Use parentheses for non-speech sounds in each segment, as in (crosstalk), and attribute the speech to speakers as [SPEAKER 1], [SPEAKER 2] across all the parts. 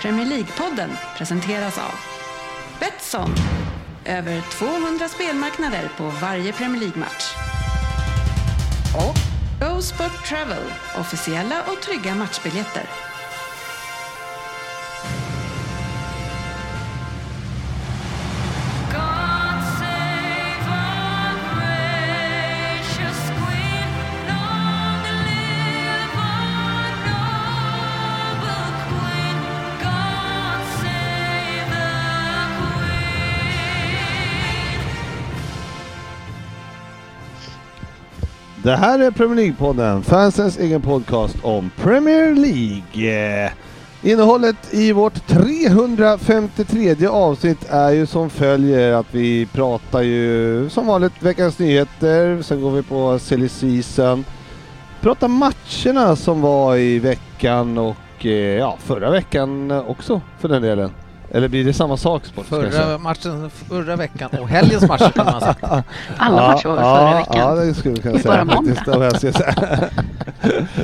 [SPEAKER 1] Premier League-podden presenteras av Betsson. Över 200 spelmarknader på varje Premier League-match. Och Go Sport Travel. Officiella och trygga matchbiljetter.
[SPEAKER 2] God save our precious Queen. Long live our noble Queen. God save the Queen.
[SPEAKER 3] Det här är Premier League-podden, fansens egen podcast om Premier League. Eh, Innehållet i vårt 353 avsnitt är ju som följer att vi pratar ju som vanligt veckans nyheter, sen går vi på silly season, pratar matcherna som var i veckan och eh, ja, förra veckan också för den delen. Eller blir det samma sak? Sport, ska jag säga?
[SPEAKER 4] Förra matchen förra veckan och helgens matcher kan
[SPEAKER 3] (laughs)
[SPEAKER 4] man säga.
[SPEAKER 5] Alla
[SPEAKER 3] ja,
[SPEAKER 5] matcher var förra
[SPEAKER 3] ja,
[SPEAKER 5] veckan.
[SPEAKER 3] Ja, det skulle vi kunna
[SPEAKER 5] Inte
[SPEAKER 3] säga
[SPEAKER 5] bara måndag.
[SPEAKER 3] faktiskt. Om jag ska
[SPEAKER 5] (laughs)
[SPEAKER 3] säga.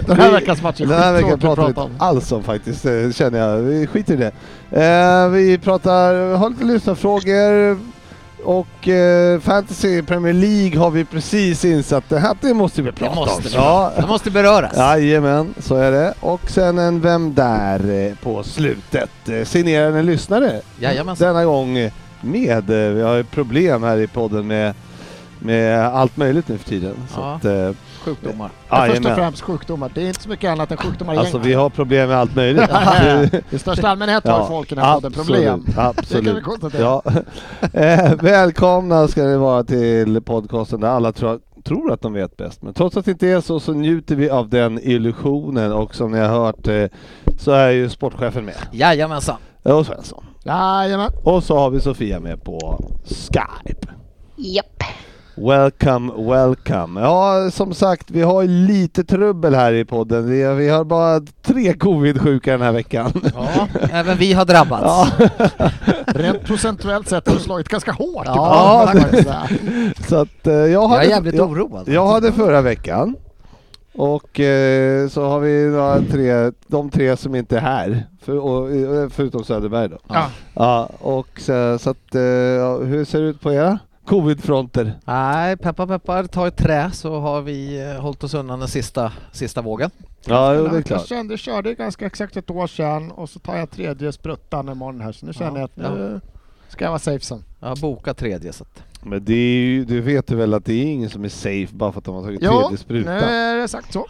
[SPEAKER 6] Den här veckans match är
[SPEAKER 3] Den här veckan
[SPEAKER 6] skittråkig att
[SPEAKER 3] pratar vi
[SPEAKER 6] prata
[SPEAKER 3] inte
[SPEAKER 6] om.
[SPEAKER 3] alls om faktiskt, eh, känner jag. Vi skiter i det. Eh, vi pratar, har lite lyssnarfrågor och eh, Fantasy Premier League har vi precis insatt. Det här det måste vi prata
[SPEAKER 4] måste
[SPEAKER 3] om.
[SPEAKER 4] vi.
[SPEAKER 3] Ja.
[SPEAKER 4] Det måste beröras.
[SPEAKER 3] Jajamän, så är det. Och sen en Vem där eh, på slutet. Eh, Signerad en lyssnare
[SPEAKER 4] Jajamensan.
[SPEAKER 3] denna gång med, eh, vi har ju problem här i podden med, med allt möjligt nu för tiden. Så
[SPEAKER 4] Ja.
[SPEAKER 3] att, eh,
[SPEAKER 4] Sjukdomar.
[SPEAKER 6] Ja, först och
[SPEAKER 3] jajamän.
[SPEAKER 6] främst sjukdomar. Det är inte så mycket annat än sjukdomar i
[SPEAKER 3] Alltså vi
[SPEAKER 6] gängen.
[SPEAKER 3] har problem med allt
[SPEAKER 4] (laughs)
[SPEAKER 3] möjligt. (laughs)
[SPEAKER 6] I största allmänhet har folk i den här podden problem.
[SPEAKER 3] absolut,
[SPEAKER 6] Det kan vi
[SPEAKER 3] Absolut.
[SPEAKER 6] (laughs) konstatera.
[SPEAKER 3] Ja. (laughs) Eh, välkomna ska ni vara till podcasten där alla tror, tror att de vet bäst. Men trots att det inte är så, så njuter vi av den illusionen och som ni har hört eh, så är ju sportchefen med. Eh,
[SPEAKER 4] Jajamensan.
[SPEAKER 3] Och Svensson.
[SPEAKER 6] Jajamän.
[SPEAKER 3] Och så har vi Sofia med på Skype.
[SPEAKER 5] Japp.
[SPEAKER 3] Welcome, welcome. Ja, som sagt, vi har ju lite trubbel här i podden. Vi har, vi har bara tre covid-sjuka den här veckan. (laughs)
[SPEAKER 4] Ja, (laughs) även vi har drabbats.
[SPEAKER 3] Ja.
[SPEAKER 6] Rent procentuellt sett har du slagit ganska hårt i
[SPEAKER 3] Ja,
[SPEAKER 6] podden, kan man säga.
[SPEAKER 3] Så att eh, jag
[SPEAKER 4] Jag
[SPEAKER 3] hade,
[SPEAKER 4] är jävligt
[SPEAKER 3] jag,
[SPEAKER 4] oroad.
[SPEAKER 3] jag hade förra veckan. Och eh, så har vi några tre, de tre som inte är här, för, och, eh, förutom Söderberg då.
[SPEAKER 6] Ja.
[SPEAKER 3] Ja, och så, så att, eh, ja, hur ser det ut på era covid-fronter?
[SPEAKER 4] Nej, peppar peppar, ta ett trä så har vi eh, hållit oss undan den sista, sista vågen.
[SPEAKER 3] Ja, jo, det är
[SPEAKER 6] Jag
[SPEAKER 3] klart.
[SPEAKER 6] kände, körde ganska exakt ett år sedan och så tar jag tredje spruttan imorgon här så nu känner jag att nu ska jag vara safe sen.
[SPEAKER 4] Jag har bokat tredje så att...
[SPEAKER 3] Men det är ju, du vet ju väl att det är ingen som är safe bara för att de har tagit
[SPEAKER 6] Jo,
[SPEAKER 3] tredje
[SPEAKER 6] nu
[SPEAKER 3] sprutan?
[SPEAKER 6] är det sagt så.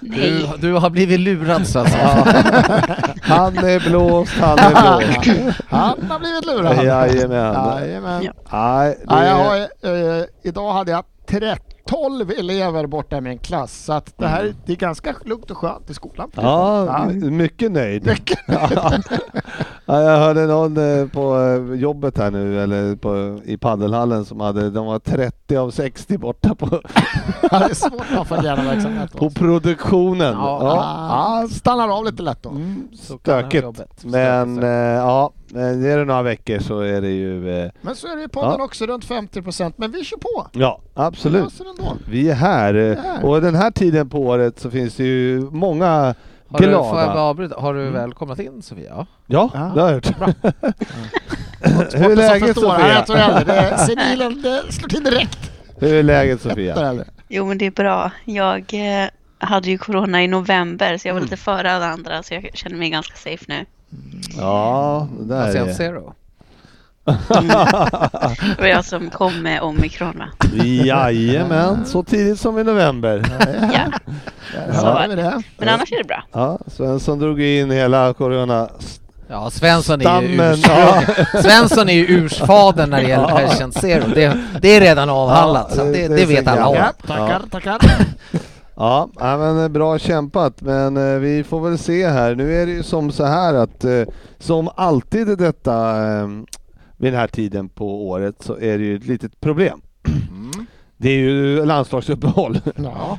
[SPEAKER 4] du, du har blivit lurad Svensson.
[SPEAKER 3] (laughs) Han är blåst, han är blåst.
[SPEAKER 6] (laughs) Han har blivit lurad.
[SPEAKER 3] Jajamän.
[SPEAKER 6] Jajamän.
[SPEAKER 5] Ja.
[SPEAKER 3] Nej, det
[SPEAKER 6] Ja, jag
[SPEAKER 3] är...
[SPEAKER 6] har, eh, idag hade jag 13, 12 elever borta i min klass, så att det här det är ganska lugnt och skönt i skolan.
[SPEAKER 3] Mm. Ja,
[SPEAKER 6] Ja.
[SPEAKER 3] mycket
[SPEAKER 4] (laughs)
[SPEAKER 3] nöjd. (laughs) ja, jag hörde någon eh, på eh, jobbet här nu, eller på, i paddelhallen som hade, de var 30 av 60 borta på,
[SPEAKER 6] Det är svårt att få igenom verksamhet.
[SPEAKER 3] på produktionen.
[SPEAKER 4] Ja.
[SPEAKER 3] Ja,
[SPEAKER 6] Ja, stannar av lite lätt då.
[SPEAKER 3] Mm,
[SPEAKER 4] Så kan det här
[SPEAKER 3] Stökigt.
[SPEAKER 4] jobbet.
[SPEAKER 3] Men
[SPEAKER 4] Stökigt.
[SPEAKER 3] eh, ja, men är det några veckor så är det ju, eh,
[SPEAKER 6] Men så är det i podden
[SPEAKER 3] Ja.
[SPEAKER 6] också, runt 50 procent. Men vi kör på.
[SPEAKER 3] ja absolut.
[SPEAKER 6] Löser ändå.
[SPEAKER 3] Vi är här eh,
[SPEAKER 6] här.
[SPEAKER 3] och den här tiden på året så finns det ju många
[SPEAKER 4] Har du, får jag bara
[SPEAKER 3] glada.
[SPEAKER 4] avbryta? Har du välkomnat in Sofia?
[SPEAKER 3] Ja,
[SPEAKER 6] Ja.
[SPEAKER 3] det har jag (laughs) gjort. Hur är
[SPEAKER 6] Sporten som
[SPEAKER 3] läget
[SPEAKER 6] förstår. Nej,
[SPEAKER 3] Sofia?
[SPEAKER 6] jag tror aldrig.
[SPEAKER 3] (laughs)
[SPEAKER 6] Det är- Senilen det slår till direkt.
[SPEAKER 3] Hur är läget
[SPEAKER 6] Där
[SPEAKER 3] Sofia?
[SPEAKER 6] är det.
[SPEAKER 5] Jo, men det är bra. Jag eh, hade ju corona i november, så jag var lite före alla andra, så jag känner mig ganska safe nu.
[SPEAKER 3] Ja, det där är
[SPEAKER 4] Patient (laughs)
[SPEAKER 3] det.
[SPEAKER 4] Zero?
[SPEAKER 5] Det var jag som kom med omikron, va?
[SPEAKER 3] Jajamän, så tidigt som i november.
[SPEAKER 5] Ja.
[SPEAKER 6] Där
[SPEAKER 5] Så
[SPEAKER 6] har
[SPEAKER 5] var
[SPEAKER 6] vi
[SPEAKER 5] det.
[SPEAKER 6] det.
[SPEAKER 5] Men annars är det bra.
[SPEAKER 3] Ja, Svensson drog in hela corona.
[SPEAKER 4] Ja, Svensson är ju
[SPEAKER 3] Stammen,
[SPEAKER 4] ursprung- Svensson är ju ursfadern när det gäller Patient Zero. Det, det är redan avhandlat,
[SPEAKER 3] Ja,
[SPEAKER 4] så
[SPEAKER 3] det-
[SPEAKER 4] att det,
[SPEAKER 3] det
[SPEAKER 4] det,
[SPEAKER 3] är
[SPEAKER 4] vet
[SPEAKER 3] så
[SPEAKER 4] alla om.
[SPEAKER 3] jävla-
[SPEAKER 6] Ja, tackar,
[SPEAKER 3] (laughs)
[SPEAKER 6] tackar.
[SPEAKER 3] Ja, ja, men eh, bra kämpat. Men eh, vi får väl se här. Nu är det ju som så här att eh, som alltid i detta eh, vid den här tiden på året så är det ju ett litet problem. Det är ju landslagsuppehåll.
[SPEAKER 6] Ja.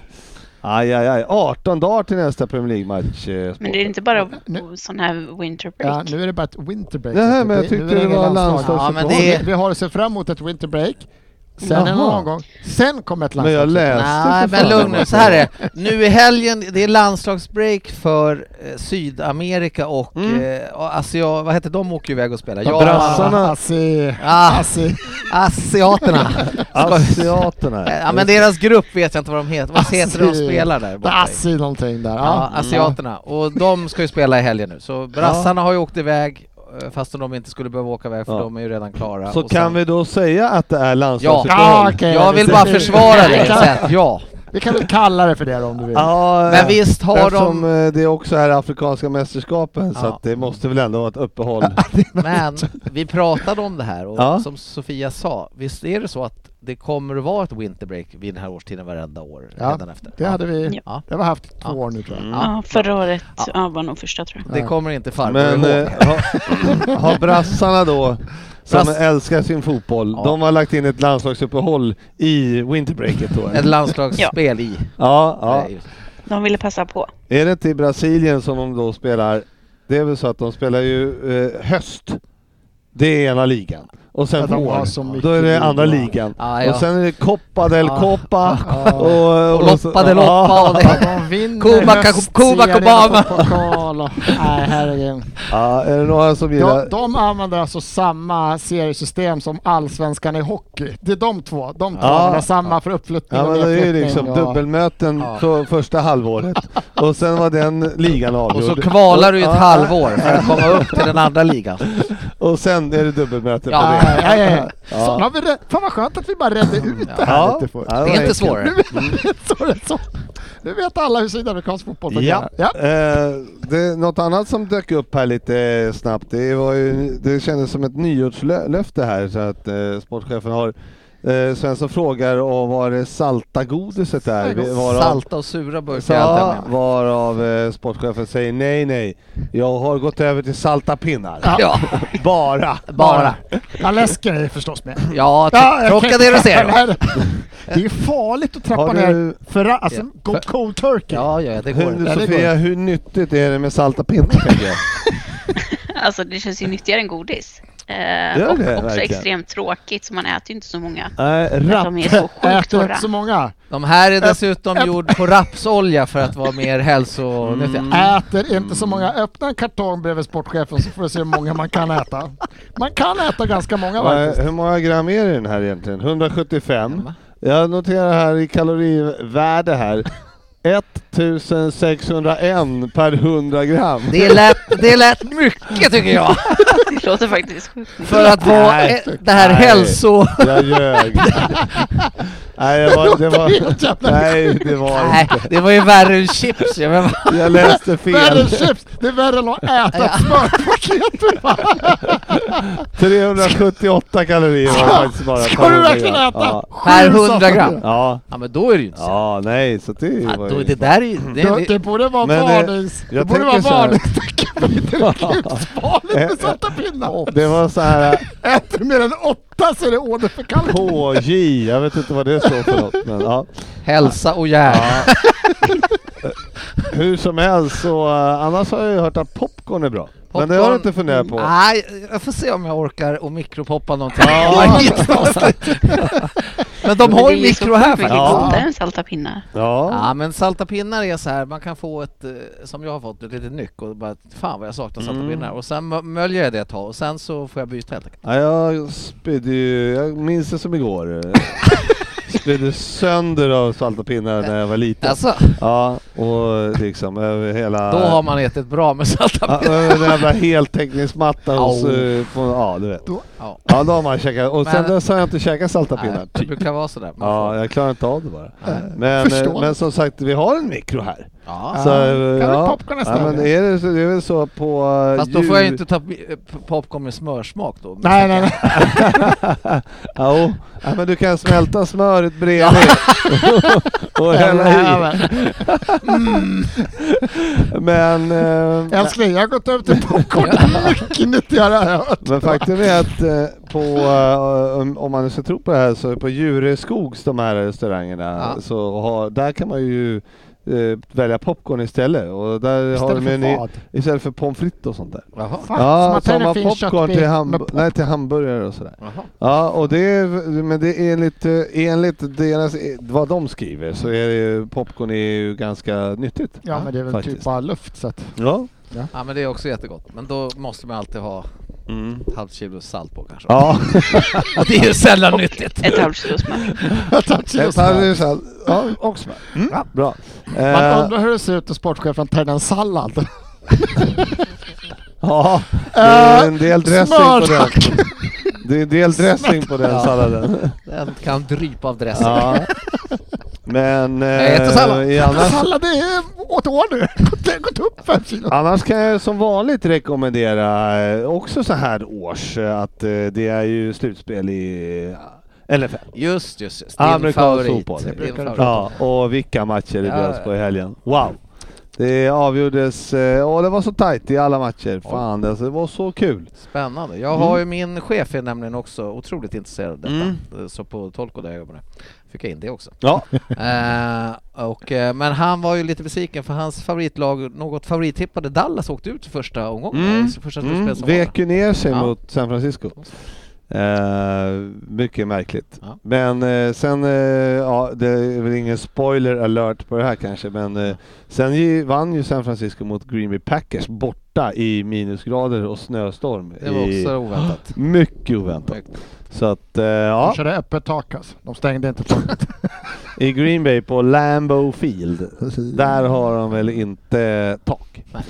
[SPEAKER 3] Aj, aj, aj. 18 dagar till nästa Premier League-match. eh,
[SPEAKER 5] Men det är inte bara
[SPEAKER 6] Nu-
[SPEAKER 5] sån här winter
[SPEAKER 6] Ja,
[SPEAKER 5] break.
[SPEAKER 6] nu är det bara ett winter break.
[SPEAKER 3] Nej,
[SPEAKER 6] Så
[SPEAKER 3] men jag
[SPEAKER 6] nu
[SPEAKER 3] tyckte
[SPEAKER 6] är
[SPEAKER 3] det
[SPEAKER 6] ingen
[SPEAKER 3] var
[SPEAKER 6] landslag.
[SPEAKER 3] landslagsuppehåll.
[SPEAKER 4] Ja, men
[SPEAKER 6] Vi-
[SPEAKER 4] det-
[SPEAKER 6] Vi har att se fram emot ett winter break. Sen en
[SPEAKER 3] Jaha.
[SPEAKER 6] annan gång. Sen kom ett
[SPEAKER 3] Men jag
[SPEAKER 6] landslag.
[SPEAKER 3] läste
[SPEAKER 4] Nej,
[SPEAKER 3] för
[SPEAKER 4] men
[SPEAKER 3] fan.
[SPEAKER 4] lugn nu. Så här är det. Nu i helgen, det är landslagsbreak för eh, Sydamerika och
[SPEAKER 3] Mm.
[SPEAKER 4] eh, och asia, vad heter de åker ju iväg och spelar?
[SPEAKER 3] Ja,
[SPEAKER 4] Japan,
[SPEAKER 3] brassarna.
[SPEAKER 6] Assi,
[SPEAKER 4] Ah,
[SPEAKER 6] assi.
[SPEAKER 3] (laughs)
[SPEAKER 4] asiaterna.
[SPEAKER 3] Asiaterna.
[SPEAKER 4] ja, men deras grupp vet jag inte vad de heter. Vad heter de
[SPEAKER 6] Asi.
[SPEAKER 4] spelar där borta? i?
[SPEAKER 6] Assi någonting där.
[SPEAKER 4] Ja,
[SPEAKER 6] Ja.
[SPEAKER 4] asiaterna. Och de ska ju spela i helgen nu. Så brassarna har ju åkt iväg eh, fastän de inte skulle behöva åka iväg för
[SPEAKER 3] Ja.
[SPEAKER 4] de är ju redan klara.
[SPEAKER 3] Så
[SPEAKER 4] Och
[SPEAKER 3] kan
[SPEAKER 4] sen-
[SPEAKER 3] vi då säga att det är landslagsuppehåll?
[SPEAKER 6] Ja, okej.
[SPEAKER 4] Jag vill
[SPEAKER 6] vi-
[SPEAKER 4] bara
[SPEAKER 6] vi-
[SPEAKER 4] försvara
[SPEAKER 6] vi
[SPEAKER 4] det.
[SPEAKER 6] kan-
[SPEAKER 4] så att Ja.
[SPEAKER 6] Vi kan väl kalla det för det då, om du vill.
[SPEAKER 3] Ja,
[SPEAKER 4] Men visst har
[SPEAKER 3] Eh, eftersom
[SPEAKER 4] de...
[SPEAKER 3] eh, det också är afrikanska mästerskapen så
[SPEAKER 4] Ja.
[SPEAKER 3] att det måste väl ändå vara ett uppehåll. (laughs)
[SPEAKER 4] Men vi pratade om det här och
[SPEAKER 3] Ja.
[SPEAKER 4] som Sofia sa, visst är det så att det kommer att vara ett winterbreak vid den här årstiden varenda år
[SPEAKER 6] Ja,
[SPEAKER 4] redan efter?
[SPEAKER 6] Det hade vi.
[SPEAKER 4] Ja.
[SPEAKER 6] Det har vi haft två
[SPEAKER 4] Ja.
[SPEAKER 6] år nu tror jag.
[SPEAKER 5] Ja, förra året ja, var nog första tror jag.
[SPEAKER 4] Det kommer inte farbror
[SPEAKER 3] Men
[SPEAKER 4] ihåg.
[SPEAKER 3] eh, har, har brassarna då, som
[SPEAKER 4] Brass-
[SPEAKER 3] älskar sin fotboll,
[SPEAKER 4] Ja.
[SPEAKER 3] de har lagt in ett landslagsuppehåll i winterbreaket då? eller?
[SPEAKER 4] Ett landslagsspel i.
[SPEAKER 3] Ja, ja.
[SPEAKER 4] Nej, just-
[SPEAKER 5] De ville passa på. (laughs)
[SPEAKER 3] Är det inte i Brasilien som de då spelar? Det är väl så att de spelar ju eh, höst. Det är ena ligan. Och sen
[SPEAKER 6] Ja, de har
[SPEAKER 3] vår.
[SPEAKER 6] så mycket
[SPEAKER 3] Då är det andra
[SPEAKER 6] ligor.
[SPEAKER 3] ligan.
[SPEAKER 4] Ja, ja.
[SPEAKER 3] Och sen är det Copa del
[SPEAKER 4] Ja.
[SPEAKER 3] Copa.
[SPEAKER 6] Ja.
[SPEAKER 3] Och,
[SPEAKER 4] Och Loppa de Loppa och
[SPEAKER 6] Ja,
[SPEAKER 4] det.
[SPEAKER 6] de vinner
[SPEAKER 4] Kuba-
[SPEAKER 6] höstserien
[SPEAKER 4] Kuba- Kubama.
[SPEAKER 6] och pokal och-
[SPEAKER 4] (laughs)
[SPEAKER 6] Nej, herregud.
[SPEAKER 3] Ja, är det några som
[SPEAKER 6] De,
[SPEAKER 3] gillar...
[SPEAKER 6] de använder alltså samma seriesystem som allsvenskan i hockey. Det är de två. De två
[SPEAKER 3] Ja.
[SPEAKER 6] använder samma för uppflyttning
[SPEAKER 3] Ja men det är ju
[SPEAKER 6] nedflyttning
[SPEAKER 3] liksom
[SPEAKER 6] och-
[SPEAKER 3] dubbelmöten
[SPEAKER 4] Ja.
[SPEAKER 3] så första halvåret och sen var den ligan
[SPEAKER 4] (laughs) Och
[SPEAKER 3] avgjord.
[SPEAKER 4] så kvalar du i ett
[SPEAKER 3] Ja.
[SPEAKER 4] halvår för att komma upp till den
[SPEAKER 3] (laughs)
[SPEAKER 4] andra ligan.
[SPEAKER 3] Och sen är det dubbelmöte
[SPEAKER 4] Ja.
[SPEAKER 3] på det.
[SPEAKER 6] Nej, nej, nej.
[SPEAKER 3] Ja.
[SPEAKER 6] Sådana har vi re- Fan vad skönt att vi bara redde ut det här
[SPEAKER 3] Ja.
[SPEAKER 6] lite fort.
[SPEAKER 3] Ja,
[SPEAKER 4] Det är inte
[SPEAKER 3] enkelt.
[SPEAKER 4] svårare.
[SPEAKER 3] Mm.
[SPEAKER 6] (laughs) så, är det så. Nu vet alla hur sydamerikansk fotboll
[SPEAKER 3] Ja.
[SPEAKER 6] fungerar. Ja.
[SPEAKER 3] Eh, det, något annat som dök upp här lite snabbt, det, var ju, det kändes som ett nyårslöfte här så att eh, sportchefen har eh, Svensson frågar om var det salta godiset är. Varav,
[SPEAKER 4] Salta och sura burkar är allt jag
[SPEAKER 3] sa,
[SPEAKER 4] menar.
[SPEAKER 3] varav eh, sportchefen säger nej, nej. Jag har gått över till salta pinnar.
[SPEAKER 4] Ja,
[SPEAKER 3] (laughs) Bara.
[SPEAKER 4] bara.
[SPEAKER 6] Ja, läsken är förstås med.
[SPEAKER 4] Ja,
[SPEAKER 6] Ja, jag
[SPEAKER 4] Trocadero
[SPEAKER 3] (laughs)
[SPEAKER 6] tänkte-
[SPEAKER 4] Zero.
[SPEAKER 6] (laughs) Det är farligt att trappa
[SPEAKER 3] Har du-
[SPEAKER 6] ner för alltså,
[SPEAKER 4] Ja.
[SPEAKER 6] go cold turkey.
[SPEAKER 4] Ja, ja, det
[SPEAKER 3] Hur,
[SPEAKER 4] går.
[SPEAKER 6] Ja, det
[SPEAKER 3] Sofia,
[SPEAKER 6] går.
[SPEAKER 3] hur nyttigt är det med salta pinnar? tänker jag?
[SPEAKER 5] Alltså det känns ju nyttigare än godis. Eh,
[SPEAKER 3] Gör
[SPEAKER 5] och
[SPEAKER 3] det,
[SPEAKER 5] också
[SPEAKER 3] verkligen?
[SPEAKER 5] extremt tråkigt så man äter ju inte så många.
[SPEAKER 3] Nej,
[SPEAKER 5] För
[SPEAKER 3] rapp.
[SPEAKER 5] de är så sjukt
[SPEAKER 6] Äter
[SPEAKER 5] torra.
[SPEAKER 6] inte så många.
[SPEAKER 4] De här är dessutom gjord på rapsolja för att vara mer
[SPEAKER 3] Mm.
[SPEAKER 4] hälsonyttiga.
[SPEAKER 6] Äter inte så många. Öppna en kartong bredvid sportchefen så får du se hur många man kan äta. Man kan äta ganska många
[SPEAKER 3] Eh,
[SPEAKER 6] faktiskt.
[SPEAKER 3] Hur många gram är det i den här egentligen? 175. Jag noterar här i kalorivärde
[SPEAKER 6] (laughs)
[SPEAKER 3] här. 1601 per 100 gram.
[SPEAKER 4] Det lät, det lät mycket tycker jag,
[SPEAKER 5] (laughs) Det låter faktiskt sjukt.
[SPEAKER 4] för att vara
[SPEAKER 3] Nej,
[SPEAKER 4] eh, det här
[SPEAKER 3] nej.
[SPEAKER 4] hälso...
[SPEAKER 3] Jag
[SPEAKER 6] (laughs)
[SPEAKER 3] ljög. nej, jag var, det var,
[SPEAKER 6] Helt jävla-
[SPEAKER 3] nej, det var
[SPEAKER 4] (laughs) Nej,
[SPEAKER 3] inte.
[SPEAKER 4] det var ju värre än chips. Jag menar,
[SPEAKER 3] Jag läste fel.
[SPEAKER 6] Världens chips! Det är värre än att äta ett smörpaket! va?
[SPEAKER 3] 378 kalorier var det faktiskt bara.
[SPEAKER 6] Ska
[SPEAKER 3] per
[SPEAKER 6] du
[SPEAKER 3] 100
[SPEAKER 6] verkligen
[SPEAKER 3] gram.
[SPEAKER 6] äta?
[SPEAKER 3] Ja.
[SPEAKER 4] per
[SPEAKER 6] Sju
[SPEAKER 4] 100 gram.
[SPEAKER 3] ja.
[SPEAKER 4] Ja, men då är det ju inte så.
[SPEAKER 3] Ja, nej, så det
[SPEAKER 4] Ja,
[SPEAKER 3] var
[SPEAKER 4] då,
[SPEAKER 3] ju...
[SPEAKER 4] det där är ju... Det,
[SPEAKER 6] Det,
[SPEAKER 4] det,
[SPEAKER 6] det borde vara
[SPEAKER 3] Men, eh,
[SPEAKER 6] varnings... Det
[SPEAKER 3] jag
[SPEAKER 6] borde vara
[SPEAKER 3] tänker så här. Eh,
[SPEAKER 6] varningstecken
[SPEAKER 3] (laughs)
[SPEAKER 6] på ditt livsfarligt med salta pinnar!
[SPEAKER 3] det var så här eh,
[SPEAKER 6] Äter du mer än åtta så är det åderförkallning!
[SPEAKER 3] KJ, jag vet inte vad det står för något. Men, ja.
[SPEAKER 4] hälsa och hjärna.
[SPEAKER 3] (laughs) Hur som helst så, eh, annars har jag ju hört att popcorn är bra. Men det har jag inte funderat på.
[SPEAKER 4] Mm. Nej, jag får se om jag orkar och mikropoppa någonting. (laughs)
[SPEAKER 3] (laughs)
[SPEAKER 4] men de har
[SPEAKER 5] Men
[SPEAKER 4] ju
[SPEAKER 5] det är så
[SPEAKER 4] mikro här
[SPEAKER 5] sjukt mycket
[SPEAKER 4] faktiskt.
[SPEAKER 3] Ja.
[SPEAKER 5] godare än salta pinnar.
[SPEAKER 3] Ja.
[SPEAKER 4] Ja men salta pinnar är så här, man kan få ett, eh, som jag har fått, ett litet nyck och bara fan vad jag saknar salta
[SPEAKER 3] Mm.
[SPEAKER 4] pinnar och sen mö- möljer jag det ett tag och sen så får jag byta helt enkelt.
[SPEAKER 3] ja, jag spydde ju, jag minns det som
[SPEAKER 4] (laughs)
[SPEAKER 3] igår. spydde sönder av salta pinnar när jag var liten.
[SPEAKER 4] Alltså,
[SPEAKER 3] Ja, och liksom över hela...
[SPEAKER 4] då har man ätit bra med salta
[SPEAKER 3] Ja,
[SPEAKER 4] pinnar.
[SPEAKER 3] över den jävla heltäckningsmattan hos...
[SPEAKER 4] Au.
[SPEAKER 3] eh, på- Ja, du vet.
[SPEAKER 4] Ja,
[SPEAKER 3] Ja, då har man käkat. Och sen
[SPEAKER 4] Men-
[SPEAKER 3] dess har jag inte käkat salta pinnar.
[SPEAKER 4] nej, typ. det brukar vara sådär. Man
[SPEAKER 3] Ja,
[SPEAKER 4] får-
[SPEAKER 3] jag klarar inte av det bara. Men,
[SPEAKER 6] Förstår
[SPEAKER 3] eh,
[SPEAKER 6] det.
[SPEAKER 3] men som sagt, vi har en mikro här.
[SPEAKER 4] ja.
[SPEAKER 3] Så,
[SPEAKER 6] kan
[SPEAKER 3] eh,
[SPEAKER 6] vi
[SPEAKER 3] ja.
[SPEAKER 6] popcorna
[SPEAKER 3] ja, men
[SPEAKER 6] ställa?
[SPEAKER 3] är det, så- det är väl så på... eh,
[SPEAKER 4] Fast då får jag
[SPEAKER 3] jul-
[SPEAKER 4] ju inte ta pi- eh, p- popcorn med smörsmak då. (laughs)
[SPEAKER 6] Nej, nej, nej.
[SPEAKER 3] Jo, (laughs) ja, men du kan smälta smöret bredvid (laughs) och hälla i. Men, eh,
[SPEAKER 6] Älskling, jag har gått över till popcorn. Det är mycket nyttigare har jag hört.
[SPEAKER 3] men faktum är att eh, på, eh, om- om man nu ska tro på det här så på Djureskogs, de här restaurangerna,
[SPEAKER 4] Ja.
[SPEAKER 3] så har, där kan man ju eh, välja popcorn istället. Och där har
[SPEAKER 6] Istället
[SPEAKER 3] de
[SPEAKER 6] för
[SPEAKER 3] en ny,
[SPEAKER 6] vad?
[SPEAKER 3] istället för pommes frites och sånt där.
[SPEAKER 4] Jaha.
[SPEAKER 6] Fan,
[SPEAKER 3] ja,
[SPEAKER 6] som
[SPEAKER 3] som
[SPEAKER 6] att
[SPEAKER 3] har
[SPEAKER 6] det finns
[SPEAKER 3] popcorn
[SPEAKER 6] köttbit
[SPEAKER 3] till,
[SPEAKER 6] med
[SPEAKER 3] hamb-
[SPEAKER 6] pop-
[SPEAKER 3] nej, till hamburgare och sådär.
[SPEAKER 4] Jaha.
[SPEAKER 3] Ja, och det är, men det är enligt, eh, enligt deras, vad de skriver så är det, ju- popcorn är ju ganska nyttigt.
[SPEAKER 6] Ja, men det är väl
[SPEAKER 3] Faktiskt.
[SPEAKER 6] typ bara luft så att... (laughs)
[SPEAKER 3] Ja.
[SPEAKER 4] Ja men det är också jättegott. Men då måste man alltid ha ett halvt kilo salt på kanske.
[SPEAKER 3] Ja.
[SPEAKER 4] Och (laughs) det är ju
[SPEAKER 3] (laughs)
[SPEAKER 4] sällan nyttigt.
[SPEAKER 5] Ett halvt kilo smör.
[SPEAKER 6] Tack så
[SPEAKER 3] Ett
[SPEAKER 6] mycket.
[SPEAKER 3] halvt kilo Ja, och smör. Ja, bra.
[SPEAKER 6] Mm. Man
[SPEAKER 3] Eh,
[SPEAKER 6] undrar hur det ser ut när sportchefen tar en sallad.
[SPEAKER 3] ja, det är en del
[SPEAKER 6] Eh,
[SPEAKER 3] dressing
[SPEAKER 6] smör,
[SPEAKER 3] på den.
[SPEAKER 6] tack.
[SPEAKER 3] Det är en del dressing på den
[SPEAKER 4] Ja.
[SPEAKER 6] (laughs)
[SPEAKER 3] salladen.
[SPEAKER 4] Den kan drypa av dressing.
[SPEAKER 3] Ja. Men
[SPEAKER 4] Jag äter sallad.
[SPEAKER 3] eh, i annars,
[SPEAKER 6] Sallad det är åt år nu. (laughs) Det har gått upp fem kilo.
[SPEAKER 3] annars kan jag som vanligt rekommendera eh, också så här års eh, att eh, det är ju slutspel i eh, LFL.
[SPEAKER 4] Just, just, just. Din
[SPEAKER 3] Amerikansk
[SPEAKER 4] favorit.
[SPEAKER 3] fotboll.
[SPEAKER 4] Din favorit.
[SPEAKER 3] Ja, och vilka matcher det
[SPEAKER 4] Ja.
[SPEAKER 3] bjöds på i helgen. Wow! Det avgjordes, eh, och det var så tajt i alla matcher. Fan, det- alltså, det var så kul.
[SPEAKER 4] Spännande. Jag har
[SPEAKER 3] Mm.
[SPEAKER 4] ju min chef är nämligen också otroligt intresserad av detta. Så på Tolko där jag jobbar nu fick jag in det också. (laughs)
[SPEAKER 3] Ja,
[SPEAKER 4] Eh, och, eh, men han var ju lite besviken för hans favoritlag, något favorittippade Dallas åkte ut i första omgången.
[SPEAKER 3] Mm.
[SPEAKER 4] I första
[SPEAKER 3] mm.
[SPEAKER 4] slutspelsomgången.
[SPEAKER 3] vek ju ner sig
[SPEAKER 4] Ja.
[SPEAKER 3] mot San Francisco. Eh, mycket märkligt.
[SPEAKER 4] Ja.
[SPEAKER 3] Men eh, sen, eh, ja, det är väl ingen spoiler alert på det här kanske, men eh, sen ju, vann ju San Francisco mot Green Bay Packers borta i minusgrader och snöstorm.
[SPEAKER 4] Det var
[SPEAKER 3] i,
[SPEAKER 4] också
[SPEAKER 3] (gasps)
[SPEAKER 4] oväntat.
[SPEAKER 3] Mycket oväntat. Så att, eh, ja.
[SPEAKER 6] De körde öppet tak alltså. De stängde inte taket.
[SPEAKER 3] I Green Bay på Lambeau Field. Där har de väl inte tak.
[SPEAKER 4] Nej.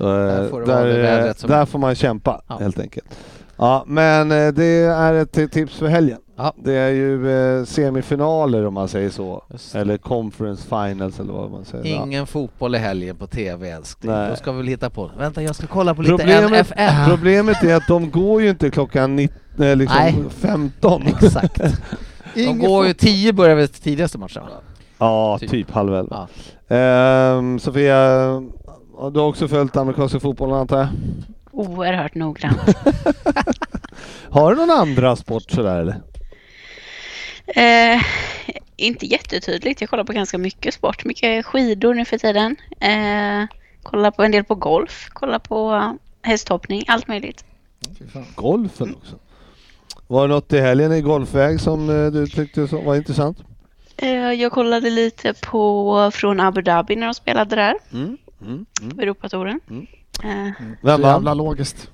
[SPEAKER 3] Eh,
[SPEAKER 4] Där får det vara det
[SPEAKER 3] där,
[SPEAKER 4] vädret som-
[SPEAKER 3] där får man kämpa
[SPEAKER 4] Ja.
[SPEAKER 3] helt enkelt. Ja, men eh, det är ett eh, tips för helgen.
[SPEAKER 4] Ja.
[SPEAKER 3] Det är ju eh, semifinaler om man säger så.
[SPEAKER 4] Just det.
[SPEAKER 3] Eller conference finals eller vad man säger. Ja.
[SPEAKER 4] Ingen fotboll i helgen på TV älskling.
[SPEAKER 3] Nej.
[SPEAKER 4] Då ska vi väl hitta på. Vänta jag ska kolla på lite
[SPEAKER 3] Problemet,
[SPEAKER 4] NFL.
[SPEAKER 3] problemet är att de går ju inte klockan 19, eh, liksom
[SPEAKER 4] Nej.
[SPEAKER 3] 15.
[SPEAKER 4] (laughs) Exakt. De
[SPEAKER 6] Ingen
[SPEAKER 4] går ju, tio börjar väl tidigaste matchen? va?
[SPEAKER 3] (laughs) Ja, typ,
[SPEAKER 4] Typ.
[SPEAKER 3] halv elva.
[SPEAKER 4] Ja.
[SPEAKER 3] Ehm, Sofia, har du har också följt amerikanska fotbollen antar jag?
[SPEAKER 5] Oerhört noggrant. (laughs)
[SPEAKER 3] Har du någon andra sport sådär eller?
[SPEAKER 5] Eh, inte jättetydligt. Jag kollar på ganska mycket sport. Mycket skidor nu för tiden. Eh, kollar på en del på golf. Kollar på hästhoppning. Allt möjligt.
[SPEAKER 3] Golfen också. Var det något i helgen i golfväg som eh, du tyckte som var intressant?
[SPEAKER 5] Eh, jag kollade lite på från Abu Dhabi när de spelade där.
[SPEAKER 4] Mm,
[SPEAKER 5] På Europatouren. Eh,
[SPEAKER 3] (laughs) Vem
[SPEAKER 6] Så jävla
[SPEAKER 3] vann?
[SPEAKER 6] logiskt.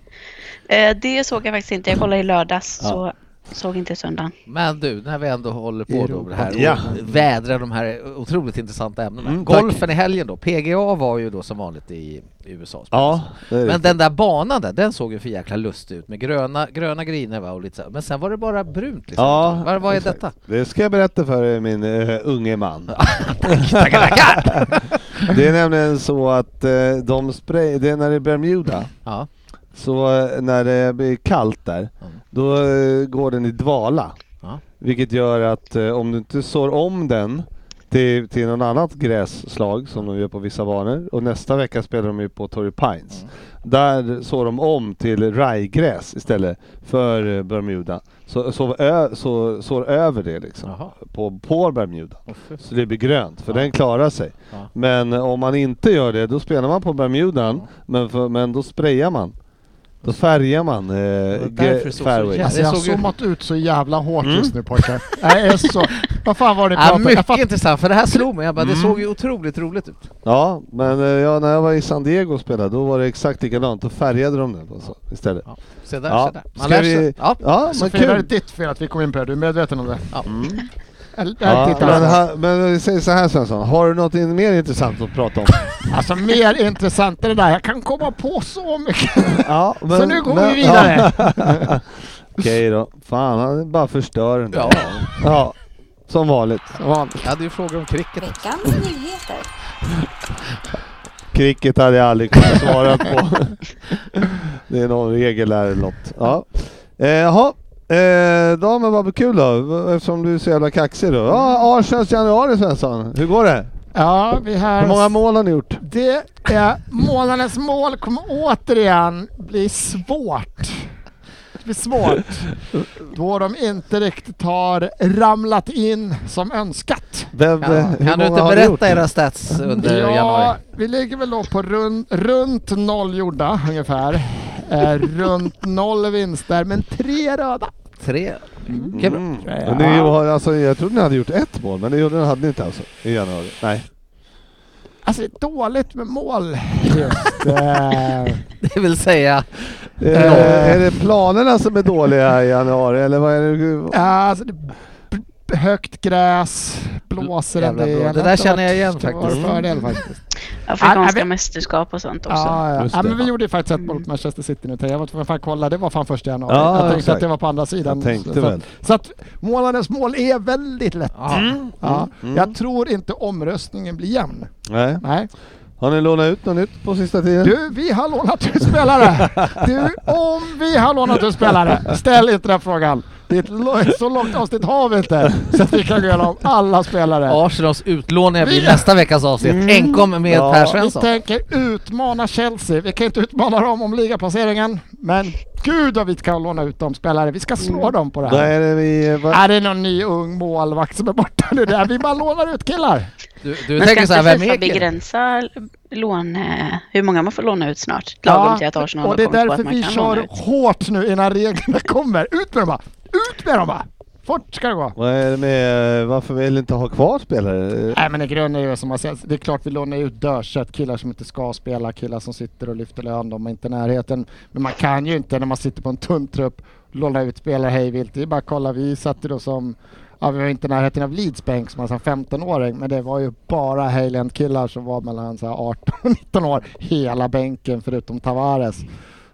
[SPEAKER 5] eh, det såg jag faktiskt inte. Jag kollade i lördags.
[SPEAKER 3] Ja.
[SPEAKER 5] Så såg inte söndagen.
[SPEAKER 4] Men du, när vi ändå håller på då med det här och
[SPEAKER 3] Ja.
[SPEAKER 4] vädrar de här otroligt intressanta ämnena.
[SPEAKER 3] Mm, tack.
[SPEAKER 4] Golfen i helgen då, PGA var ju då som vanligt i i USA.
[SPEAKER 3] Ja, det är
[SPEAKER 4] Men
[SPEAKER 3] riktigt.
[SPEAKER 4] den där banan där, den såg ju för jäkla lustig ut med gröna, gröna griner va och lite så. här. Men sen var det bara brunt liksom.
[SPEAKER 3] ja,
[SPEAKER 4] vad, vad är
[SPEAKER 3] exakt.
[SPEAKER 4] detta? (laughs)
[SPEAKER 3] Det ska jag berätta för er, min eh, unge man.
[SPEAKER 4] Tackar, tackar!
[SPEAKER 3] det är nämligen så att eh, de spray, det är när det är Bermuda,
[SPEAKER 4] ja,
[SPEAKER 3] så eh, när det blir kallt där,
[SPEAKER 4] Mm.
[SPEAKER 3] då eh, går den i dvala.
[SPEAKER 4] Ja.
[SPEAKER 3] Vilket gör att eh, om du inte sår om den till, till någon annat grässlag som de gör på vissa banor och nästa vecka spelar de ju på Torrey Pines.
[SPEAKER 4] Mm.
[SPEAKER 3] Där sår de om till rajgräs istället för eh, Bermuda. Så, så, ö, så sår över det liksom
[SPEAKER 4] Jaha.
[SPEAKER 3] på, på Bermuda. Så det blir grönt för den klarar sig.
[SPEAKER 4] Ja.
[SPEAKER 3] Men eh, om man inte gör det då spelar man på Bermudan men, för, men då sprayar man. Då färgar man eh,
[SPEAKER 4] därför det
[SPEAKER 3] gre-
[SPEAKER 4] såg så
[SPEAKER 3] fairway.
[SPEAKER 4] jävla-
[SPEAKER 6] Alltså jag har
[SPEAKER 4] såg ju-
[SPEAKER 6] zoomat ut så jävla hårt
[SPEAKER 3] Mm.
[SPEAKER 6] just nu pojkar. Jag
[SPEAKER 3] (laughs)
[SPEAKER 6] är så... Vad fan var det ni
[SPEAKER 4] ja
[SPEAKER 6] pratade om? Jag
[SPEAKER 4] mycket
[SPEAKER 6] fattar
[SPEAKER 4] intressant för det här slog mig, jag bara,
[SPEAKER 3] Mm.
[SPEAKER 4] det såg ju otroligt roligt ut.
[SPEAKER 3] Ja, men eh, ja, när jag var i San Diego och spelade, då var det exakt likadant. Då färgade de den alltså, istället.
[SPEAKER 4] Ja. Se där,
[SPEAKER 3] Ja.
[SPEAKER 4] se där. Man
[SPEAKER 3] Ska
[SPEAKER 4] lär
[SPEAKER 3] vi-
[SPEAKER 4] sig. Ja.
[SPEAKER 3] Ja, men
[SPEAKER 6] Sofia, det är
[SPEAKER 3] kul! Mm.
[SPEAKER 6] ditt fel att vi kom in på det. Du är medveten om det?
[SPEAKER 4] Ja.
[SPEAKER 6] Eller,
[SPEAKER 3] Ja,
[SPEAKER 6] tittar
[SPEAKER 3] men,
[SPEAKER 6] jag.
[SPEAKER 3] ha, men vi säger så här Svensson, har du något in- mer intressant att
[SPEAKER 6] (laughs)
[SPEAKER 3] prata om?
[SPEAKER 6] Alltså mer intressant än det där. Jag kan komma på så mycket.
[SPEAKER 3] ja, men,
[SPEAKER 6] Så nu går
[SPEAKER 3] men-
[SPEAKER 6] vi vidare.
[SPEAKER 3] Ja. (laughs) Okej då. Fan, han bara förstör den där.
[SPEAKER 4] Ja.
[SPEAKER 3] ja, som vanligt.
[SPEAKER 4] Jag hade ju frågor om cricket.
[SPEAKER 2] Veckans nyheter.
[SPEAKER 3] Cricket hade jag aldrig kunnat svara på. det är någon regel där eller något. Ja. Eh, Jaha, eh, då men vad kul då, eftersom du är så jävla kaxig då. Ja, Arsenals januari Svensson, hur går det?
[SPEAKER 6] Ja, vi här...
[SPEAKER 3] Hur många mål har ni gjort?
[SPEAKER 6] Det är månadens mål kommer återigen bli svårt. blir svårt. Då de inte riktigt har ramlat in som önskat.
[SPEAKER 3] Vem,
[SPEAKER 4] Ja,
[SPEAKER 3] eh, hur
[SPEAKER 4] kan du
[SPEAKER 3] många
[SPEAKER 4] inte
[SPEAKER 3] har
[SPEAKER 4] berätta
[SPEAKER 3] gjort?
[SPEAKER 4] era stats under
[SPEAKER 6] Ja,
[SPEAKER 4] januari?
[SPEAKER 6] vi ligger väl då på rund, runt noll gjorda ungefär. Eh, runt noll vinster, men tre röda.
[SPEAKER 4] Tre? Okej, bra.
[SPEAKER 3] Mm. Och Ni har, alltså, jag trodde ni hade gjort ett mål, men det gjorde- hade ni inte alltså i januari? Nej.
[SPEAKER 6] Alltså det är dåligt med mål just. Eh,
[SPEAKER 4] (laughs) Det vill säga,
[SPEAKER 3] Eh, är det planerna som är dåliga i januari, eller vad är det?
[SPEAKER 6] alltså, det är b- b- högt gräs, blåser en
[SPEAKER 4] Jävla
[SPEAKER 6] del.
[SPEAKER 4] blå. Det där
[SPEAKER 6] har inte
[SPEAKER 4] känner jag
[SPEAKER 6] varit-
[SPEAKER 4] igen
[SPEAKER 6] det har varit
[SPEAKER 4] faktiskt.
[SPEAKER 6] Fördel, faktiskt.
[SPEAKER 5] Afrikanska
[SPEAKER 6] Ja, vi-
[SPEAKER 5] mästerskap och sånt också.
[SPEAKER 6] Ja, ja.
[SPEAKER 3] Just
[SPEAKER 6] ja,
[SPEAKER 3] det.
[SPEAKER 6] men vi gjorde ju faktiskt ett mål mot Manchester City nu. Jag var tvungen att fan kolla, det var fan första januari.
[SPEAKER 3] Ja,
[SPEAKER 6] jag tänkte
[SPEAKER 3] exakt.
[SPEAKER 6] att det var på andra sidan.
[SPEAKER 3] Jag tänkte
[SPEAKER 6] så,
[SPEAKER 3] väl.
[SPEAKER 6] Så, att, så att målarens mål är väldigt lätt.
[SPEAKER 4] ja, Mm,
[SPEAKER 6] Ja. Jag tror inte omröstningen blir jämn.
[SPEAKER 3] Nej.
[SPEAKER 6] Nej.
[SPEAKER 3] Har ni lånat ut något nytt på sista tiden?
[SPEAKER 6] Du, vi har lånat ut spelare! Du, om vi har lånat ut spelare! Ställ inte den frågan. Det är ett lo- så långt avsnitt har vi inte, så att vi kan gå igenom alla spelare.
[SPEAKER 4] Arsenals utlåningar blir
[SPEAKER 6] Vi-
[SPEAKER 4] nästa veckas avsnitt. Enkom med
[SPEAKER 3] Ja.
[SPEAKER 4] Per
[SPEAKER 6] Vi
[SPEAKER 4] Svensson.
[SPEAKER 6] tänker utmana Chelsea. Vi kan inte utmana dem om ligaplaceringen, men gud vad vi kan låna ut de spelare. Vi ska
[SPEAKER 5] Mm.
[SPEAKER 6] slå dem på det
[SPEAKER 3] Vad
[SPEAKER 6] här.
[SPEAKER 3] är det vi... eh, Vad,
[SPEAKER 6] Är det någon ny ung målvakt som är borta nu? Där? Vi bara lånar ut killar.
[SPEAKER 4] Du, du
[SPEAKER 5] Men
[SPEAKER 4] tänker så
[SPEAKER 5] ska
[SPEAKER 4] här,
[SPEAKER 5] inte
[SPEAKER 4] vem
[SPEAKER 5] Fifa
[SPEAKER 4] är killen?
[SPEAKER 5] begränsa lån, eh, hur många man får låna ut snart? Lagom till att Arsenal
[SPEAKER 6] och
[SPEAKER 5] har
[SPEAKER 6] det är
[SPEAKER 5] kommit på
[SPEAKER 6] därför
[SPEAKER 5] att man
[SPEAKER 6] vi
[SPEAKER 5] kan låna
[SPEAKER 6] kör
[SPEAKER 5] ut.
[SPEAKER 6] hårt nu innan reglerna kommer. Ut med dem bara! Ut med dem bara! Fort ska det gå!
[SPEAKER 3] vad är det med... eh, Varför vill ni inte ha kvar spelare? Eh,
[SPEAKER 6] Nej men i grunden är det som har sagts, det är klart vi lånar ut dörrsätt, killar som inte ska spela, killar som sitter och lyfter lön, de är inte i närheten. Men man kan ju inte när man sitter på en tunn trupp låna ut spelare hej vilt. Det är bara att kolla, vi satt ju då som, ja vi var inte i närheten av Leeds bänk som var en 15-åring, men det var ju bara Heyland-killar som var mellan så här 18 och 19 år, hela bänken förutom Tavares.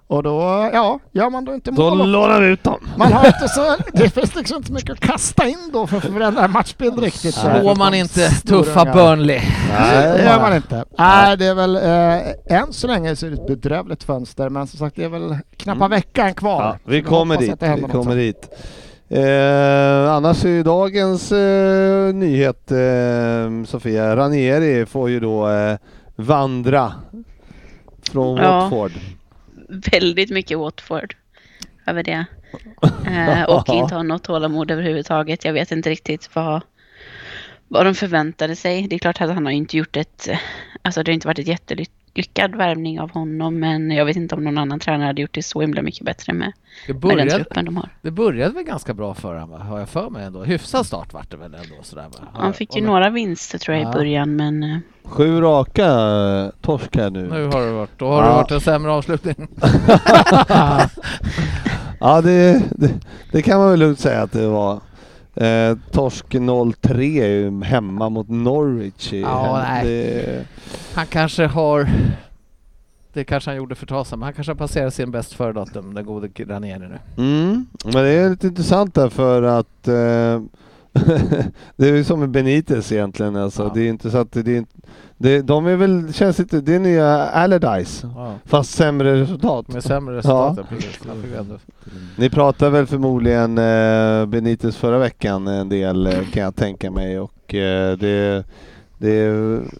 [SPEAKER 6] Och då, ja, gör man då inte mål
[SPEAKER 3] Då
[SPEAKER 6] och
[SPEAKER 3] lånar vi ut dem!
[SPEAKER 6] man har inte så, det finns liksom inte mycket att kasta in då för att förändra en matchbild riktigt.
[SPEAKER 4] Slår man inte tuffa
[SPEAKER 6] bönder.
[SPEAKER 4] Burnley?
[SPEAKER 6] Nej, det
[SPEAKER 3] Nej,
[SPEAKER 6] gör man inte. Nej, det är väl eh, än så länge så är det ett bedrövligt fönster, men som sagt det är väl knappa veckan kvar.
[SPEAKER 3] Mm. Ja, vi
[SPEAKER 6] Så
[SPEAKER 3] kommer
[SPEAKER 6] hoppas
[SPEAKER 3] dit.
[SPEAKER 6] att det händer
[SPEAKER 3] Vi
[SPEAKER 6] något
[SPEAKER 3] kommer
[SPEAKER 6] sen.
[SPEAKER 3] dit. Eh, annars är ju dagens eh, nyhet eh, Sofia Ranieri får ju då eh, vandra från
[SPEAKER 5] Ja.
[SPEAKER 3] Watford.
[SPEAKER 5] Väldigt mycket Watford över det.
[SPEAKER 4] (laughs)
[SPEAKER 5] Eh, och inte ha något tålamod överhuvudtaget. Jag vet inte riktigt vad, vad de förväntade sig. Det är klart att han har inte gjort ett... Alltså det har inte varit ett jättelyckad värvning av honom, men jag vet inte om någon annan tränare hade gjort det så himla mycket bättre med,
[SPEAKER 4] Det
[SPEAKER 5] med den
[SPEAKER 4] började,
[SPEAKER 5] truppen de har.
[SPEAKER 4] det började väl ganska bra för honom, va? har jag för mig ändå. Hyfsad start vart det väl ändå sådär va? Har
[SPEAKER 5] Han
[SPEAKER 4] jag-
[SPEAKER 5] fick ju
[SPEAKER 4] och nu-
[SPEAKER 5] några vinster tror jag
[SPEAKER 4] Ja.
[SPEAKER 5] i början, men... eh,
[SPEAKER 3] Sju raka eh, torsk här nu.
[SPEAKER 4] Nu har det varit, då har det
[SPEAKER 3] Ja.
[SPEAKER 4] varit en sämre avslutning.
[SPEAKER 3] Ja, det, det, det kan man väl lugnt säga att det var. Eh, torsk 0-3 är ju hemma mot Norwich. i
[SPEAKER 4] Ja,
[SPEAKER 3] helgen.
[SPEAKER 4] nej.
[SPEAKER 3] Det,
[SPEAKER 4] Han kanske har... Det kanske han gjorde för ett tag sedan, men han kanske har passerat sin bäst före-datum, den gode Ranieri nu.
[SPEAKER 3] Mm, men det är lite intressant där för att eh, (laughs) det är ju som med Benitez egentligen. Alltså.
[SPEAKER 4] Ja.
[SPEAKER 3] Det är inte så att det är, inte- det, de är väl, känns inte, det är nya Allardyce
[SPEAKER 4] Ja.
[SPEAKER 3] fast sämre resultat.
[SPEAKER 4] Med sämre resultat,
[SPEAKER 3] Ja.
[SPEAKER 4] ja. precis. Han fick ändå-
[SPEAKER 3] Ni pratade väl förmodligen eh, Benitez förra veckan en del eh, kan jag tänka mig och eh, det, det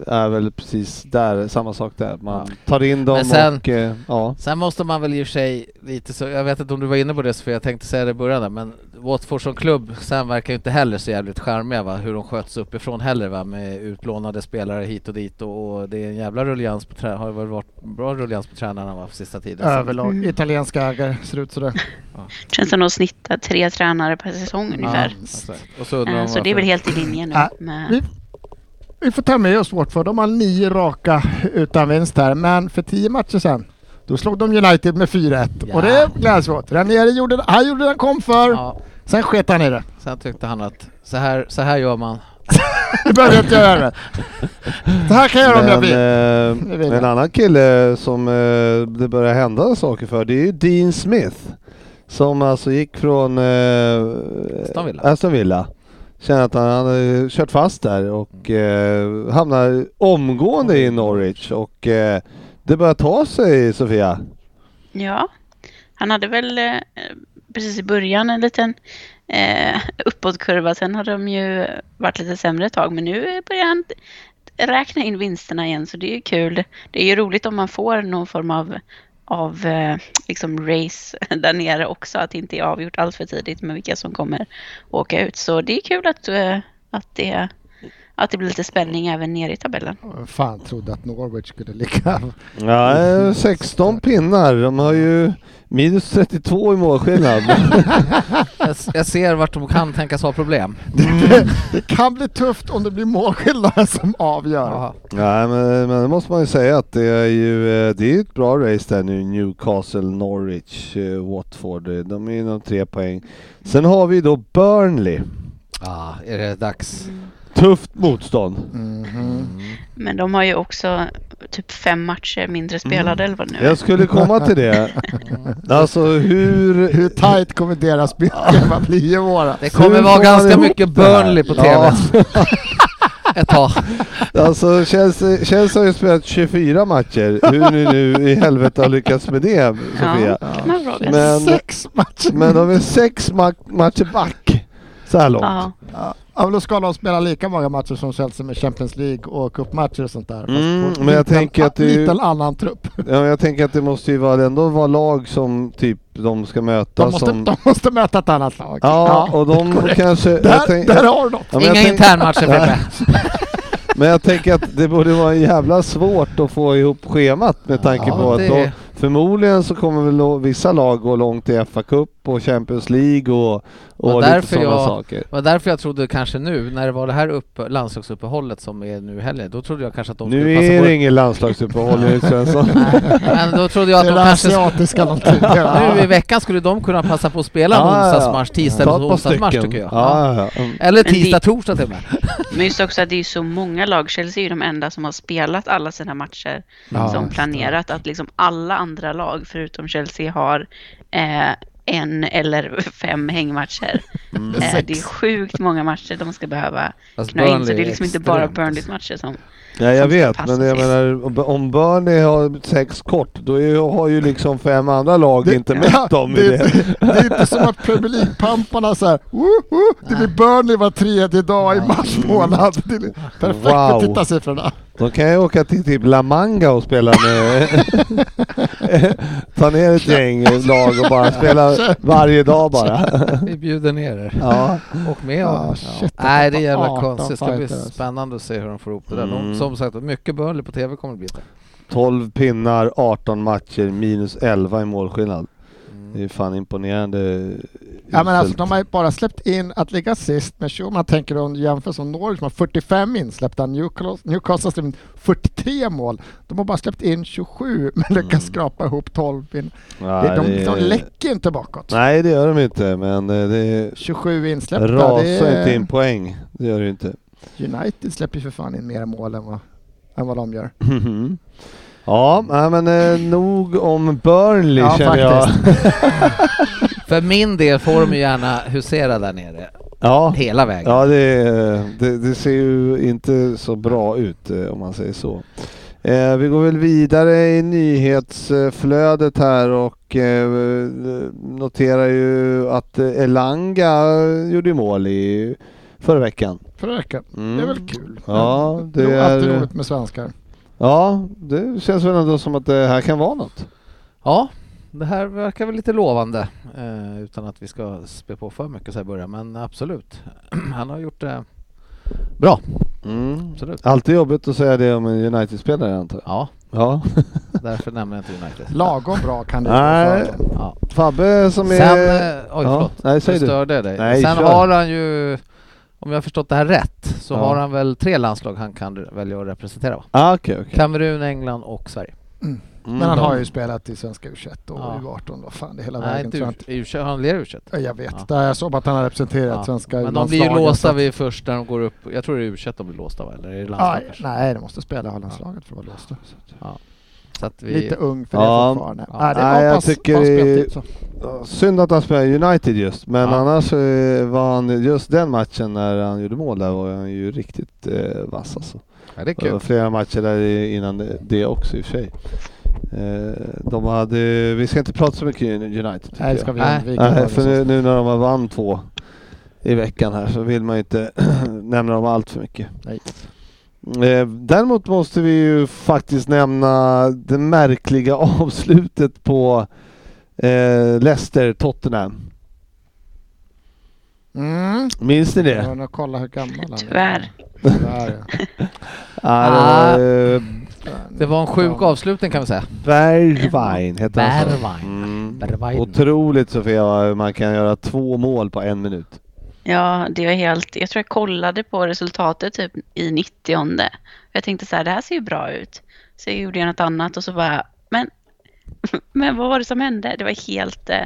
[SPEAKER 3] är väl precis där, samma sak där. Man tar in dem
[SPEAKER 4] Men sen-
[SPEAKER 3] och eh, ja.
[SPEAKER 4] Sen måste man väl i och för sig lite så, jag vet inte om du var inne på det för jag tänkte säga det i början där, men Watford som klubb sen verkar ju inte heller så jävligt charmiga va, hur de sköts uppifrån heller va, med utlånade spelare hit och dit och, och det är en jävla rullians på trä- har väl varit bra rullians på tränarna va, på sista tiden.
[SPEAKER 6] Överlag, italienska ägare ser ut sådär.
[SPEAKER 5] Det känns som de snittar tre tränare per säsong
[SPEAKER 4] Ja,
[SPEAKER 5] ungefär.
[SPEAKER 4] exakt. och så undrar
[SPEAKER 5] Eh,
[SPEAKER 4] de
[SPEAKER 5] Så det
[SPEAKER 4] varför-
[SPEAKER 5] är väl helt i linje nu
[SPEAKER 6] Ja,
[SPEAKER 5] med
[SPEAKER 6] vi- Vi får ta med oss Watford, de har nio raka utan vinst här, men för tio matcher sedan då slog de United med 4-1
[SPEAKER 4] Ja.
[SPEAKER 6] och det gläds vi åt. Ranieri gjorde, han gjorde det han kom för,
[SPEAKER 4] Ja,
[SPEAKER 6] sen sket han i det.
[SPEAKER 4] sen tyckte han att så här, så här gör man.
[SPEAKER 6] Det behöver jag inte göra. Det här kan jag göra om
[SPEAKER 3] Men,
[SPEAKER 6] jag vill.
[SPEAKER 3] eh,
[SPEAKER 6] Det vill jag.
[SPEAKER 3] en annan kille som eh, det börjar hända saker för, det är ju Dean Smith. Som alltså gick från eh,
[SPEAKER 4] Aston Villa.
[SPEAKER 3] Aston Villa. Känner att han hade kört fast där och eh, hamnar omgående i Norwich och eh, det börjar ta sig Sofia.
[SPEAKER 5] Ja, han hade väl eh, precis i början en liten eh, uppåtkurva. Sen har de ju varit lite sämre ett tag, men nu börjar han räkna in vinsterna igen, så det är ju kul. Det är ju roligt om man får någon form av av eh, liksom race (laughs) där nere också, att det inte är avgjort allt för tidigt med vilka som kommer åka ut. Så det är kul att, eh, att, det, att det blir lite spänning även nere i tabellen.
[SPEAKER 6] Vem fan trodde att Norwich skulle ligga...
[SPEAKER 3] Ja, eh, 16 pinnar. De har ju minus 32 i målskillnad.
[SPEAKER 4] Jag, s- jag ser vart de kan tänkas ha problem.
[SPEAKER 3] Mm.
[SPEAKER 6] (laughs) det kan bli tufft om det blir målskillnaden (laughs) som avgör.
[SPEAKER 4] Jaha.
[SPEAKER 3] Nej, men, men det måste man ju säga att det är ju eh, det är ju ett bra race där nu. Newcastle, Norwich, eh, Watford. eh, De är ju inom tre poäng. Sen har vi då Burnley.
[SPEAKER 4] Ah, är det dags?
[SPEAKER 3] Tufft motstånd.
[SPEAKER 5] Mm.
[SPEAKER 6] Mhm.
[SPEAKER 5] Men de har ju också typ fem matcher mindre spelade eller vad det nu är.
[SPEAKER 3] Jag skulle komma till
[SPEAKER 5] (laughs)
[SPEAKER 3] det. Alltså hur...
[SPEAKER 6] Hur tight kommer deras bilschema bli i våra?
[SPEAKER 4] Det kommer
[SPEAKER 3] Hur
[SPEAKER 4] vara
[SPEAKER 3] får man
[SPEAKER 4] ganska
[SPEAKER 3] ihop
[SPEAKER 4] mycket
[SPEAKER 3] det här?
[SPEAKER 4] Burnley på TV
[SPEAKER 3] Ja.
[SPEAKER 4] ett tag.
[SPEAKER 3] (laughs) Alltså Chelsea, Chelsea har ju spelat 24 matcher. Hur ni nu i helvete har lyckats med det Sofia.
[SPEAKER 5] Ja, kan man fråga sig.
[SPEAKER 3] Men-
[SPEAKER 6] Sex matcher!
[SPEAKER 3] Men de är sex ma- matcher back så här långt.
[SPEAKER 5] Ja.
[SPEAKER 6] Ja, men då ska de spela lika många matcher som Chelsea med Champions League och cupmatcher och sånt där. fast
[SPEAKER 3] Mm,
[SPEAKER 6] på
[SPEAKER 3] men jag
[SPEAKER 6] liten-
[SPEAKER 3] tänker att det är ju-
[SPEAKER 6] liten annan trupp.
[SPEAKER 3] Ja, men jag tänker att det måste ju vara, ändå vara lag som typ de ska möta
[SPEAKER 6] De måste,
[SPEAKER 3] som...
[SPEAKER 6] de måste möta ett annat lag.
[SPEAKER 3] Ja, och
[SPEAKER 6] (laughs)
[SPEAKER 3] de kanske...
[SPEAKER 6] Där,
[SPEAKER 3] jag tänk-
[SPEAKER 6] där har du något!
[SPEAKER 3] Ja, men jag
[SPEAKER 4] Inga
[SPEAKER 3] tänk-
[SPEAKER 4] internmatcher Peppe.
[SPEAKER 3] Men jag tänker att det borde vara jävla svårt att få ihop schemat med tanke
[SPEAKER 4] Ja,
[SPEAKER 3] på att
[SPEAKER 4] det-
[SPEAKER 3] då, förmodligen så kommer väl lo- vissa lag gå långt i FA Cup och Champions League och, och
[SPEAKER 4] Och
[SPEAKER 3] lite
[SPEAKER 4] därför
[SPEAKER 3] sådana
[SPEAKER 4] jag-
[SPEAKER 3] saker.
[SPEAKER 4] Det var därför jag trodde kanske nu, när det var det här upp, landslagsuppehållet som är nu i helgen, då trodde jag kanske att de
[SPEAKER 3] Nu
[SPEAKER 4] skulle passa
[SPEAKER 3] är
[SPEAKER 4] på...
[SPEAKER 3] det inget landslagsuppehåll Erik
[SPEAKER 4] (laughs)
[SPEAKER 3] Svensson.
[SPEAKER 4] Men då trodde jag
[SPEAKER 6] Det
[SPEAKER 4] att de
[SPEAKER 6] är det
[SPEAKER 4] kanske...
[SPEAKER 6] asiatiska någonting. Ja.
[SPEAKER 4] Nu i veckan skulle de kunna passa på att spela en
[SPEAKER 3] Ja, ja, ja.
[SPEAKER 4] onsdagsmatch, tisdag
[SPEAKER 3] Ta
[SPEAKER 4] eller
[SPEAKER 3] ett par
[SPEAKER 4] onsdagsmatch
[SPEAKER 3] stycken.
[SPEAKER 4] tycker jag.
[SPEAKER 3] Ja, ja, ja. Mm.
[SPEAKER 4] Eller
[SPEAKER 5] Men det-
[SPEAKER 4] tisdag, torsdag till och med.
[SPEAKER 5] Men just också att det är så många lag. Chelsea är ju de enda som har spelat alla sina matcher
[SPEAKER 6] Ja,
[SPEAKER 5] som
[SPEAKER 6] just
[SPEAKER 5] planerat. Att liksom alla andra lag förutom Chelsea har eh, en eller (laughs) fem hängmatcher. Eh, det är
[SPEAKER 6] Sex.
[SPEAKER 5] sjukt många matcher de ska behöva
[SPEAKER 4] Fast
[SPEAKER 5] knö in. Så
[SPEAKER 4] Burnley
[SPEAKER 5] det är
[SPEAKER 4] är
[SPEAKER 5] liksom inte bara
[SPEAKER 4] extremt.
[SPEAKER 5] Burnleys matcher som...
[SPEAKER 3] Nej jag
[SPEAKER 5] som
[SPEAKER 3] vet,
[SPEAKER 5] ska
[SPEAKER 3] men
[SPEAKER 5] passa
[SPEAKER 3] jag
[SPEAKER 5] sig.
[SPEAKER 3] menar om- om Burnley har sex kort, då är, har ju liksom fem andra lag inte mött dem i
[SPEAKER 6] det,
[SPEAKER 3] det.
[SPEAKER 6] det, det är inte som att Premier League-pamparna såhär, woho, det blir Burnley var tredje dag i mars månad. Det är perfekt
[SPEAKER 3] Mm. Wow.
[SPEAKER 6] med tittarsiffrorna.
[SPEAKER 3] De kan ju åka till typ La Manga och spela
[SPEAKER 6] (laughs)
[SPEAKER 3] med... Ta ner ett gäng lag och bara spela varje dag bara.
[SPEAKER 4] Vi bjuder ner er.
[SPEAKER 3] Ja.
[SPEAKER 4] Och med
[SPEAKER 6] Ah,
[SPEAKER 4] ja.
[SPEAKER 6] shit,
[SPEAKER 4] Nej, det är
[SPEAKER 6] jag har
[SPEAKER 4] jävla
[SPEAKER 6] tappat 18
[SPEAKER 4] konstigt. Det ska bli
[SPEAKER 6] fighters.
[SPEAKER 4] spännande att se hur de får ihop det där.
[SPEAKER 3] Mm.
[SPEAKER 4] De, som sagt, mycket Burnley på TV kommer det bli.
[SPEAKER 3] 12 pinnar, 18 matcher, minus 11 i målskillnad. Det är fan imponerande.
[SPEAKER 6] Ja, men alltså,
[SPEAKER 3] uselt.
[SPEAKER 6] de har ju bara släppt in att ligga sist, men Schumann tänker om jämför som Norwich som har 45 insläppta, Newcastle Newcastle har släppt in 43 mål. De har bara släppt in 27 men lyckas skrapa ihop 12 in.
[SPEAKER 3] Mm. Nej,
[SPEAKER 6] de,
[SPEAKER 3] det-
[SPEAKER 6] de läcker inte bakåt.
[SPEAKER 3] Nej det gör de inte, men eh, det
[SPEAKER 6] 27 insläppta.
[SPEAKER 3] rasar
[SPEAKER 6] det
[SPEAKER 3] inte
[SPEAKER 6] är,
[SPEAKER 3] in poäng. Det gör det inte. (laughs)
[SPEAKER 6] United släpper ju för fan in mer mål än vad, än vad de gör.
[SPEAKER 3] Mhm. Ja, nej, men eh, nog om Burnley
[SPEAKER 6] Ja,
[SPEAKER 3] känner jag.
[SPEAKER 4] För min del får de ju gärna husera där nere.
[SPEAKER 3] Ja,
[SPEAKER 4] Hela vägen.
[SPEAKER 3] ja det, eh, det, det ser ju inte så bra ut eh, om man säger så. Eh, vi går väl vidare i nyhetsflödet här och eh, noterar ju att eh, Elanga gjorde ju mål i förra veckan.
[SPEAKER 6] Förra veckan.
[SPEAKER 3] Mm.
[SPEAKER 6] Det är väl kul?
[SPEAKER 3] Ja, det
[SPEAKER 6] jo, alltid
[SPEAKER 3] är-
[SPEAKER 6] roligt med svenskar.
[SPEAKER 3] Ja, det känns väl ändå som att det här kan vara något.
[SPEAKER 4] Ja, det här verkar väl lite lovande eh, utan att vi ska spä på för mycket så här i början, men absolut. (clears throat) Han har gjort det bra,
[SPEAKER 3] Mm.
[SPEAKER 4] absolut.
[SPEAKER 3] Alltid jobbigt att säga det om en United-spelare antar jag.
[SPEAKER 4] Ja,
[SPEAKER 3] Ja.
[SPEAKER 4] därför nämner jag inte
[SPEAKER 6] (laughs)
[SPEAKER 4] United.
[SPEAKER 6] Lagom bra kan det
[SPEAKER 3] Nej. Mm.
[SPEAKER 6] vara för dem.
[SPEAKER 4] Ja.
[SPEAKER 3] Fabbe som är...
[SPEAKER 4] Sen, eh,
[SPEAKER 3] Ja,
[SPEAKER 4] oj förlåt,
[SPEAKER 3] nej, säg
[SPEAKER 4] nu
[SPEAKER 3] du.
[SPEAKER 4] störde jag dig.
[SPEAKER 3] Nej,
[SPEAKER 4] Sen
[SPEAKER 3] kör.
[SPEAKER 4] har han ju, om jag har förstått det här rätt, så
[SPEAKER 3] Ja.
[SPEAKER 4] har han väl tre landslag han kan välja att representera va?
[SPEAKER 3] Ah, okej, okej.
[SPEAKER 4] Kamerun, England och Sverige.
[SPEAKER 3] Mm.
[SPEAKER 6] Men han
[SPEAKER 4] de-
[SPEAKER 6] har ju spelat i svenska U21 och
[SPEAKER 4] Ja.
[SPEAKER 6] U18 då, fan det är hela
[SPEAKER 4] Nej,
[SPEAKER 6] vägen.
[SPEAKER 4] inte
[SPEAKER 6] tror jag inte.
[SPEAKER 4] u har han ler u
[SPEAKER 6] Ja, Jag vet,
[SPEAKER 4] Ja.
[SPEAKER 6] Där jag såg att han har representerat
[SPEAKER 4] Ja.
[SPEAKER 6] svenska
[SPEAKER 4] Men de
[SPEAKER 6] U-landslaget,
[SPEAKER 4] blir ju
[SPEAKER 6] så
[SPEAKER 4] låsta
[SPEAKER 6] att-
[SPEAKER 4] vid först när de går upp, jag tror det är u de blir låsta va? Eller är det landslag
[SPEAKER 6] Aj,
[SPEAKER 4] kanske?
[SPEAKER 6] nej, de måste spela i A-landslaget för att vara låsta. Så att-
[SPEAKER 4] Så att vi...
[SPEAKER 6] Lite ung för det
[SPEAKER 3] Ja.
[SPEAKER 6] fortfarande.
[SPEAKER 4] Ja.
[SPEAKER 6] Nej, det
[SPEAKER 3] Nej,
[SPEAKER 6] var
[SPEAKER 3] jag
[SPEAKER 6] pass,
[SPEAKER 3] tycker
[SPEAKER 6] pass
[SPEAKER 3] det-
[SPEAKER 6] speltid, så.
[SPEAKER 3] Synd att han spelar i United just, men
[SPEAKER 4] Ja.
[SPEAKER 3] annars eh, var han just den matchen när han gjorde mål där var han ju riktigt eh, vass alltså.
[SPEAKER 4] Ja, det är
[SPEAKER 3] Det var
[SPEAKER 4] kul.
[SPEAKER 3] flera matcher där i- innan det- det också i och för sig. Eh, de hade, vi ska inte prata så mycket United tycker
[SPEAKER 6] Nej, det ska
[SPEAKER 3] jag.
[SPEAKER 6] vi liksom-
[SPEAKER 4] Nej.
[SPEAKER 6] undvika.
[SPEAKER 3] Nej, för nu, nu när de har vann (clears throat) två i veckan här så vill man ju inte nämna dem allt för mycket.
[SPEAKER 6] Nej.
[SPEAKER 3] Eh, Däremot måste vi ju faktiskt nämna det märkliga (laughs) avslutet på eh, Leicester-Tottenham.
[SPEAKER 6] Mm.
[SPEAKER 3] Minns ni det?
[SPEAKER 6] Jag har kolla hur gammal han är.
[SPEAKER 5] Tyvärr.
[SPEAKER 6] Tyvärr, ja.
[SPEAKER 3] Ja, det var, eh,
[SPEAKER 4] Det var en sjuk
[SPEAKER 6] Ja.
[SPEAKER 4] avslutning kan vi säga.
[SPEAKER 3] Bergwijn hette han. så.
[SPEAKER 4] Bergwijn.
[SPEAKER 3] Mm.
[SPEAKER 4] Bergwijn.
[SPEAKER 3] Otroligt Sofia, vad man kan göra två mål på en minut.
[SPEAKER 5] Ja, det var helt... Jag tror jag kollade på resultatet typ i 90 Jag tänkte så här, det här ser ju bra ut. Så jag gjorde jag något annat och så bara, men, (laughs) men vad var det som hände? Det var helt, eh,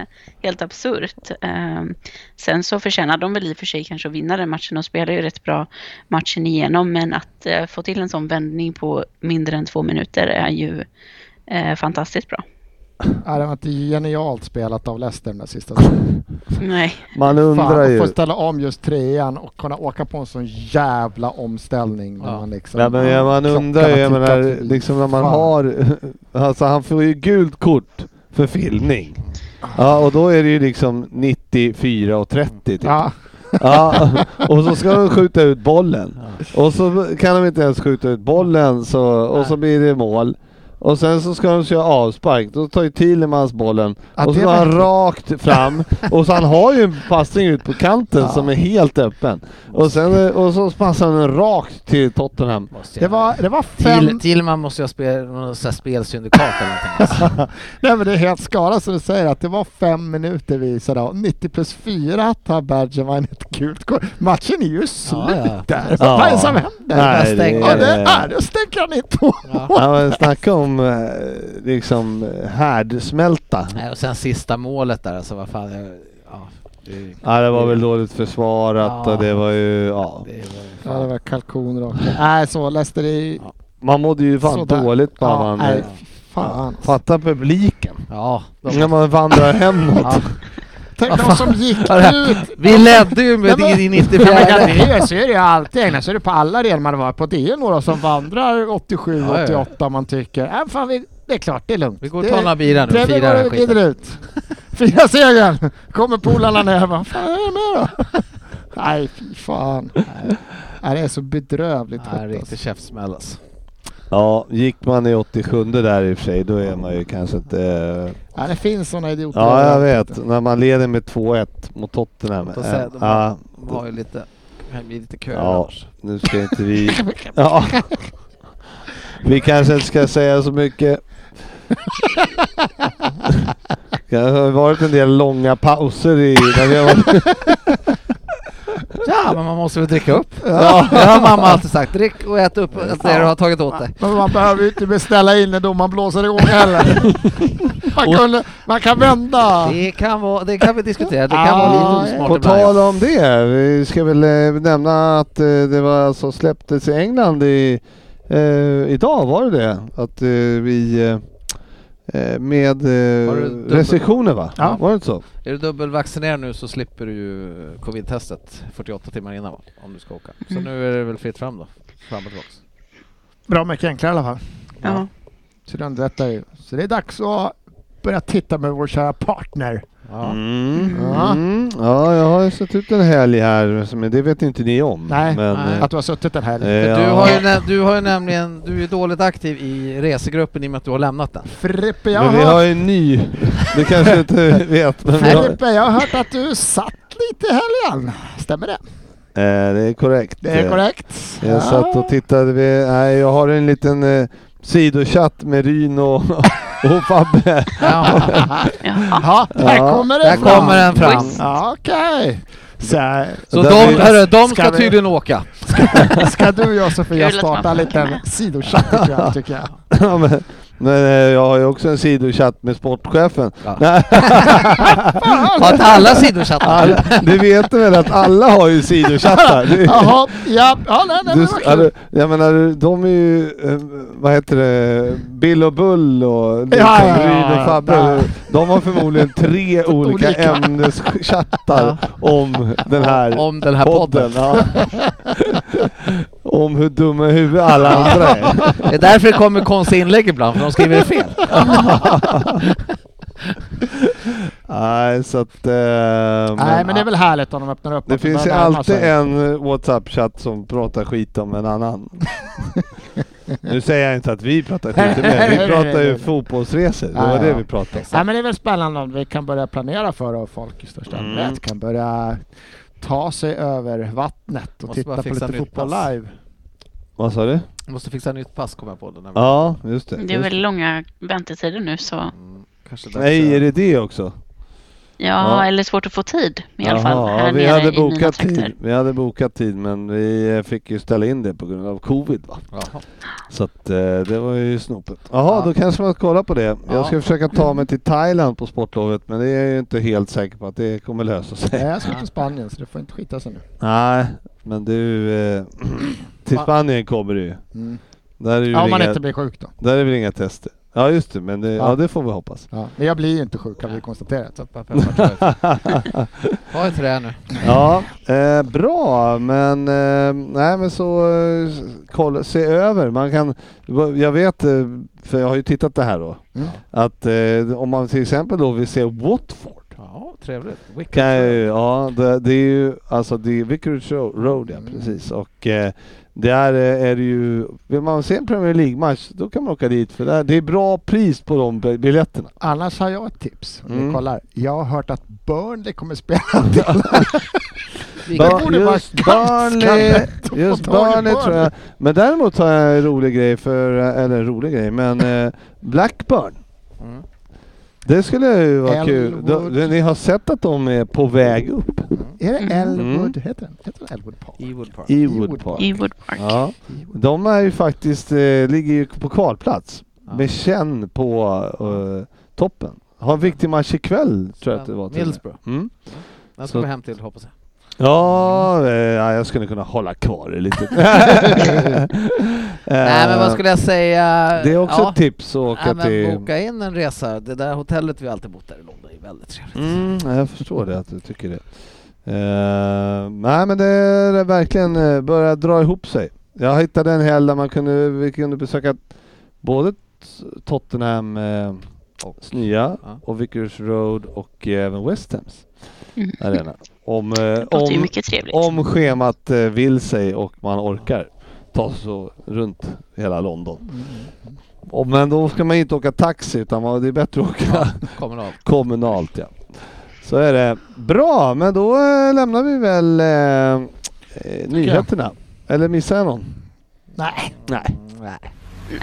[SPEAKER 5] helt absurt. Ehm, Sen så förtjänade de väl i och för sig kanske att vinna den matchen. De spelade ju rätt bra matchen igenom, men att eh, få till en sån vändning på mindre än två minuter är ju eh, fantastiskt bra.
[SPEAKER 6] Nej, det var inte genialt spelat av Leicester den där sista
[SPEAKER 4] (laughs)
[SPEAKER 6] säsongen.
[SPEAKER 5] Nej,
[SPEAKER 3] Man undrar
[SPEAKER 6] Fan, att
[SPEAKER 3] ju.
[SPEAKER 6] få ställa om just trean och kunna åka på en sån jävla omställning. När
[SPEAKER 4] Ja.
[SPEAKER 6] man liksom,
[SPEAKER 3] Ja, men ja, man
[SPEAKER 6] Klockan
[SPEAKER 3] undrar ju, jag
[SPEAKER 6] har tickat
[SPEAKER 3] menar,
[SPEAKER 6] förbi.
[SPEAKER 3] liksom när man
[SPEAKER 6] Fan.
[SPEAKER 3] har... (laughs) Alltså han får ju gult kort för filmning. Ja, och då är det ju liksom 94 och 30 typ.
[SPEAKER 6] Ja,
[SPEAKER 3] Ja, (laughs) och så ska de skjuta ut bollen. Och så kan de inte ens skjuta ut bollen så, och så blir det mål. Och sen så ska de köra avspark, då tar ju Thielemans bollen
[SPEAKER 6] Ja,
[SPEAKER 3] och så
[SPEAKER 6] det
[SPEAKER 3] går han
[SPEAKER 6] vet
[SPEAKER 3] rakt
[SPEAKER 6] (laughs)
[SPEAKER 3] fram och så han har ju en passning ut på kanten
[SPEAKER 6] Ja.
[SPEAKER 3] som är helt öppen. Och, sen, och så passar han den rakt till Tottenham.
[SPEAKER 4] Måste
[SPEAKER 6] det
[SPEAKER 4] jag-
[SPEAKER 6] var, det var fem...
[SPEAKER 4] Till, till man måste jag spela någon sån här spelsyndikat eller (laughs) någonting. Alltså.
[SPEAKER 6] Nej men det är helt skala som du säger att det var fem minuter vi visade av. 90 plus 4 tar Bergevin ett gult kort. Matchen är ju slut
[SPEAKER 4] Ja, ja.
[SPEAKER 6] där.
[SPEAKER 3] Ja.
[SPEAKER 6] Vad är det som händer?
[SPEAKER 3] Nej,
[SPEAKER 4] Jag stänger
[SPEAKER 6] Ja,
[SPEAKER 4] Ja,
[SPEAKER 6] det är det. Stänker han inte på.
[SPEAKER 4] Ja.
[SPEAKER 3] Ja, men snacka om eh, liksom härdsmälta.
[SPEAKER 4] Nej, och sen sista målet där alltså, vad fan. Jag, ja, det,
[SPEAKER 3] Ja, det var väl dåligt försvarat
[SPEAKER 4] Ja.
[SPEAKER 3] och det var ju... Ja.
[SPEAKER 4] det var,
[SPEAKER 6] Ja, det var kalkon rakt upp. Nej, så Leicester är
[SPEAKER 3] Man mådde ju fan
[SPEAKER 6] Sådär.
[SPEAKER 3] dåligt bara
[SPEAKER 6] ja,
[SPEAKER 3] man...
[SPEAKER 6] nej, fy fan.
[SPEAKER 3] Fatta publiken.
[SPEAKER 4] ja, de,
[SPEAKER 3] När man vandrar hemåt.
[SPEAKER 4] ja.
[SPEAKER 6] Tänk de som gick ut.
[SPEAKER 4] Vi ledde ju med
[SPEAKER 6] Nej, men-
[SPEAKER 4] i i (laughs)
[SPEAKER 6] Ja, men
[SPEAKER 4] 94.
[SPEAKER 6] ja, det är, ju- så är det ju alltid. Egnar så är det på alla arenor man har varit på. Det är några som vandrar 87,
[SPEAKER 4] Ja, ja.
[SPEAKER 6] 88 man tycker. Äh, fan, vi, det är klart, det är lugnt.
[SPEAKER 4] Vi går och
[SPEAKER 6] Det-
[SPEAKER 4] tar några bira nu och
[SPEAKER 6] Trevlig
[SPEAKER 4] firar
[SPEAKER 6] var
[SPEAKER 4] den här
[SPEAKER 6] det
[SPEAKER 4] skiten.
[SPEAKER 6] glider ut.
[SPEAKER 4] (laughs)
[SPEAKER 6] Fira segern! Kommer polarna ner vad fan är det med då? (laughs) Nej, fy fan. Nej. Nej, det är så bedrövligt
[SPEAKER 4] Nej,
[SPEAKER 6] hoppas.
[SPEAKER 4] riktig käftsmäll alltså.
[SPEAKER 3] Ja, gick man i 87 där i och för sig, då är man ju kanske inte... eh,
[SPEAKER 6] Nej, det finns sådana idioter.
[SPEAKER 3] Ja, jag
[SPEAKER 6] överallt.
[SPEAKER 3] vet. När man leder med 2-1 mot Tottenham.
[SPEAKER 4] Låt oss säga,
[SPEAKER 3] Eh,
[SPEAKER 4] de har-
[SPEAKER 3] Ja,
[SPEAKER 4] De har ju lite, det kan bli lite köer
[SPEAKER 3] Ja.
[SPEAKER 4] annars.
[SPEAKER 3] nu ska inte (laughs) vi... Ja. Vi kanske inte ska säga så mycket. Det har varit en del långa pauser i... När vi har varit...
[SPEAKER 4] Ja, men man måste väl dricka upp.
[SPEAKER 3] ja.
[SPEAKER 4] Det har mamma alltid sagt. Drick och ät upp allt det du har tagit åt dig.
[SPEAKER 6] Men man behöver ju inte beställa in när domaren blåser
[SPEAKER 4] (laughs)
[SPEAKER 6] igång heller. Man, kunde, man kan vända.
[SPEAKER 4] Det kan, vara, det kan vi diskutera. Det
[SPEAKER 6] Ja,
[SPEAKER 4] kan vara lite
[SPEAKER 3] På
[SPEAKER 4] osmart ibland.
[SPEAKER 3] tal om det, vi ska väl eh, nämna att eh, det var alltså släpptes i England i, eh, idag var det det? Att eh, vi eh, eh, med
[SPEAKER 4] Var
[SPEAKER 3] eh,
[SPEAKER 4] det dubbel-
[SPEAKER 3] restriktioner va?
[SPEAKER 6] Ja.
[SPEAKER 3] Var det inte så?
[SPEAKER 4] Är du dubbelvaccinerad nu så slipper du ju eh, covid-testet 48 timmar innan va? om du ska åka. Så
[SPEAKER 6] Mm.
[SPEAKER 4] nu är det väl fritt fram då, fram och tillbaks.
[SPEAKER 6] Bra mycket enklare i alla fall.
[SPEAKER 5] ja.
[SPEAKER 6] Så det underlättar ju. Så det är dags att börja titta med vår kära partner.
[SPEAKER 4] Ja.
[SPEAKER 3] Mm.
[SPEAKER 6] Ja.
[SPEAKER 3] Mm. Ja, jag har ju sett ut en helg här, men det vet inte ni om.
[SPEAKER 6] Nej.
[SPEAKER 3] men,
[SPEAKER 4] Nej.
[SPEAKER 3] eh,
[SPEAKER 6] Att du har suttit en helg.
[SPEAKER 3] eh,
[SPEAKER 4] Du,
[SPEAKER 3] ja.
[SPEAKER 4] har ju nä- du har ju nämligen, du är dåligt aktiv i resegruppen i och med att du har lämnat den.
[SPEAKER 6] Frippe, jag
[SPEAKER 3] men vi
[SPEAKER 6] har
[SPEAKER 3] har ju en ny, det kanske du inte vet. Men vi har, eh,
[SPEAKER 6] Filippe, jag har hört att du satt lite i helgen. Stämmer det?
[SPEAKER 3] Eh, det är korrekt.
[SPEAKER 6] Det är
[SPEAKER 3] Eh,
[SPEAKER 6] korrekt.
[SPEAKER 3] Jag satt och tittade. Vid, nej, jag har en liten eh, sidochatt med Ryn och, (laughs) och Fabbe.
[SPEAKER 4] Ja,
[SPEAKER 5] Jaha.
[SPEAKER 6] Ja, där
[SPEAKER 3] Ja,
[SPEAKER 6] kommer
[SPEAKER 4] där
[SPEAKER 6] den fram.
[SPEAKER 4] kommer den fram.
[SPEAKER 6] Ja, okej. Så,
[SPEAKER 4] Så
[SPEAKER 3] Där
[SPEAKER 4] de,
[SPEAKER 3] vi-
[SPEAKER 4] hörru, de
[SPEAKER 6] Ska
[SPEAKER 4] ska
[SPEAKER 6] vi-
[SPEAKER 4] tydligen åka.
[SPEAKER 6] ska du och jag Sofia
[SPEAKER 5] Kul att
[SPEAKER 6] starta en
[SPEAKER 5] man får
[SPEAKER 6] liten
[SPEAKER 5] med.
[SPEAKER 6] sidochatt ikväll tycker jag.
[SPEAKER 3] (laughs) Ja, men, men eh, jag har ju också en sidochatt med sportchefen. (laughs)
[SPEAKER 4] Ja.
[SPEAKER 3] Nej,
[SPEAKER 4] Har inte alla sidochattar?
[SPEAKER 3] alla, du vet väl att alla har ju sidochattar? Du,
[SPEAKER 6] Jaha, ja, ja nej, nej,
[SPEAKER 3] du,
[SPEAKER 6] men vad
[SPEAKER 3] alltså,
[SPEAKER 6] kul.
[SPEAKER 3] jag menar, de är ju, eh, vad heter det, Bill och Bull och liksom,
[SPEAKER 6] Ja, ja, ja,
[SPEAKER 3] Ryn och Fabbe.
[SPEAKER 6] ja.
[SPEAKER 3] De har förmodligen tre olika,
[SPEAKER 6] (laughs) Olika.
[SPEAKER 3] ämneschattar om den här
[SPEAKER 4] Om den här podden.
[SPEAKER 3] ja. (laughs) Om hur dumma i huvudet alla andra
[SPEAKER 6] (laughs)
[SPEAKER 3] är.
[SPEAKER 4] Det är därför det kommer konstiga inlägg ibland, för de skriver fel.
[SPEAKER 3] Nej, så att... eh,
[SPEAKER 6] Nej, men det är väl härligt om de öppnar upp.
[SPEAKER 3] Det
[SPEAKER 6] att
[SPEAKER 3] finns ju
[SPEAKER 6] börjar närma
[SPEAKER 3] alltid
[SPEAKER 6] sig.
[SPEAKER 3] en eh, Whatsapp-chatt som pratar skit om en
[SPEAKER 6] (laughs)
[SPEAKER 3] annan. nu säger jag inte att vi pratar skit om det.
[SPEAKER 6] (laughs) Nej, nej,
[SPEAKER 3] Vi pratar
[SPEAKER 6] nej,
[SPEAKER 3] ju
[SPEAKER 6] nej.
[SPEAKER 3] fotbollsresor. Det
[SPEAKER 6] Ja,
[SPEAKER 3] var det
[SPEAKER 6] ja.
[SPEAKER 3] vi pratade om.
[SPEAKER 6] Nej, men det är väl spännande om vi kan börja planera för och folk i största
[SPEAKER 3] Mm.
[SPEAKER 6] allmänhet kan börja ta sig över vattnet och
[SPEAKER 4] Måste bara
[SPEAKER 6] titta på
[SPEAKER 4] fixa
[SPEAKER 6] lite
[SPEAKER 4] nytt
[SPEAKER 6] fotboll
[SPEAKER 4] pass. (laughs)
[SPEAKER 6] live.
[SPEAKER 3] Vad sa du?
[SPEAKER 4] Måste fixa nytt pass kommer jag på. Den här
[SPEAKER 3] Ja, just det.
[SPEAKER 5] Det är
[SPEAKER 3] Just
[SPEAKER 5] väl långa väntetider nu så
[SPEAKER 4] Mm, kanske
[SPEAKER 3] det.
[SPEAKER 4] dags
[SPEAKER 3] Nej,
[SPEAKER 4] att-
[SPEAKER 3] är det det också?
[SPEAKER 5] ja,
[SPEAKER 3] Ja.
[SPEAKER 5] eller svårt att få tid i alla fall
[SPEAKER 3] Jaha,
[SPEAKER 5] här
[SPEAKER 3] vi
[SPEAKER 5] nere
[SPEAKER 3] hade
[SPEAKER 5] i mina
[SPEAKER 3] bokat
[SPEAKER 5] trakter.
[SPEAKER 3] tid. Vi hade bokat tid, men vi eh, fick ju ställa in det på grund av covid. Va?
[SPEAKER 4] Jaha.
[SPEAKER 3] Så att, eh, det var ju snopet. Jaha,
[SPEAKER 4] Ja.
[SPEAKER 3] då kanske man ska kolla på det.
[SPEAKER 4] Ja.
[SPEAKER 3] Jag ska försöka ta mig till Thailand på sportlovet, men det är jag ju inte helt säker på att det kommer lösa sig.
[SPEAKER 6] Nej, jag ska till Spanien så det får inte skita sig nu.
[SPEAKER 3] Nej, men du... Eh, (clears throat) till
[SPEAKER 4] Fan.
[SPEAKER 3] Spanien kommer du ju.
[SPEAKER 6] Mm.
[SPEAKER 3] Där är, ju
[SPEAKER 6] Ja, om man
[SPEAKER 3] inga,
[SPEAKER 6] inte blir sjuk då.
[SPEAKER 3] där är väl inga tester? Ja just det, men det, ja.
[SPEAKER 6] Ja.
[SPEAKER 3] det får vi hoppas. (laughs)
[SPEAKER 6] Ja. Men jag blir ju inte sjuk har vi konstaterat.
[SPEAKER 4] Peppar, peppar, tror jag. Ha ett trä nu.
[SPEAKER 3] ja, eh, bra, men eh, nej men så eh, kolla, se över. Man kan, jag vet, eh, för jag har ju tittat det här då,
[SPEAKER 6] Mm.
[SPEAKER 3] att eh, om man till exempel då vill se Watford
[SPEAKER 4] Ja, trevligt. Wicked.
[SPEAKER 3] kan jag ju, ja, det, det är ju alltså det är Vicarage Ro- Road,
[SPEAKER 6] Mm.
[SPEAKER 3] ja precis. Och eh, där eh, är det ju, vill man se en Premier League-match då kan man åka dit för där, det är bra pris på de bi-
[SPEAKER 6] (laughs)
[SPEAKER 3] biljetterna.
[SPEAKER 6] Annars har jag ett tips. Om
[SPEAKER 3] Mm.
[SPEAKER 6] vi kollar. Jag har hört att Burnley kommer spela (laughs) en del.
[SPEAKER 3] Ba-
[SPEAKER 6] borde vara
[SPEAKER 3] just
[SPEAKER 6] ganska
[SPEAKER 3] Burnley,
[SPEAKER 6] lätt att få
[SPEAKER 3] just
[SPEAKER 6] tag i
[SPEAKER 3] Burnley tror jag. Men däremot har jag en rolig grej för, eh, eller rolig grej, men eh, Blackburn.
[SPEAKER 4] Mm.
[SPEAKER 3] Det skulle ju vara kul.
[SPEAKER 6] Elwood.
[SPEAKER 3] Då- Ni har sett att de är på väg upp
[SPEAKER 6] Är det
[SPEAKER 5] Mm.
[SPEAKER 6] Elwood? Heter den? Heter den Elwood Park?
[SPEAKER 4] Ewood Park.
[SPEAKER 3] i
[SPEAKER 6] Wood
[SPEAKER 3] Wood Park.
[SPEAKER 5] I Wood Park.
[SPEAKER 3] Ja, de är ju faktiskt, eh, ligger ju på kvalplats
[SPEAKER 4] Ja.
[SPEAKER 3] med känn på eh, toppen. Har en viktig match ikväll tror jag att det var. till och med.
[SPEAKER 4] Middlesbrough.
[SPEAKER 3] Mm.
[SPEAKER 4] Den
[SPEAKER 3] Så-
[SPEAKER 4] ska vi hem till hoppas jag.
[SPEAKER 3] Ja, eh, ja, jag skulle kunna hålla kvar det
[SPEAKER 4] (laughs)
[SPEAKER 3] lite. Eh,
[SPEAKER 4] Nej men vad skulle jag säga?
[SPEAKER 3] Det är också
[SPEAKER 4] ja.
[SPEAKER 3] ett tips att åka
[SPEAKER 4] Nej, men
[SPEAKER 3] till...
[SPEAKER 4] boka in en resa. Det där hotellet vi alltid bott där i London är väldigt trevligt.
[SPEAKER 3] Mm, jag förstår det att du tycker det. Eh, nej men det är verkligen eh, börjar dra ihop sig. Jag hittade en helg där man kunde, vi kunde besöka både Tottenham eh,
[SPEAKER 4] Och-
[SPEAKER 3] nya
[SPEAKER 4] Ja.
[SPEAKER 3] och Vickers Road och eh, även West Hams
[SPEAKER 5] Mm.
[SPEAKER 3] arena. Om, eh,
[SPEAKER 5] Det låter ju
[SPEAKER 3] om,
[SPEAKER 5] mycket trevligt.
[SPEAKER 3] om schemat eh, vill sig och man orkar ta sig så runt hela London. Och, men då ska man inte åka taxi utan man, det är bättre att åka
[SPEAKER 4] Kommunal.
[SPEAKER 3] (laughs) kommunalt. Ja. Så är det. Bra, men då eh, lämnar vi väl eh, eh, nyheterna. Eller missar jag någon?
[SPEAKER 6] Nej.
[SPEAKER 3] Nej.
[SPEAKER 4] Nej.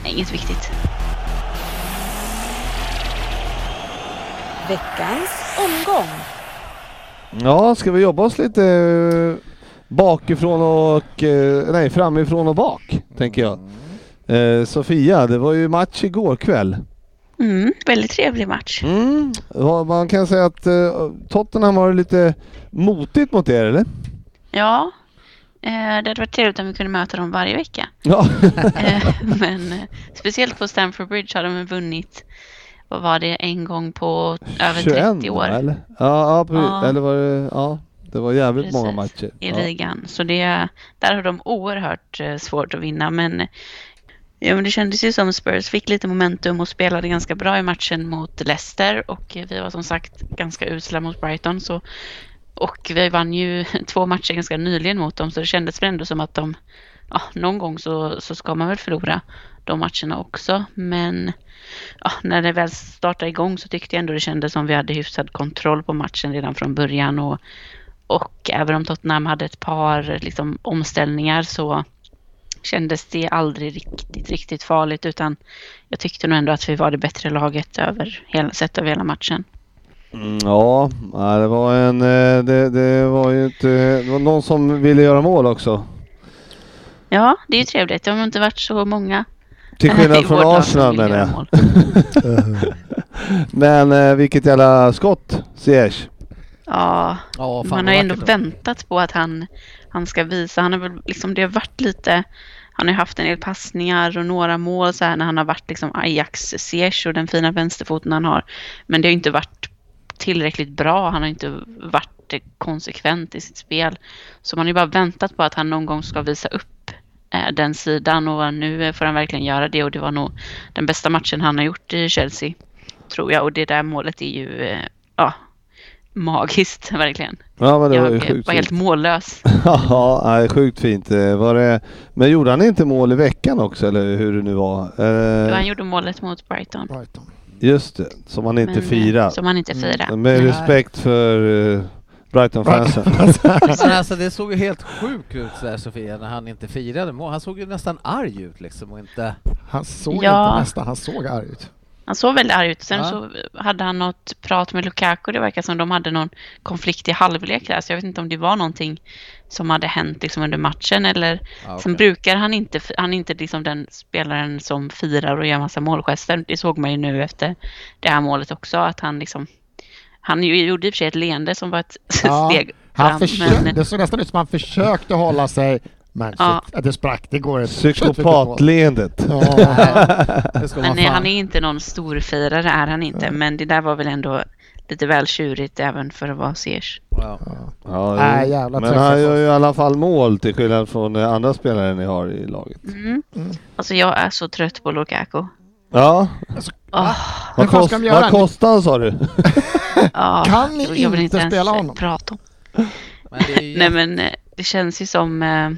[SPEAKER 5] Nej, inget viktigt.
[SPEAKER 7] Veckans omgång.
[SPEAKER 3] Ja, ska vi jobba oss lite eh, bakifrån och... eh, Nej, framifrån och bak, tänker jag. Eh, Sofia, det var ju match igår kväll.
[SPEAKER 5] Mm, väldigt trevlig match.
[SPEAKER 3] Mm. ja, Man kan säga att eh, Tottenham har det lite motigt mot er, eller?
[SPEAKER 5] Ja, eh, det hade varit trevligt om vi kunde möta dem varje
[SPEAKER 3] (laughs)
[SPEAKER 5] vecka.
[SPEAKER 3] Ja.
[SPEAKER 5] Eh, Men eh, speciellt på Stamford Bridge har de vunnit, vad var det, en gång på (laughs) över 30
[SPEAKER 3] va,
[SPEAKER 5] år
[SPEAKER 3] Eller? Ja, ja, precis.
[SPEAKER 5] Ja.
[SPEAKER 3] eller var det... Ja, det var jävligt
[SPEAKER 5] Precis.
[SPEAKER 3] många matcher.
[SPEAKER 5] i
[SPEAKER 3] Ja.
[SPEAKER 5] ligan. Så det, där har de oerhört eh, svårt att vinna. Men, ja, men det kändes ju som Spurs fick lite momentum och spelade ganska bra i matchen mot Leicester och eh, vi var som sagt ganska usla mot Brighton. Så, och vi vann ju (laughs) två matcher ganska nyligen mot dem så det kändes väl ändå som att de, ja, någon gång så, så ska man väl förlora de matcherna också. Men ja, när det väl startade igång så tyckte jag ändå det kändes som vi hade hyfsad kontroll på matchen redan från början. Och, och även om Tottenham hade ett par liksom, omställningar så kändes det aldrig riktigt, riktigt farligt utan jag tyckte nog ändå att vi var det bättre laget över hela, sett över hela matchen.
[SPEAKER 3] Mm, Ja, ja, det var en... eh, Det, det var ju inte... Det var någon som ville göra mål också.
[SPEAKER 5] Ja, det är ju trevligt. Det har inte varit så många
[SPEAKER 3] Till
[SPEAKER 5] (laughs) i
[SPEAKER 3] skillnad
[SPEAKER 5] vårt
[SPEAKER 3] från
[SPEAKER 5] lag
[SPEAKER 3] Arsenal
[SPEAKER 5] som vill
[SPEAKER 3] menar
[SPEAKER 5] göra
[SPEAKER 3] jag.
[SPEAKER 5] mål.
[SPEAKER 3] Men eh, vilket jävla skott, Ziyech.
[SPEAKER 5] Ja,
[SPEAKER 4] Ja, fan, vad
[SPEAKER 5] man har ju ändå
[SPEAKER 4] vackert då.
[SPEAKER 5] väntat på att han, han ska visa. Han har väl liksom, det har varit lite, han har ju haft en del passningar och några mål så här när han har varit liksom Ajax Ziyech och den fina vänsterfoten han har. Men det har ju inte varit tillräckligt bra. Han har inte varit konsekvent i sitt spel. Så man har ju bara väntat på att han någon gång ska visa upp eh, den sidan och nu får han verkligen göra det och det var nog den bästa matchen han har gjort i Chelsea tror jag och det där målet är ju eh, ja, magiskt (laughs) verkligen.
[SPEAKER 3] Ja, men det var ju
[SPEAKER 5] Jag eh,
[SPEAKER 3] sjukt
[SPEAKER 5] var helt
[SPEAKER 3] fint.
[SPEAKER 5] mållös.
[SPEAKER 3] (laughs) Ja, nej, sjukt fint. eh, Var det... Men gjorde han inte mål i veckan också, eller hur det nu var?
[SPEAKER 5] Det var
[SPEAKER 3] Eh,
[SPEAKER 5] Han gjorde målet mot Brighton.
[SPEAKER 6] Brighton.
[SPEAKER 3] just det, som han inte
[SPEAKER 5] men, eh,
[SPEAKER 3] firar.
[SPEAKER 5] Som han inte
[SPEAKER 6] Mm.
[SPEAKER 5] firar.
[SPEAKER 3] Med
[SPEAKER 4] Nej.
[SPEAKER 3] respekt för eh, Brighton-fansen.
[SPEAKER 4] Men alltså det såg ju helt sjukt ut sådär Sofia när han inte firade mål. Han såg ju nästan arg ut liksom och inte...
[SPEAKER 6] Han såg
[SPEAKER 5] Ja.
[SPEAKER 6] inte nästan, han såg arg ut.
[SPEAKER 5] Han såg väldigt arg ut. Sen
[SPEAKER 4] Ja.
[SPEAKER 5] så hade han något prat med Lukaku. Det verkar som de hade någon konflikt i halvlek där. Så jag vet inte om det var någonting som hade hänt liksom under matchen. Eller...
[SPEAKER 4] Ja,
[SPEAKER 5] Sen
[SPEAKER 4] okej.
[SPEAKER 5] brukar han inte, han är inte liksom den spelaren som firar och gör massa målgester. Det såg man ju nu efter det här målet också. Att han liksom... Han ju- gjorde i och för sig ett leende som var ett (laughs)
[SPEAKER 6] Ja,
[SPEAKER 5] steg
[SPEAKER 6] Han försökte,
[SPEAKER 5] men-
[SPEAKER 6] Det såg nästan ut som han försökte hålla sig, men
[SPEAKER 5] Ja.
[SPEAKER 6] shit, det sprack. Det går inte. (laughs) Shit,
[SPEAKER 3] Psykopatleendet. (laughs)
[SPEAKER 6] vilket mål. Ja.
[SPEAKER 4] Det ska man
[SPEAKER 5] Men eh,
[SPEAKER 4] fan.
[SPEAKER 5] han är inte någon storfirare är han inte. Men det där var väl ändå lite väl tjurigt även för att vara Sears.
[SPEAKER 4] Ja.
[SPEAKER 3] Ja,
[SPEAKER 6] Nej,
[SPEAKER 3] jo.
[SPEAKER 6] jävla
[SPEAKER 3] men
[SPEAKER 6] träffar
[SPEAKER 3] han gör ju i alla fall mål till skillnad från eh, andra spelare ni har i laget.
[SPEAKER 5] Mm. Alltså jag är så trött
[SPEAKER 6] (laughs)
[SPEAKER 5] på Lukaku.
[SPEAKER 3] Ja,
[SPEAKER 5] Åh,
[SPEAKER 3] vad,
[SPEAKER 6] Men vad
[SPEAKER 3] kost,
[SPEAKER 6] ska de göra
[SPEAKER 3] vad
[SPEAKER 6] nu?
[SPEAKER 3] kostar han sa du? (laughs)
[SPEAKER 5] ja,
[SPEAKER 6] Kan ni
[SPEAKER 5] jag vill
[SPEAKER 6] inte
[SPEAKER 5] ens
[SPEAKER 6] spela honom?
[SPEAKER 5] Prata om.
[SPEAKER 4] Men det är ju...
[SPEAKER 5] Nej men eh, det känns ju som... eh,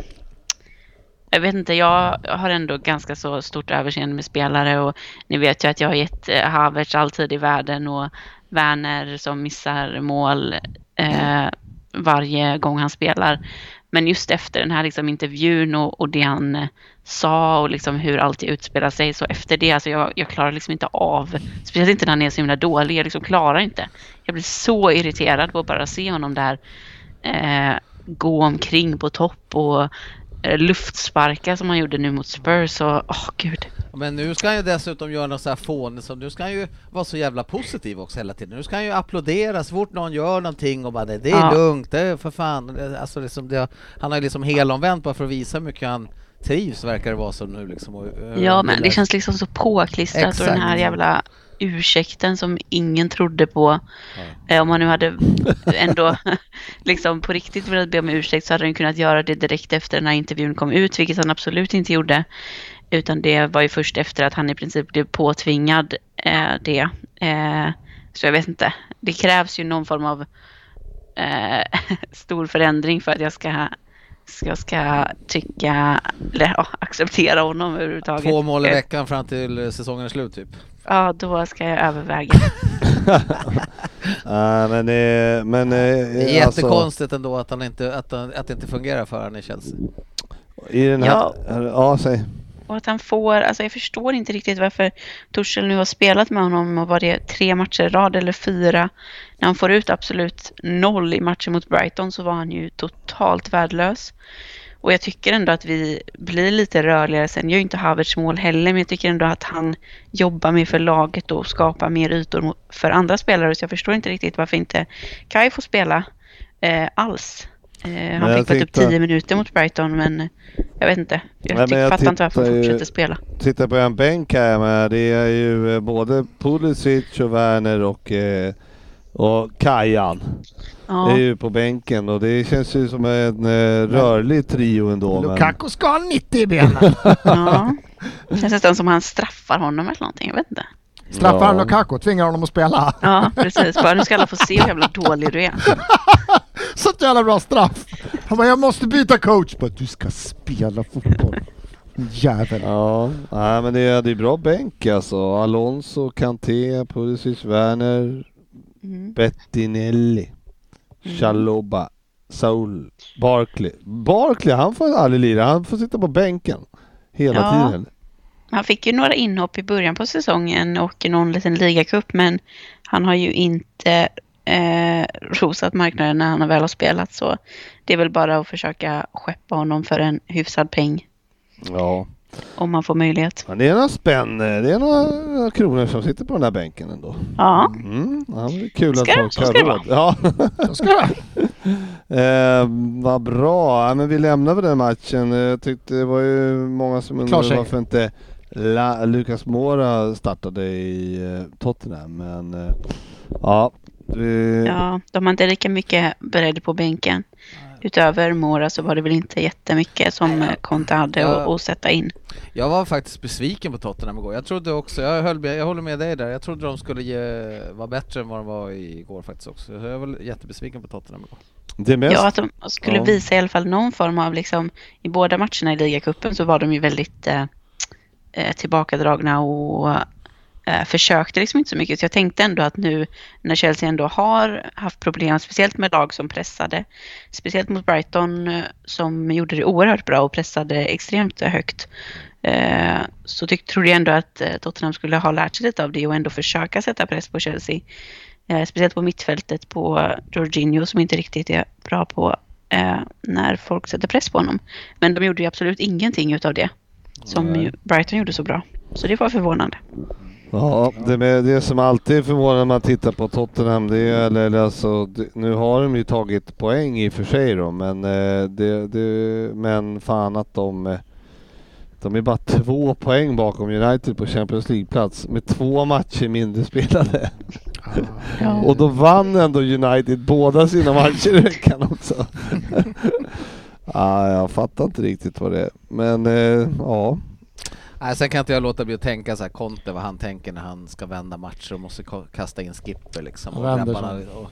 [SPEAKER 5] Jag vet inte, jag har ändå ganska så stort överseende med spelare och ni vet ju att jag har gett eh, Havertz all tid i världen och Werner som missar mål eh, varje gång han spelar. Men just efter den här liksom intervjun och, och det han eh, sa och liksom hur allt utspelar sig så efter det, alltså jag, jag klarar liksom inte av, speciellt inte när han är så himla dålig, jag liksom klarar inte. Jag blir så irriterad på att bara se honom där eh, gå omkring på topp och eh, luftsparka som han gjorde nu mot Spurs och åh gud.
[SPEAKER 4] Men nu ska han ju dessutom göra något så här fånigt som, nu ska han ju vara så jävla positiv också hela tiden. Nu ska han ju applådera så fort någon gör någonting och bara det, det är
[SPEAKER 5] Ja.
[SPEAKER 4] lugnt, det är för fan. Det- Alltså liksom det, han har ju liksom helomvänt bara för att visa hur mycket han trivs verkar det vara som nu liksom. Och, eh,
[SPEAKER 5] Ja men det
[SPEAKER 4] gillar-
[SPEAKER 5] känns liksom så påklistrat och den här
[SPEAKER 4] Exakt.
[SPEAKER 5] jävla ursäkten som ingen trodde på. Eh, Om man nu hade ändå (laughs) liksom på riktigt velat be om ursäkt så hade han ju kunnat göra det direkt efter den här intervjun kom ut, vilket han absolut inte gjorde. Utan det var ju först efter att han i princip blev påtvingad eh, det. Eh, så jag vet inte. Det krävs ju någon form av eh, (laughs) stor förändring för att jag ska, ska, jag ska tycka eller ja, acceptera honom överhuvudtaget.
[SPEAKER 4] Två mål i veckan fram till eh, säsongen är slut typ.
[SPEAKER 5] Ja, då ska jag överväga.
[SPEAKER 3] Nej, men... Eh, men eh,
[SPEAKER 4] Det är
[SPEAKER 3] alltså,
[SPEAKER 4] jättekonstigt ändå att, han inte, att, han, att det inte fungerar för honom i Chelsea.
[SPEAKER 3] I den här... Ja,
[SPEAKER 5] Ja.
[SPEAKER 3] säg.
[SPEAKER 5] Och att han får, alltså jag förstår inte riktigt varför Torshäll nu har spelat med honom och var det tre matcher i rad eller fyra. När han får ut absolut noll i matchen mot Brighton så var han ju totalt värdelös. Och jag tycker ändå att vi blir lite rörligare. Sen gör ju inte Havertz mål heller, men jag tycker ändå att han jobbar mer för laget och skapar mer ytor mot- för andra spelare. Så jag förstår inte riktigt varför inte Kai får spela eh, alls. Eh, han
[SPEAKER 3] jag
[SPEAKER 5] fick bara typ
[SPEAKER 3] tyckte-
[SPEAKER 5] 10 minuter mot Brighton, men jag vet inte. Jag,
[SPEAKER 3] Nej, men
[SPEAKER 5] tycker,
[SPEAKER 3] jag
[SPEAKER 5] fattar inte varför han
[SPEAKER 3] tittar ju-
[SPEAKER 5] fortsätter spela.
[SPEAKER 3] Titta på en bänk här med. Det är ju eh, både Pulisic och Werner och, eh, och Kajan.
[SPEAKER 5] Ja.
[SPEAKER 3] är ju på bänken och det känns ju som en eh, rörlig trio ändå. Men...
[SPEAKER 6] Lukaku ska ha 90
[SPEAKER 3] (laughs)
[SPEAKER 6] i benen.
[SPEAKER 5] Ja. Det känns nästan som han straffar honom eller någonting. Jag vet inte.
[SPEAKER 6] Straffar han
[SPEAKER 3] Ja.
[SPEAKER 6] Lukaku, tvingar honom att spela.
[SPEAKER 5] Ja, precis. Bara nu ska alla få se hur jävla dålig du är.
[SPEAKER 6] (laughs) Sånt jävla bra straff. Han bara, jag måste byta coach. Bara, du ska spela fotboll. Jävel.
[SPEAKER 4] (laughs)
[SPEAKER 3] Ja, nej, men det är, det är bra bänk alltså. Alonso, Kanté, Pulisic, Werner,
[SPEAKER 5] Mm.
[SPEAKER 3] Bettinelli, Chaloba, Saul, Barkley. Barkley, han får aldrig lira. Han får sitta på bänken hela
[SPEAKER 5] Ja.
[SPEAKER 3] tiden.
[SPEAKER 5] Han fick ju några inhopp i början på säsongen och i någon liten ligacup, men han har ju inte eh, rosat marknaden när han väl har spelat. Så det är väl bara att försöka skeppa honom för en hyfsad peng
[SPEAKER 3] Ja,
[SPEAKER 5] om man får möjlighet.
[SPEAKER 3] men det är några spänn. eh, Det är några kronor som sitter på den där bänken ändå.
[SPEAKER 5] Ja,
[SPEAKER 3] Mm, ja, det är kul
[SPEAKER 5] Ska-
[SPEAKER 3] att
[SPEAKER 5] så
[SPEAKER 3] folk har
[SPEAKER 5] ska det
[SPEAKER 3] råd. Ja.
[SPEAKER 5] (laughs)
[SPEAKER 6] Så ska det.
[SPEAKER 3] (laughs) Eh, vad bra, ja, men vi lämnar väl den matchen. Eh, Jag tyckte det var ju många som undrade
[SPEAKER 6] Klarsäng.
[SPEAKER 3] varför inte La- Lucas Mora startade i eh, Tottenham. Men eh, ja, vi,
[SPEAKER 5] ja, de har inte lika mycket bredd på bänken. utöver Mora så var det väl inte jättemycket som eh, Conte hade att- att sätta in.
[SPEAKER 4] Jag var faktiskt besviken på Tottenham igår. Jag trodde också, jag, höll med, jag håller med dig där, jag trodde de skulle ge, vara bättre än vad de var igår faktiskt också. Så jag var jättebesviken på Tottenham igår.
[SPEAKER 3] Det mest...
[SPEAKER 5] Ja, att de skulle
[SPEAKER 3] Ja.
[SPEAKER 5] visa i alla fall någon form av liksom, i båda matcherna i ligacupen så var de ju väldigt eh, eh, tillbakadragna och eh, försökte liksom inte så mycket. Så jag tänkte ändå att nu när Chelsea ändå har haft problem, speciellt med lag som pressade, speciellt mot Brighton eh, som gjorde det oerhört bra och pressade extremt högt, eh, så tyck, trodde jag ändå att eh, Tottenham skulle ha lärt sig lite av det och ändå försöka sätta press på Chelsea. Eh, speciellt på mittfältet på Jorginho som inte riktigt är bra på eh, när folk sätter press på honom. Men de gjorde ju absolut ingenting utav det som
[SPEAKER 3] Nej.
[SPEAKER 5] ju Brighton gjorde så bra. Så det var förvånande.
[SPEAKER 3] Ja, det, med det som alltid förvånar när man tittar på Tottenham, det är eller, eller alltså, det, nu har de ju tagit poäng i och för sig då, men, eh, det, det, men fan att de, eh, de är bara två poäng bakom United på Champions League-plats med två matcher mindre spelade. Och då vann ändå United båda sina matcher i veckan också. ah, jag fattar inte riktigt vad det är, men eh, ja.
[SPEAKER 4] Nej, sen kan inte jag låta bli att tänka så här, Conte, vad han tänker när han ska vända matcher och måste ko- kasta in skipper liksom. Och
[SPEAKER 6] Vänder
[SPEAKER 4] grabbarna,
[SPEAKER 6] sig.
[SPEAKER 4] och,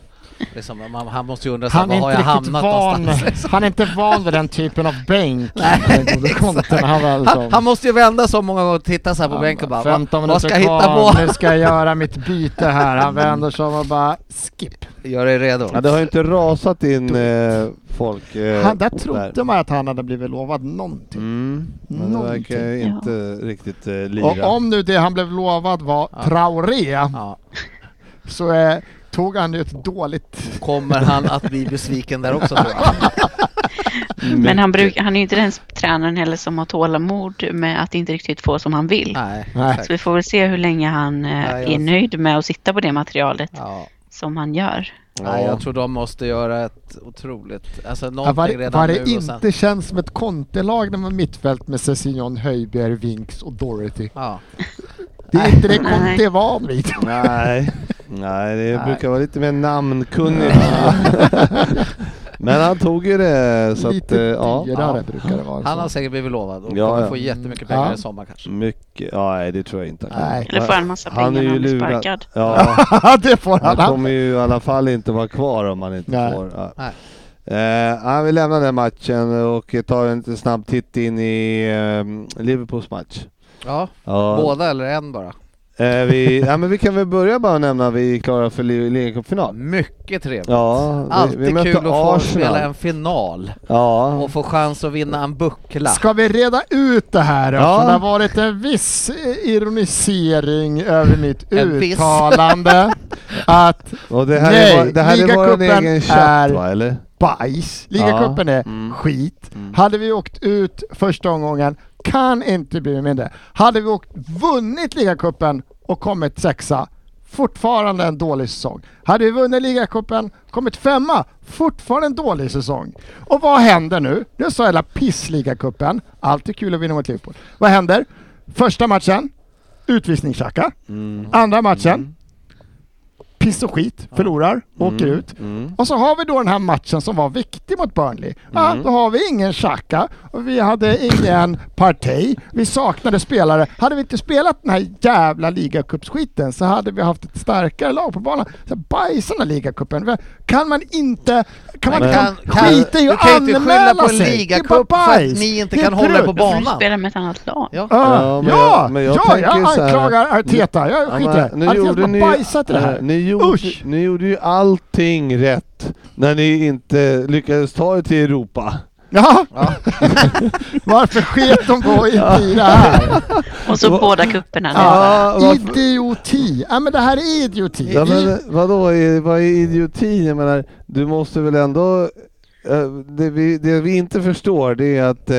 [SPEAKER 4] liksom man, han måste ju undra så här,
[SPEAKER 6] Han är,
[SPEAKER 4] var har jag
[SPEAKER 6] inte riktigt
[SPEAKER 4] hamnat
[SPEAKER 6] van,
[SPEAKER 4] någonstans?
[SPEAKER 6] han är inte van vid den typen av
[SPEAKER 4] (laughs)
[SPEAKER 6] bänk. Nej, konten, han väl
[SPEAKER 4] Han,
[SPEAKER 6] liksom.
[SPEAKER 4] han måste ju vända så många gånger och titta så här på
[SPEAKER 6] Han
[SPEAKER 4] bänken och
[SPEAKER 6] bara,
[SPEAKER 4] bara, vad,
[SPEAKER 6] 15
[SPEAKER 4] vad ska jag
[SPEAKER 6] minuter
[SPEAKER 4] hitta
[SPEAKER 6] kvar,
[SPEAKER 4] på?
[SPEAKER 6] Nu ska jag göra mitt byte här. Han vänder sig om och bara skip.
[SPEAKER 4] (laughs) Gör dig redo.
[SPEAKER 3] Ja, det har ju inte rasat in eh, folk. Eh,
[SPEAKER 6] Han, där
[SPEAKER 3] där.
[SPEAKER 6] trodde man att han hade blivit lovad någonting.
[SPEAKER 3] Mm, men det
[SPEAKER 6] Någonting.
[SPEAKER 3] verkar ju inte riktigt eh, lira.
[SPEAKER 6] Och om nu det han blev lovad var Traoré
[SPEAKER 4] Ja.
[SPEAKER 6] så eh, tog han ju ett dåligt...
[SPEAKER 4] Kommer han att bli besviken där också tror
[SPEAKER 6] (laughs)
[SPEAKER 4] jag?
[SPEAKER 5] Men han, bruk, han är ju inte den tränaren heller som har tålamod med att inte riktigt få som han vill.
[SPEAKER 4] Nej.
[SPEAKER 6] Nej.
[SPEAKER 4] exakt.
[SPEAKER 5] Så vi får väl se hur länge han eh,
[SPEAKER 4] Ja, jag-
[SPEAKER 5] är nöjd med att sitta på det materialet
[SPEAKER 4] Ja.
[SPEAKER 5] som han gör.
[SPEAKER 4] Nej, jag tror de måste göra ett otroligt, alltså
[SPEAKER 6] Ja,
[SPEAKER 4] någonting
[SPEAKER 6] Vad det,
[SPEAKER 4] redan
[SPEAKER 6] vad
[SPEAKER 4] nu
[SPEAKER 6] det
[SPEAKER 4] och sen.
[SPEAKER 6] inte känns som ett kontelag när man mittfält med Cessignon, Höjbjerg, Winks och Doherty.
[SPEAKER 4] Ja.
[SPEAKER 6] Det är inte det
[SPEAKER 5] Nej.
[SPEAKER 6] Conte är van vid. (laughs)
[SPEAKER 3] Nej. Nej, det
[SPEAKER 4] Nej.
[SPEAKER 3] brukar vara lite mer namnkunnig. (laughs) men han tog ju det så att, eh,
[SPEAKER 6] Lite
[SPEAKER 3] ja.
[SPEAKER 6] dyrare
[SPEAKER 4] Ja.
[SPEAKER 6] brukar det vara.
[SPEAKER 4] Han
[SPEAKER 6] så. (laughs)
[SPEAKER 4] har säkert blivit lovad och
[SPEAKER 3] Ja,
[SPEAKER 4] kommer
[SPEAKER 3] ja.
[SPEAKER 4] få jättemycket pengar
[SPEAKER 6] Ja.
[SPEAKER 4] i sommar kanske.
[SPEAKER 3] Mycket, ja, nej det tror jag inte.
[SPEAKER 6] Nej.
[SPEAKER 5] Eller får han massa pengar när han blir sparkad.
[SPEAKER 3] Ja,
[SPEAKER 6] det får
[SPEAKER 3] han
[SPEAKER 6] han. han.
[SPEAKER 3] kommer ju i alla fall inte vara kvar om han inte
[SPEAKER 6] Nej.
[SPEAKER 3] får. Ja.
[SPEAKER 4] Nej.
[SPEAKER 3] Eh, ja, vi lämnar den matchen och tar en liten snabb titt in i eh, Liverpools match.
[SPEAKER 4] Ja,
[SPEAKER 3] Ja.
[SPEAKER 4] båda eller en bara.
[SPEAKER 3] Eh, vi, ja, men vi kan väl börja bara nämna att vi är klara för li- ligacupfinal.
[SPEAKER 4] Mycket trevligt.
[SPEAKER 3] Ja,
[SPEAKER 4] Alltid
[SPEAKER 3] vi, vi mötte
[SPEAKER 4] kul att få spela
[SPEAKER 3] Arsenal.
[SPEAKER 4] en final
[SPEAKER 3] Ja,
[SPEAKER 4] och få chans att vinna en buckla.
[SPEAKER 6] Ska vi reda ut det här då?
[SPEAKER 3] Ja.
[SPEAKER 6] För det har varit en viss eh, ironisering över mitt
[SPEAKER 4] En viss.
[SPEAKER 6] uttalande
[SPEAKER 4] (laughs)
[SPEAKER 6] att
[SPEAKER 3] och det här
[SPEAKER 6] Nej,
[SPEAKER 3] är, vår- det här är vår
[SPEAKER 6] ligacupen
[SPEAKER 3] egen chatt
[SPEAKER 6] är-
[SPEAKER 3] va, eller?
[SPEAKER 6] bajs, ligacupen är skit. Hade vi åkt ut första omgången, kan inte bli mindre. Hade vi åkt, vunnit ligacupen och kommit sexa, fortfarande en dålig säsong. Hade vi vunnit ligacupen, kommit femma, fortfarande en dålig säsong. Och vad händer nu? Nu sa hela piss-ligacupen, alltid kul att vinna mot Liverpool. Vad händer? Första matchen, utvisningstjacka.
[SPEAKER 3] Mm.
[SPEAKER 6] Andra matchen, piss och skit, förlorar, åker ut.
[SPEAKER 3] Mm.
[SPEAKER 6] Mm. Och så har vi då den här matchen som var viktig mot Burnley.
[SPEAKER 3] Mm.
[SPEAKER 6] Ja, då har vi ingen Xhaka, och vi hade ingen Partey, vi saknade spelare. Hade vi inte spelat den här jävla ligacupskiten så hade vi haft ett starkare lag på banan. Så bajsa den här ligacupen. Kan man inte... Kan man
[SPEAKER 4] Men
[SPEAKER 6] kan,
[SPEAKER 4] kan- kan-
[SPEAKER 6] skita i
[SPEAKER 4] du
[SPEAKER 6] att
[SPEAKER 4] kan ju inte skylla på
[SPEAKER 6] anmäla sig?
[SPEAKER 4] en
[SPEAKER 6] Det är
[SPEAKER 4] ligacup
[SPEAKER 6] bara
[SPEAKER 4] för att
[SPEAKER 6] bajs.
[SPEAKER 4] ni inte
[SPEAKER 6] Det är
[SPEAKER 4] kan hålla er på
[SPEAKER 6] trut.
[SPEAKER 5] Då får du
[SPEAKER 4] Banan.
[SPEAKER 5] spela med ett annat lag.
[SPEAKER 4] Ja.
[SPEAKER 6] Ja,
[SPEAKER 3] men
[SPEAKER 6] ja,
[SPEAKER 3] jag- men jag
[SPEAKER 6] jag,
[SPEAKER 3] tänker
[SPEAKER 6] jag
[SPEAKER 3] så här-
[SPEAKER 6] anklagar Arteta. Jag
[SPEAKER 3] Ja,
[SPEAKER 6] skiter i det.
[SPEAKER 3] men
[SPEAKER 6] Arteta bara bajsat i det
[SPEAKER 3] eh,
[SPEAKER 6] här.
[SPEAKER 3] Ni gjorde,
[SPEAKER 6] Usch!
[SPEAKER 3] ni gjorde ju allting rätt när ni inte lyckades ta er till Europa.
[SPEAKER 6] Ja. (laughs) Varför sket de på i det här?
[SPEAKER 5] Och så båda kupperna. nu.
[SPEAKER 3] Ja, varför-
[SPEAKER 6] Idioti! Ja men det här är idioti.
[SPEAKER 3] Ja,
[SPEAKER 6] Vi-
[SPEAKER 3] men, vadå, är- vad är idioti? Jag menar, du måste väl ändå... eh, Det vi, det vi inte förstår det är att eh,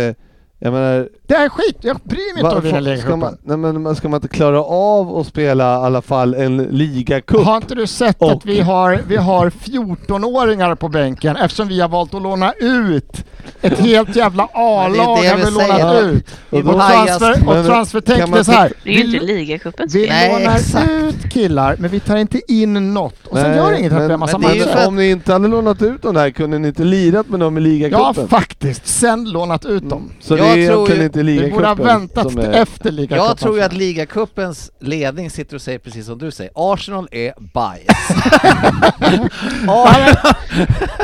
[SPEAKER 3] Jag menar,
[SPEAKER 6] Det här är skit, jag bryr mig inte om dina
[SPEAKER 3] varför, ska, man,
[SPEAKER 6] ligacupper.
[SPEAKER 3] nej, men, man- ska man inte klara av att spela i alla fall en ligacup?
[SPEAKER 6] Har inte du sett
[SPEAKER 3] Och-
[SPEAKER 6] att vi har, vi har 14-åringar på bänken eftersom vi har valt att låna ut ett
[SPEAKER 3] (laughs)
[SPEAKER 6] helt jävla A-lag
[SPEAKER 4] det
[SPEAKER 6] har
[SPEAKER 4] vi
[SPEAKER 6] vi lånat
[SPEAKER 4] säger.
[SPEAKER 6] ut.
[SPEAKER 4] Vi
[SPEAKER 6] Och
[SPEAKER 4] var hajast.
[SPEAKER 6] transfer,
[SPEAKER 3] Men-
[SPEAKER 6] och transfertäcket
[SPEAKER 3] kan man
[SPEAKER 6] är så här.
[SPEAKER 5] Det är ju
[SPEAKER 6] Vi,
[SPEAKER 5] inte ligacupens
[SPEAKER 6] vi
[SPEAKER 5] fel.
[SPEAKER 4] Nej,
[SPEAKER 6] lånar
[SPEAKER 4] exakt.
[SPEAKER 6] ut killar men vi tar inte in något. Och sen
[SPEAKER 3] Nej,
[SPEAKER 6] gör inget att vi har
[SPEAKER 3] men,
[SPEAKER 6] massa
[SPEAKER 3] men det är ju
[SPEAKER 4] matcher.
[SPEAKER 3] Om ni inte hade lånat ut de där, kunde ni inte lirat med dem i
[SPEAKER 6] Ja
[SPEAKER 3] ligacupen?
[SPEAKER 6] faktiskt, sen lånat ut dem.
[SPEAKER 3] Så
[SPEAKER 4] Jag
[SPEAKER 3] det är
[SPEAKER 4] tror
[SPEAKER 3] egentligen
[SPEAKER 4] ju-
[SPEAKER 3] inte
[SPEAKER 6] Vi borde ha
[SPEAKER 3] ligacupen
[SPEAKER 6] väntat
[SPEAKER 3] som
[SPEAKER 6] till
[SPEAKER 3] är...
[SPEAKER 6] efter ligacupen.
[SPEAKER 4] Jag tror ju att ligacupens ledning sitter och säger precis som du säger, Arsenal är bajs.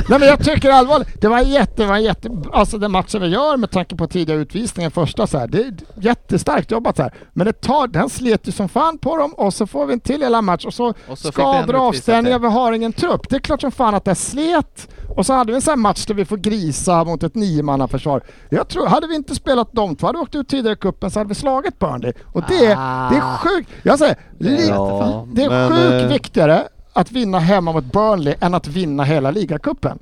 [SPEAKER 6] Nej men jag tycker allvarligt, det var jätte, det var jätte, alltså den matchen vi gör med tanke på tidiga utvisningen första så här, det är jättestarkt jobbat så här. Men det tar, den slet ju som fan på dem och så får vi en till hela match och så,
[SPEAKER 4] Och så fick vi
[SPEAKER 6] skador
[SPEAKER 4] ändå
[SPEAKER 6] och
[SPEAKER 4] utvisat
[SPEAKER 6] avstängningar,
[SPEAKER 4] det.
[SPEAKER 6] vi har ingen trupp. Det är klart som fan att det slet. Och så hade vi en sån här match där vi får grisa mot ett niomannaförsvar. Jag tror, hade vi inte spelat de två, hade vi åkt ut tidigare i cupen så hade vi slagit Burnley. Och det, det
[SPEAKER 4] Ah.
[SPEAKER 6] är sjukt. Jag säger, li-
[SPEAKER 3] Ja,
[SPEAKER 6] det är
[SPEAKER 3] men, eh,
[SPEAKER 6] sjukt viktigare att vinna hemma mot Burnley än att vinna hela ligacupen.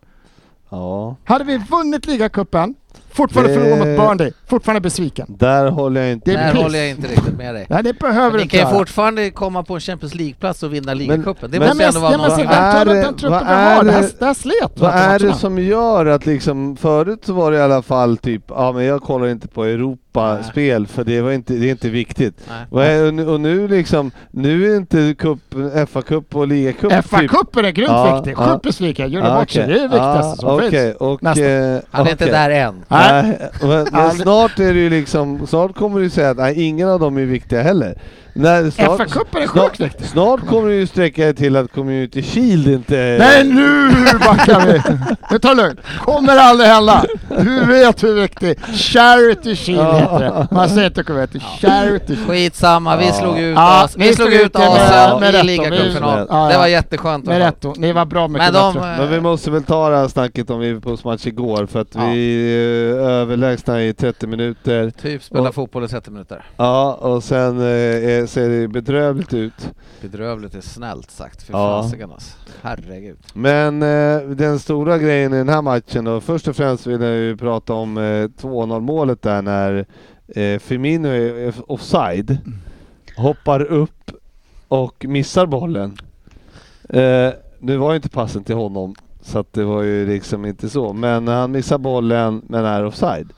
[SPEAKER 3] Ja,
[SPEAKER 6] Hade vi vunnit ligacupen, fortfarande
[SPEAKER 3] Det-
[SPEAKER 6] förlorat mot Burnley, fortfarande besviken.
[SPEAKER 3] där håller jag inte
[SPEAKER 6] Det är
[SPEAKER 4] Där
[SPEAKER 6] piss.
[SPEAKER 4] håller jag inte riktigt med dig.
[SPEAKER 6] Nej, det behöver du
[SPEAKER 4] Ni
[SPEAKER 6] inte
[SPEAKER 4] kan ju
[SPEAKER 6] göra.
[SPEAKER 4] fortfarande komma på en Champions League-plats och vinna ligacupen. Det
[SPEAKER 3] men-
[SPEAKER 4] måste
[SPEAKER 6] Nej,
[SPEAKER 4] ändå
[SPEAKER 6] men,
[SPEAKER 4] vara
[SPEAKER 6] nej, men se,
[SPEAKER 4] någonting.
[SPEAKER 3] vad
[SPEAKER 6] den,
[SPEAKER 3] är det-
[SPEAKER 6] truppen- den
[SPEAKER 3] vad
[SPEAKER 6] truppen vi har,
[SPEAKER 3] är
[SPEAKER 6] det här,
[SPEAKER 3] det-
[SPEAKER 6] det här slet
[SPEAKER 3] Vad är det
[SPEAKER 6] matcherna.
[SPEAKER 3] som gör att liksom, förut så var det i alla fall typ, ja men jag kollar inte på Europaspel för det, var inte, det är inte viktigt.
[SPEAKER 4] Nej.
[SPEAKER 3] Vad är, och nu- och nu liksom, nu är inte cupen- FA-cup och ligacup typ-
[SPEAKER 6] FA-cupen är grymt
[SPEAKER 3] Ja,
[SPEAKER 6] viktig.
[SPEAKER 3] ja.
[SPEAKER 6] Sjukt besviken. Gjorde
[SPEAKER 3] Ja,
[SPEAKER 6] bort sig.
[SPEAKER 3] Ah, okej.
[SPEAKER 6] Det är det viktigaste som
[SPEAKER 3] Ja, okej,
[SPEAKER 6] finns.
[SPEAKER 3] och,
[SPEAKER 6] Nästa.
[SPEAKER 3] eh,
[SPEAKER 4] Han är inte
[SPEAKER 3] okej.
[SPEAKER 4] där än.
[SPEAKER 6] Nej.
[SPEAKER 3] Nej, eh, men, men snart är det ju liksom, snart kommer du säga att nej, ingen av dem är viktiga heller. När snart-
[SPEAKER 6] FA-cupen är
[SPEAKER 3] snart-
[SPEAKER 6] sjukt viktig.
[SPEAKER 3] Snart kommer du ju sträcka dig till att Community Shield inte...
[SPEAKER 6] Nej, nu backar vi! Nu tar det lugnt. Kommer aldrig hända. Du vet hur viktig Charity Shield heter det. Man säger inte community, Charity Shield.
[SPEAKER 4] Skitsamma, vi
[SPEAKER 3] Ja.
[SPEAKER 4] slog ut
[SPEAKER 6] Ja,
[SPEAKER 4] AS.
[SPEAKER 6] ni
[SPEAKER 4] Vi slog ut
[SPEAKER 6] er med-
[SPEAKER 4] Asien
[SPEAKER 6] med
[SPEAKER 4] i
[SPEAKER 6] rätt,
[SPEAKER 4] ligacupfinal.
[SPEAKER 3] med-
[SPEAKER 6] ja,
[SPEAKER 4] Det var
[SPEAKER 6] ja.
[SPEAKER 4] jätterskönt.
[SPEAKER 6] Med rätt då. Ni var bra mycket
[SPEAKER 4] Men de...
[SPEAKER 6] bättre.
[SPEAKER 3] Men vi måste väl ta det här snacket om Liverpools match igår för att
[SPEAKER 4] Ja.
[SPEAKER 3] vi är överlägsna i 30 minuter.
[SPEAKER 4] Typ spela
[SPEAKER 3] Och-
[SPEAKER 4] fotboll i 30 minuter.
[SPEAKER 3] Ja, och sen eh, är- ser det bedrövligt ut.
[SPEAKER 4] Bedrövligt är snällt sagt. Fy
[SPEAKER 3] Ja.
[SPEAKER 4] fasiken alltså. Herregud.
[SPEAKER 3] Men eh, den stora grejen i den här matchen då, först och främst vill jag ju prata om eh, 2-0 målet där när eh, Firmino är är offside, hoppar upp och missar bollen. Eh, nu var ju inte passen till honom så att det var ju liksom inte så, men han missar bollen men är offside.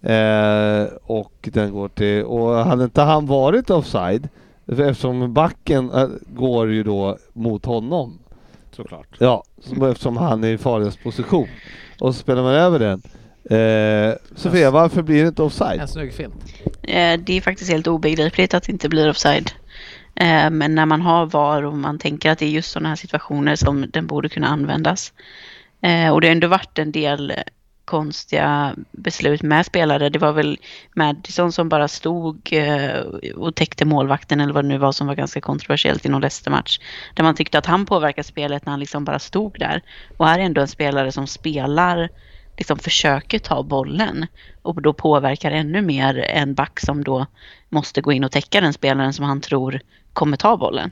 [SPEAKER 3] Eh, och den går till, och hade inte han varit offside, eftersom backen eh, går ju då mot honom
[SPEAKER 4] Såklart.
[SPEAKER 3] Ja, som, eftersom han är i farligast position. Och så spelar man över den. Eh, Sofia, varför blir det inte offside?
[SPEAKER 4] En snygg fint.
[SPEAKER 5] Eh, Det är faktiskt helt obegripligt att det inte blir offside. Eh, Men när man har VAR och man tänker att det är just sådana här situationer som den borde kunna användas. Eh, Och det har ändå varit en del konstiga beslut med spelare. Det var väl Madison som bara stod eh, och täckte målvakten eller vad det nu var som var ganska kontroversiellt i någon Leicester-match. Där man tyckte att han påverkade spelet när han liksom bara stod där. Och här är ändå en spelare som spelar liksom försöker ta bollen och då påverkar ännu mer en back som då måste gå in och täcka den spelaren som han tror kommer ta bollen.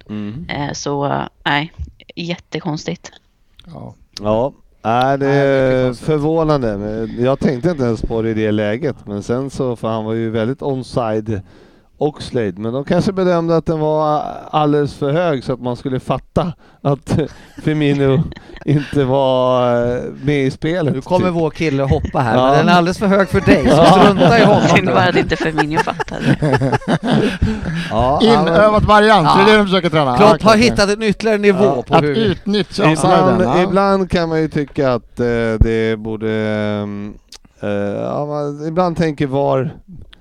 [SPEAKER 5] Eh, Så nej, jättekonstigt.
[SPEAKER 6] Ja.
[SPEAKER 3] Ja, nej, det
[SPEAKER 4] Nej, det är
[SPEAKER 3] är
[SPEAKER 4] konstigt.
[SPEAKER 3] förvånande. Men Jag tänkte inte ens på det i det läget, men sen så, för han var ju väldigt onside Oxlade, men de kanske bedömde att den var alldeles för hög så att man skulle fatta att (laughs) Firmino inte var eh, med i spelet.
[SPEAKER 4] Nu kommer
[SPEAKER 3] typ.
[SPEAKER 4] vår kille hoppa här,
[SPEAKER 3] Ja.
[SPEAKER 4] men den är alldeles för hög för dig,
[SPEAKER 5] (laughs)
[SPEAKER 4] så
[SPEAKER 3] Ja.
[SPEAKER 4] strunta i honom
[SPEAKER 5] Synd bara
[SPEAKER 4] nu.
[SPEAKER 5] att inte
[SPEAKER 4] (laughs)
[SPEAKER 5] Firmino fattade.
[SPEAKER 3] ja, ja, men-
[SPEAKER 6] Inövat variant, det är det de försöker träna. Ja,
[SPEAKER 4] Klopp
[SPEAKER 6] okej,
[SPEAKER 4] har
[SPEAKER 6] okej.
[SPEAKER 4] hittat en ytterligare nivå
[SPEAKER 3] Ja.
[SPEAKER 4] på
[SPEAKER 6] Att
[SPEAKER 4] hur...
[SPEAKER 6] utnyttja
[SPEAKER 3] Ibland,
[SPEAKER 6] offsiden. ja.
[SPEAKER 3] ibland kan man ju tycka att eh, det borde... ehm, eh, ja, man, ibland tänker VAR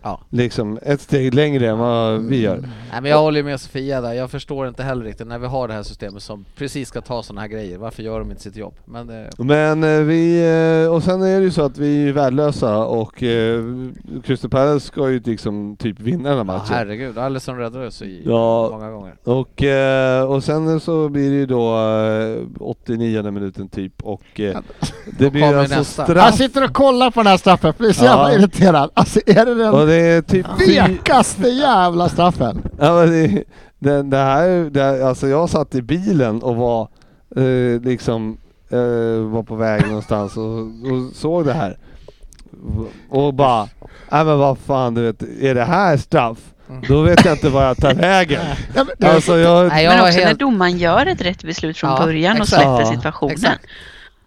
[SPEAKER 4] Ja.
[SPEAKER 3] liksom ett steg längre än vad vi gör.
[SPEAKER 4] Nej men jag håller ju med Sofia där, jag förstår inte heller riktigt när vi har det här systemet som precis ska ta sådana här grejer, varför gör de inte sitt jobb? Men eh,
[SPEAKER 3] Men eh, vi... Eh, och sen är det ju så att vi är värdelösa och eh, Crystal Palace ska ju liksom typ vinna den här
[SPEAKER 4] ja,
[SPEAKER 3] matchen.
[SPEAKER 4] ah, herregud, Alisson räddade oss i
[SPEAKER 3] Ja.
[SPEAKER 4] många gånger.
[SPEAKER 3] och, eh, och sen så blir det ju då eh, 89 minuten typ och eh, det blir
[SPEAKER 4] kommer
[SPEAKER 3] alltså
[SPEAKER 4] nästa.
[SPEAKER 6] Han
[SPEAKER 3] straff
[SPEAKER 6] sitter och kollar på den här straffen, blir så
[SPEAKER 3] Ja.
[SPEAKER 6] jävla irriterad. Alltså är det
[SPEAKER 3] och
[SPEAKER 6] den
[SPEAKER 3] det är typ fy-
[SPEAKER 6] vekaste jävla straffen?
[SPEAKER 3] Ja, men det, det, det här, det, här- alltså jag satt i bilen och var eh, liksom eh, var på väg någonstans och, och såg det här. och bara Nej men vad fan du vet, är det här straff? Då vet jag inte vad jag tar vägen.
[SPEAKER 6] Ja, men, det,
[SPEAKER 3] Alltså jag...
[SPEAKER 4] Nej, jag
[SPEAKER 5] Men
[SPEAKER 4] var
[SPEAKER 5] också när
[SPEAKER 4] helt...
[SPEAKER 5] domaren gör ett rätt beslut från
[SPEAKER 4] Ja,
[SPEAKER 5] början och
[SPEAKER 4] exakt.
[SPEAKER 5] släpper
[SPEAKER 3] Ja,
[SPEAKER 5] situationen.
[SPEAKER 4] exakt.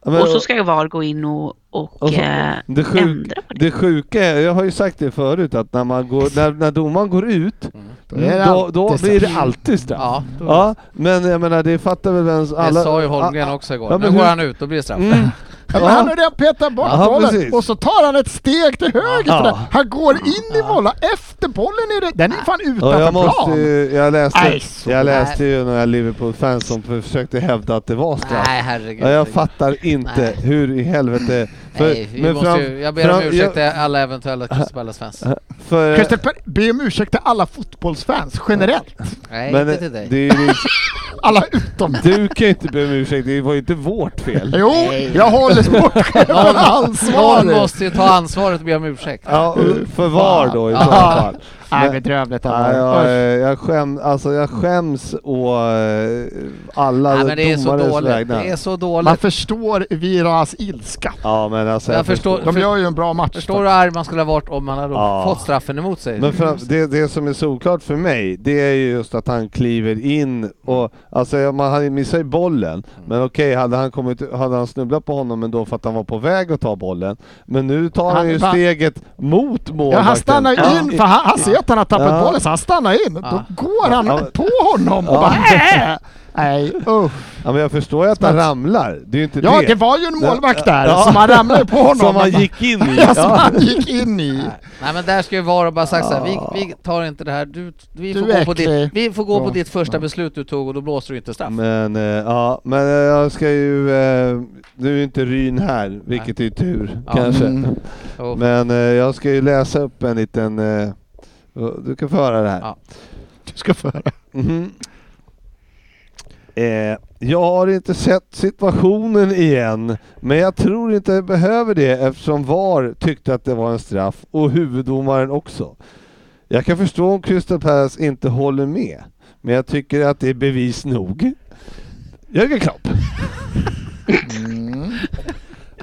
[SPEAKER 3] men,
[SPEAKER 5] Och så ska VAR gå in och, och,
[SPEAKER 3] Och så-
[SPEAKER 5] eh,
[SPEAKER 3] det, sjuk,
[SPEAKER 5] ändra på det.
[SPEAKER 3] det sjuka är, jag har ju sagt det förut, att när, man går, när, när domaren går ut,
[SPEAKER 6] Då är det
[SPEAKER 3] då, då
[SPEAKER 6] alltid
[SPEAKER 3] blir det
[SPEAKER 6] straff.
[SPEAKER 3] alltid straff.
[SPEAKER 4] Ja, då...
[SPEAKER 3] Ja, men jag menar det fattar väl vem...
[SPEAKER 4] det sa ju Holmgren också igår.
[SPEAKER 3] ja, men
[SPEAKER 4] nu går
[SPEAKER 3] hur-
[SPEAKER 4] han ut, då blir det straff.
[SPEAKER 3] Mm.
[SPEAKER 6] ja, men han har redan petat bort
[SPEAKER 3] Ja,
[SPEAKER 6] bollen
[SPEAKER 3] precis.
[SPEAKER 6] och så tar han ett steg till höger
[SPEAKER 3] Ja.
[SPEAKER 6] för det. Han går in i bollen efter bollen. Är det, den är fan
[SPEAKER 3] Ja,
[SPEAKER 6] utanför
[SPEAKER 3] jag, måste,
[SPEAKER 6] plan.
[SPEAKER 3] ju- jag, läste,
[SPEAKER 6] Nej, så-
[SPEAKER 3] jag läste ju några Liverpool-fans som försökte hävda att det var straff.
[SPEAKER 4] Nej, herregud.
[SPEAKER 3] Ja, jag fattar inte
[SPEAKER 4] Nej.
[SPEAKER 3] hur i helvete...
[SPEAKER 4] Nej, vi måste
[SPEAKER 3] fram-
[SPEAKER 4] ju, jag ber om
[SPEAKER 3] fram-
[SPEAKER 4] ursäkt till alla eventuella Crystal Palace-fans.
[SPEAKER 3] för,
[SPEAKER 6] Christer, Per- be om ursäkt till alla fotbollsfans generellt.
[SPEAKER 4] Nej,
[SPEAKER 3] men eh,
[SPEAKER 4] inte till dig.
[SPEAKER 3] det är ju,
[SPEAKER 6] Alla utom
[SPEAKER 3] du kan ju inte be om ursäkt, det var ju inte vårt fel.
[SPEAKER 6] Jo, jag håller sportchefen
[SPEAKER 4] Någon-
[SPEAKER 6] ansvarig.
[SPEAKER 4] Någon måste ju ta ansvaret och be om ursäkt. (laughs)
[SPEAKER 3] Ja, och för VAR då i så
[SPEAKER 6] Ja.
[SPEAKER 3] fall.
[SPEAKER 6] Nej,
[SPEAKER 3] Men-
[SPEAKER 6] bedrövligt.
[SPEAKER 3] Nej, jag,
[SPEAKER 6] Ja,
[SPEAKER 3] jag, skäm, alltså jag skäms å eh, alla
[SPEAKER 4] Nej, men det är så
[SPEAKER 3] domares
[SPEAKER 4] dåligt.
[SPEAKER 3] vägnar.
[SPEAKER 4] Det är så
[SPEAKER 6] Man
[SPEAKER 4] dåligt.
[SPEAKER 6] förstår Viras ilska.
[SPEAKER 3] Ja, men alltså,
[SPEAKER 4] Jag förstår-
[SPEAKER 6] De gör ju en bra match.
[SPEAKER 4] Förstår du hur arg man skulle ha varit om man hade
[SPEAKER 3] Ja.
[SPEAKER 4] fått straffen emot sig?
[SPEAKER 3] Men fram, det, det som är solklart för mig, det är ju just att han kliver in och... Alltså jag- man, han missar ju bollen, men okej, hade, han kommit, hade han snubblat på honom ändå för att han var på väg att ta bollen, men nu tar han,
[SPEAKER 6] Han-
[SPEAKER 3] ju
[SPEAKER 6] va-
[SPEAKER 3] steget mot målvakten.
[SPEAKER 6] Ja, han stannar ju
[SPEAKER 3] Ja.
[SPEAKER 6] in, för han, han ser att han har tappat
[SPEAKER 3] Ja.
[SPEAKER 6] bollen, så han stannar in.
[SPEAKER 4] Ja.
[SPEAKER 6] Då går han
[SPEAKER 3] Ja.
[SPEAKER 6] på honom och
[SPEAKER 3] Ja.
[SPEAKER 6] bara äh! Nej, usch.
[SPEAKER 3] Ja, men jag förstår ju att han ramlar, det är ju inte
[SPEAKER 6] Ja,
[SPEAKER 3] det.
[SPEAKER 6] det var ju en målvakt där,
[SPEAKER 3] Ja.
[SPEAKER 6] som han ramlade på
[SPEAKER 3] (laughs)
[SPEAKER 6] honom.
[SPEAKER 3] Som han
[SPEAKER 6] bara-
[SPEAKER 3] gick in i.
[SPEAKER 6] (laughs) Ja, som han gick in i.
[SPEAKER 4] Nej men där ska ju VAR och bara sagt såhär, vi, vi tar inte det här, du, vi,
[SPEAKER 6] Du
[SPEAKER 4] får gå på
[SPEAKER 6] äcklig.
[SPEAKER 4] ditt, vi får gå på
[SPEAKER 6] Ja.
[SPEAKER 4] ditt första beslut du tog och då blåser du inte straff.
[SPEAKER 3] Men, eh, ja, men eh, jag ska ju... Eh, nu är inte Ryn här, vilket är ju tur
[SPEAKER 4] Ja.
[SPEAKER 3] kanske.
[SPEAKER 6] Mm.
[SPEAKER 4] Och-
[SPEAKER 3] Men eh, jag ska ju läsa upp en liten... Eh, du kan få höra det här.
[SPEAKER 4] Ja.
[SPEAKER 6] Du ska få höra.
[SPEAKER 3] Mhm. Eh, jag har inte sett situationen igen, men jag tror inte jag behöver det eftersom VAR tyckte att det var en straff och huvuddomaren också. Jag kan förstå om Crystal Palace inte håller med, men jag tycker att det är bevis nog. Jörgen Klopp.
[SPEAKER 6] Mm.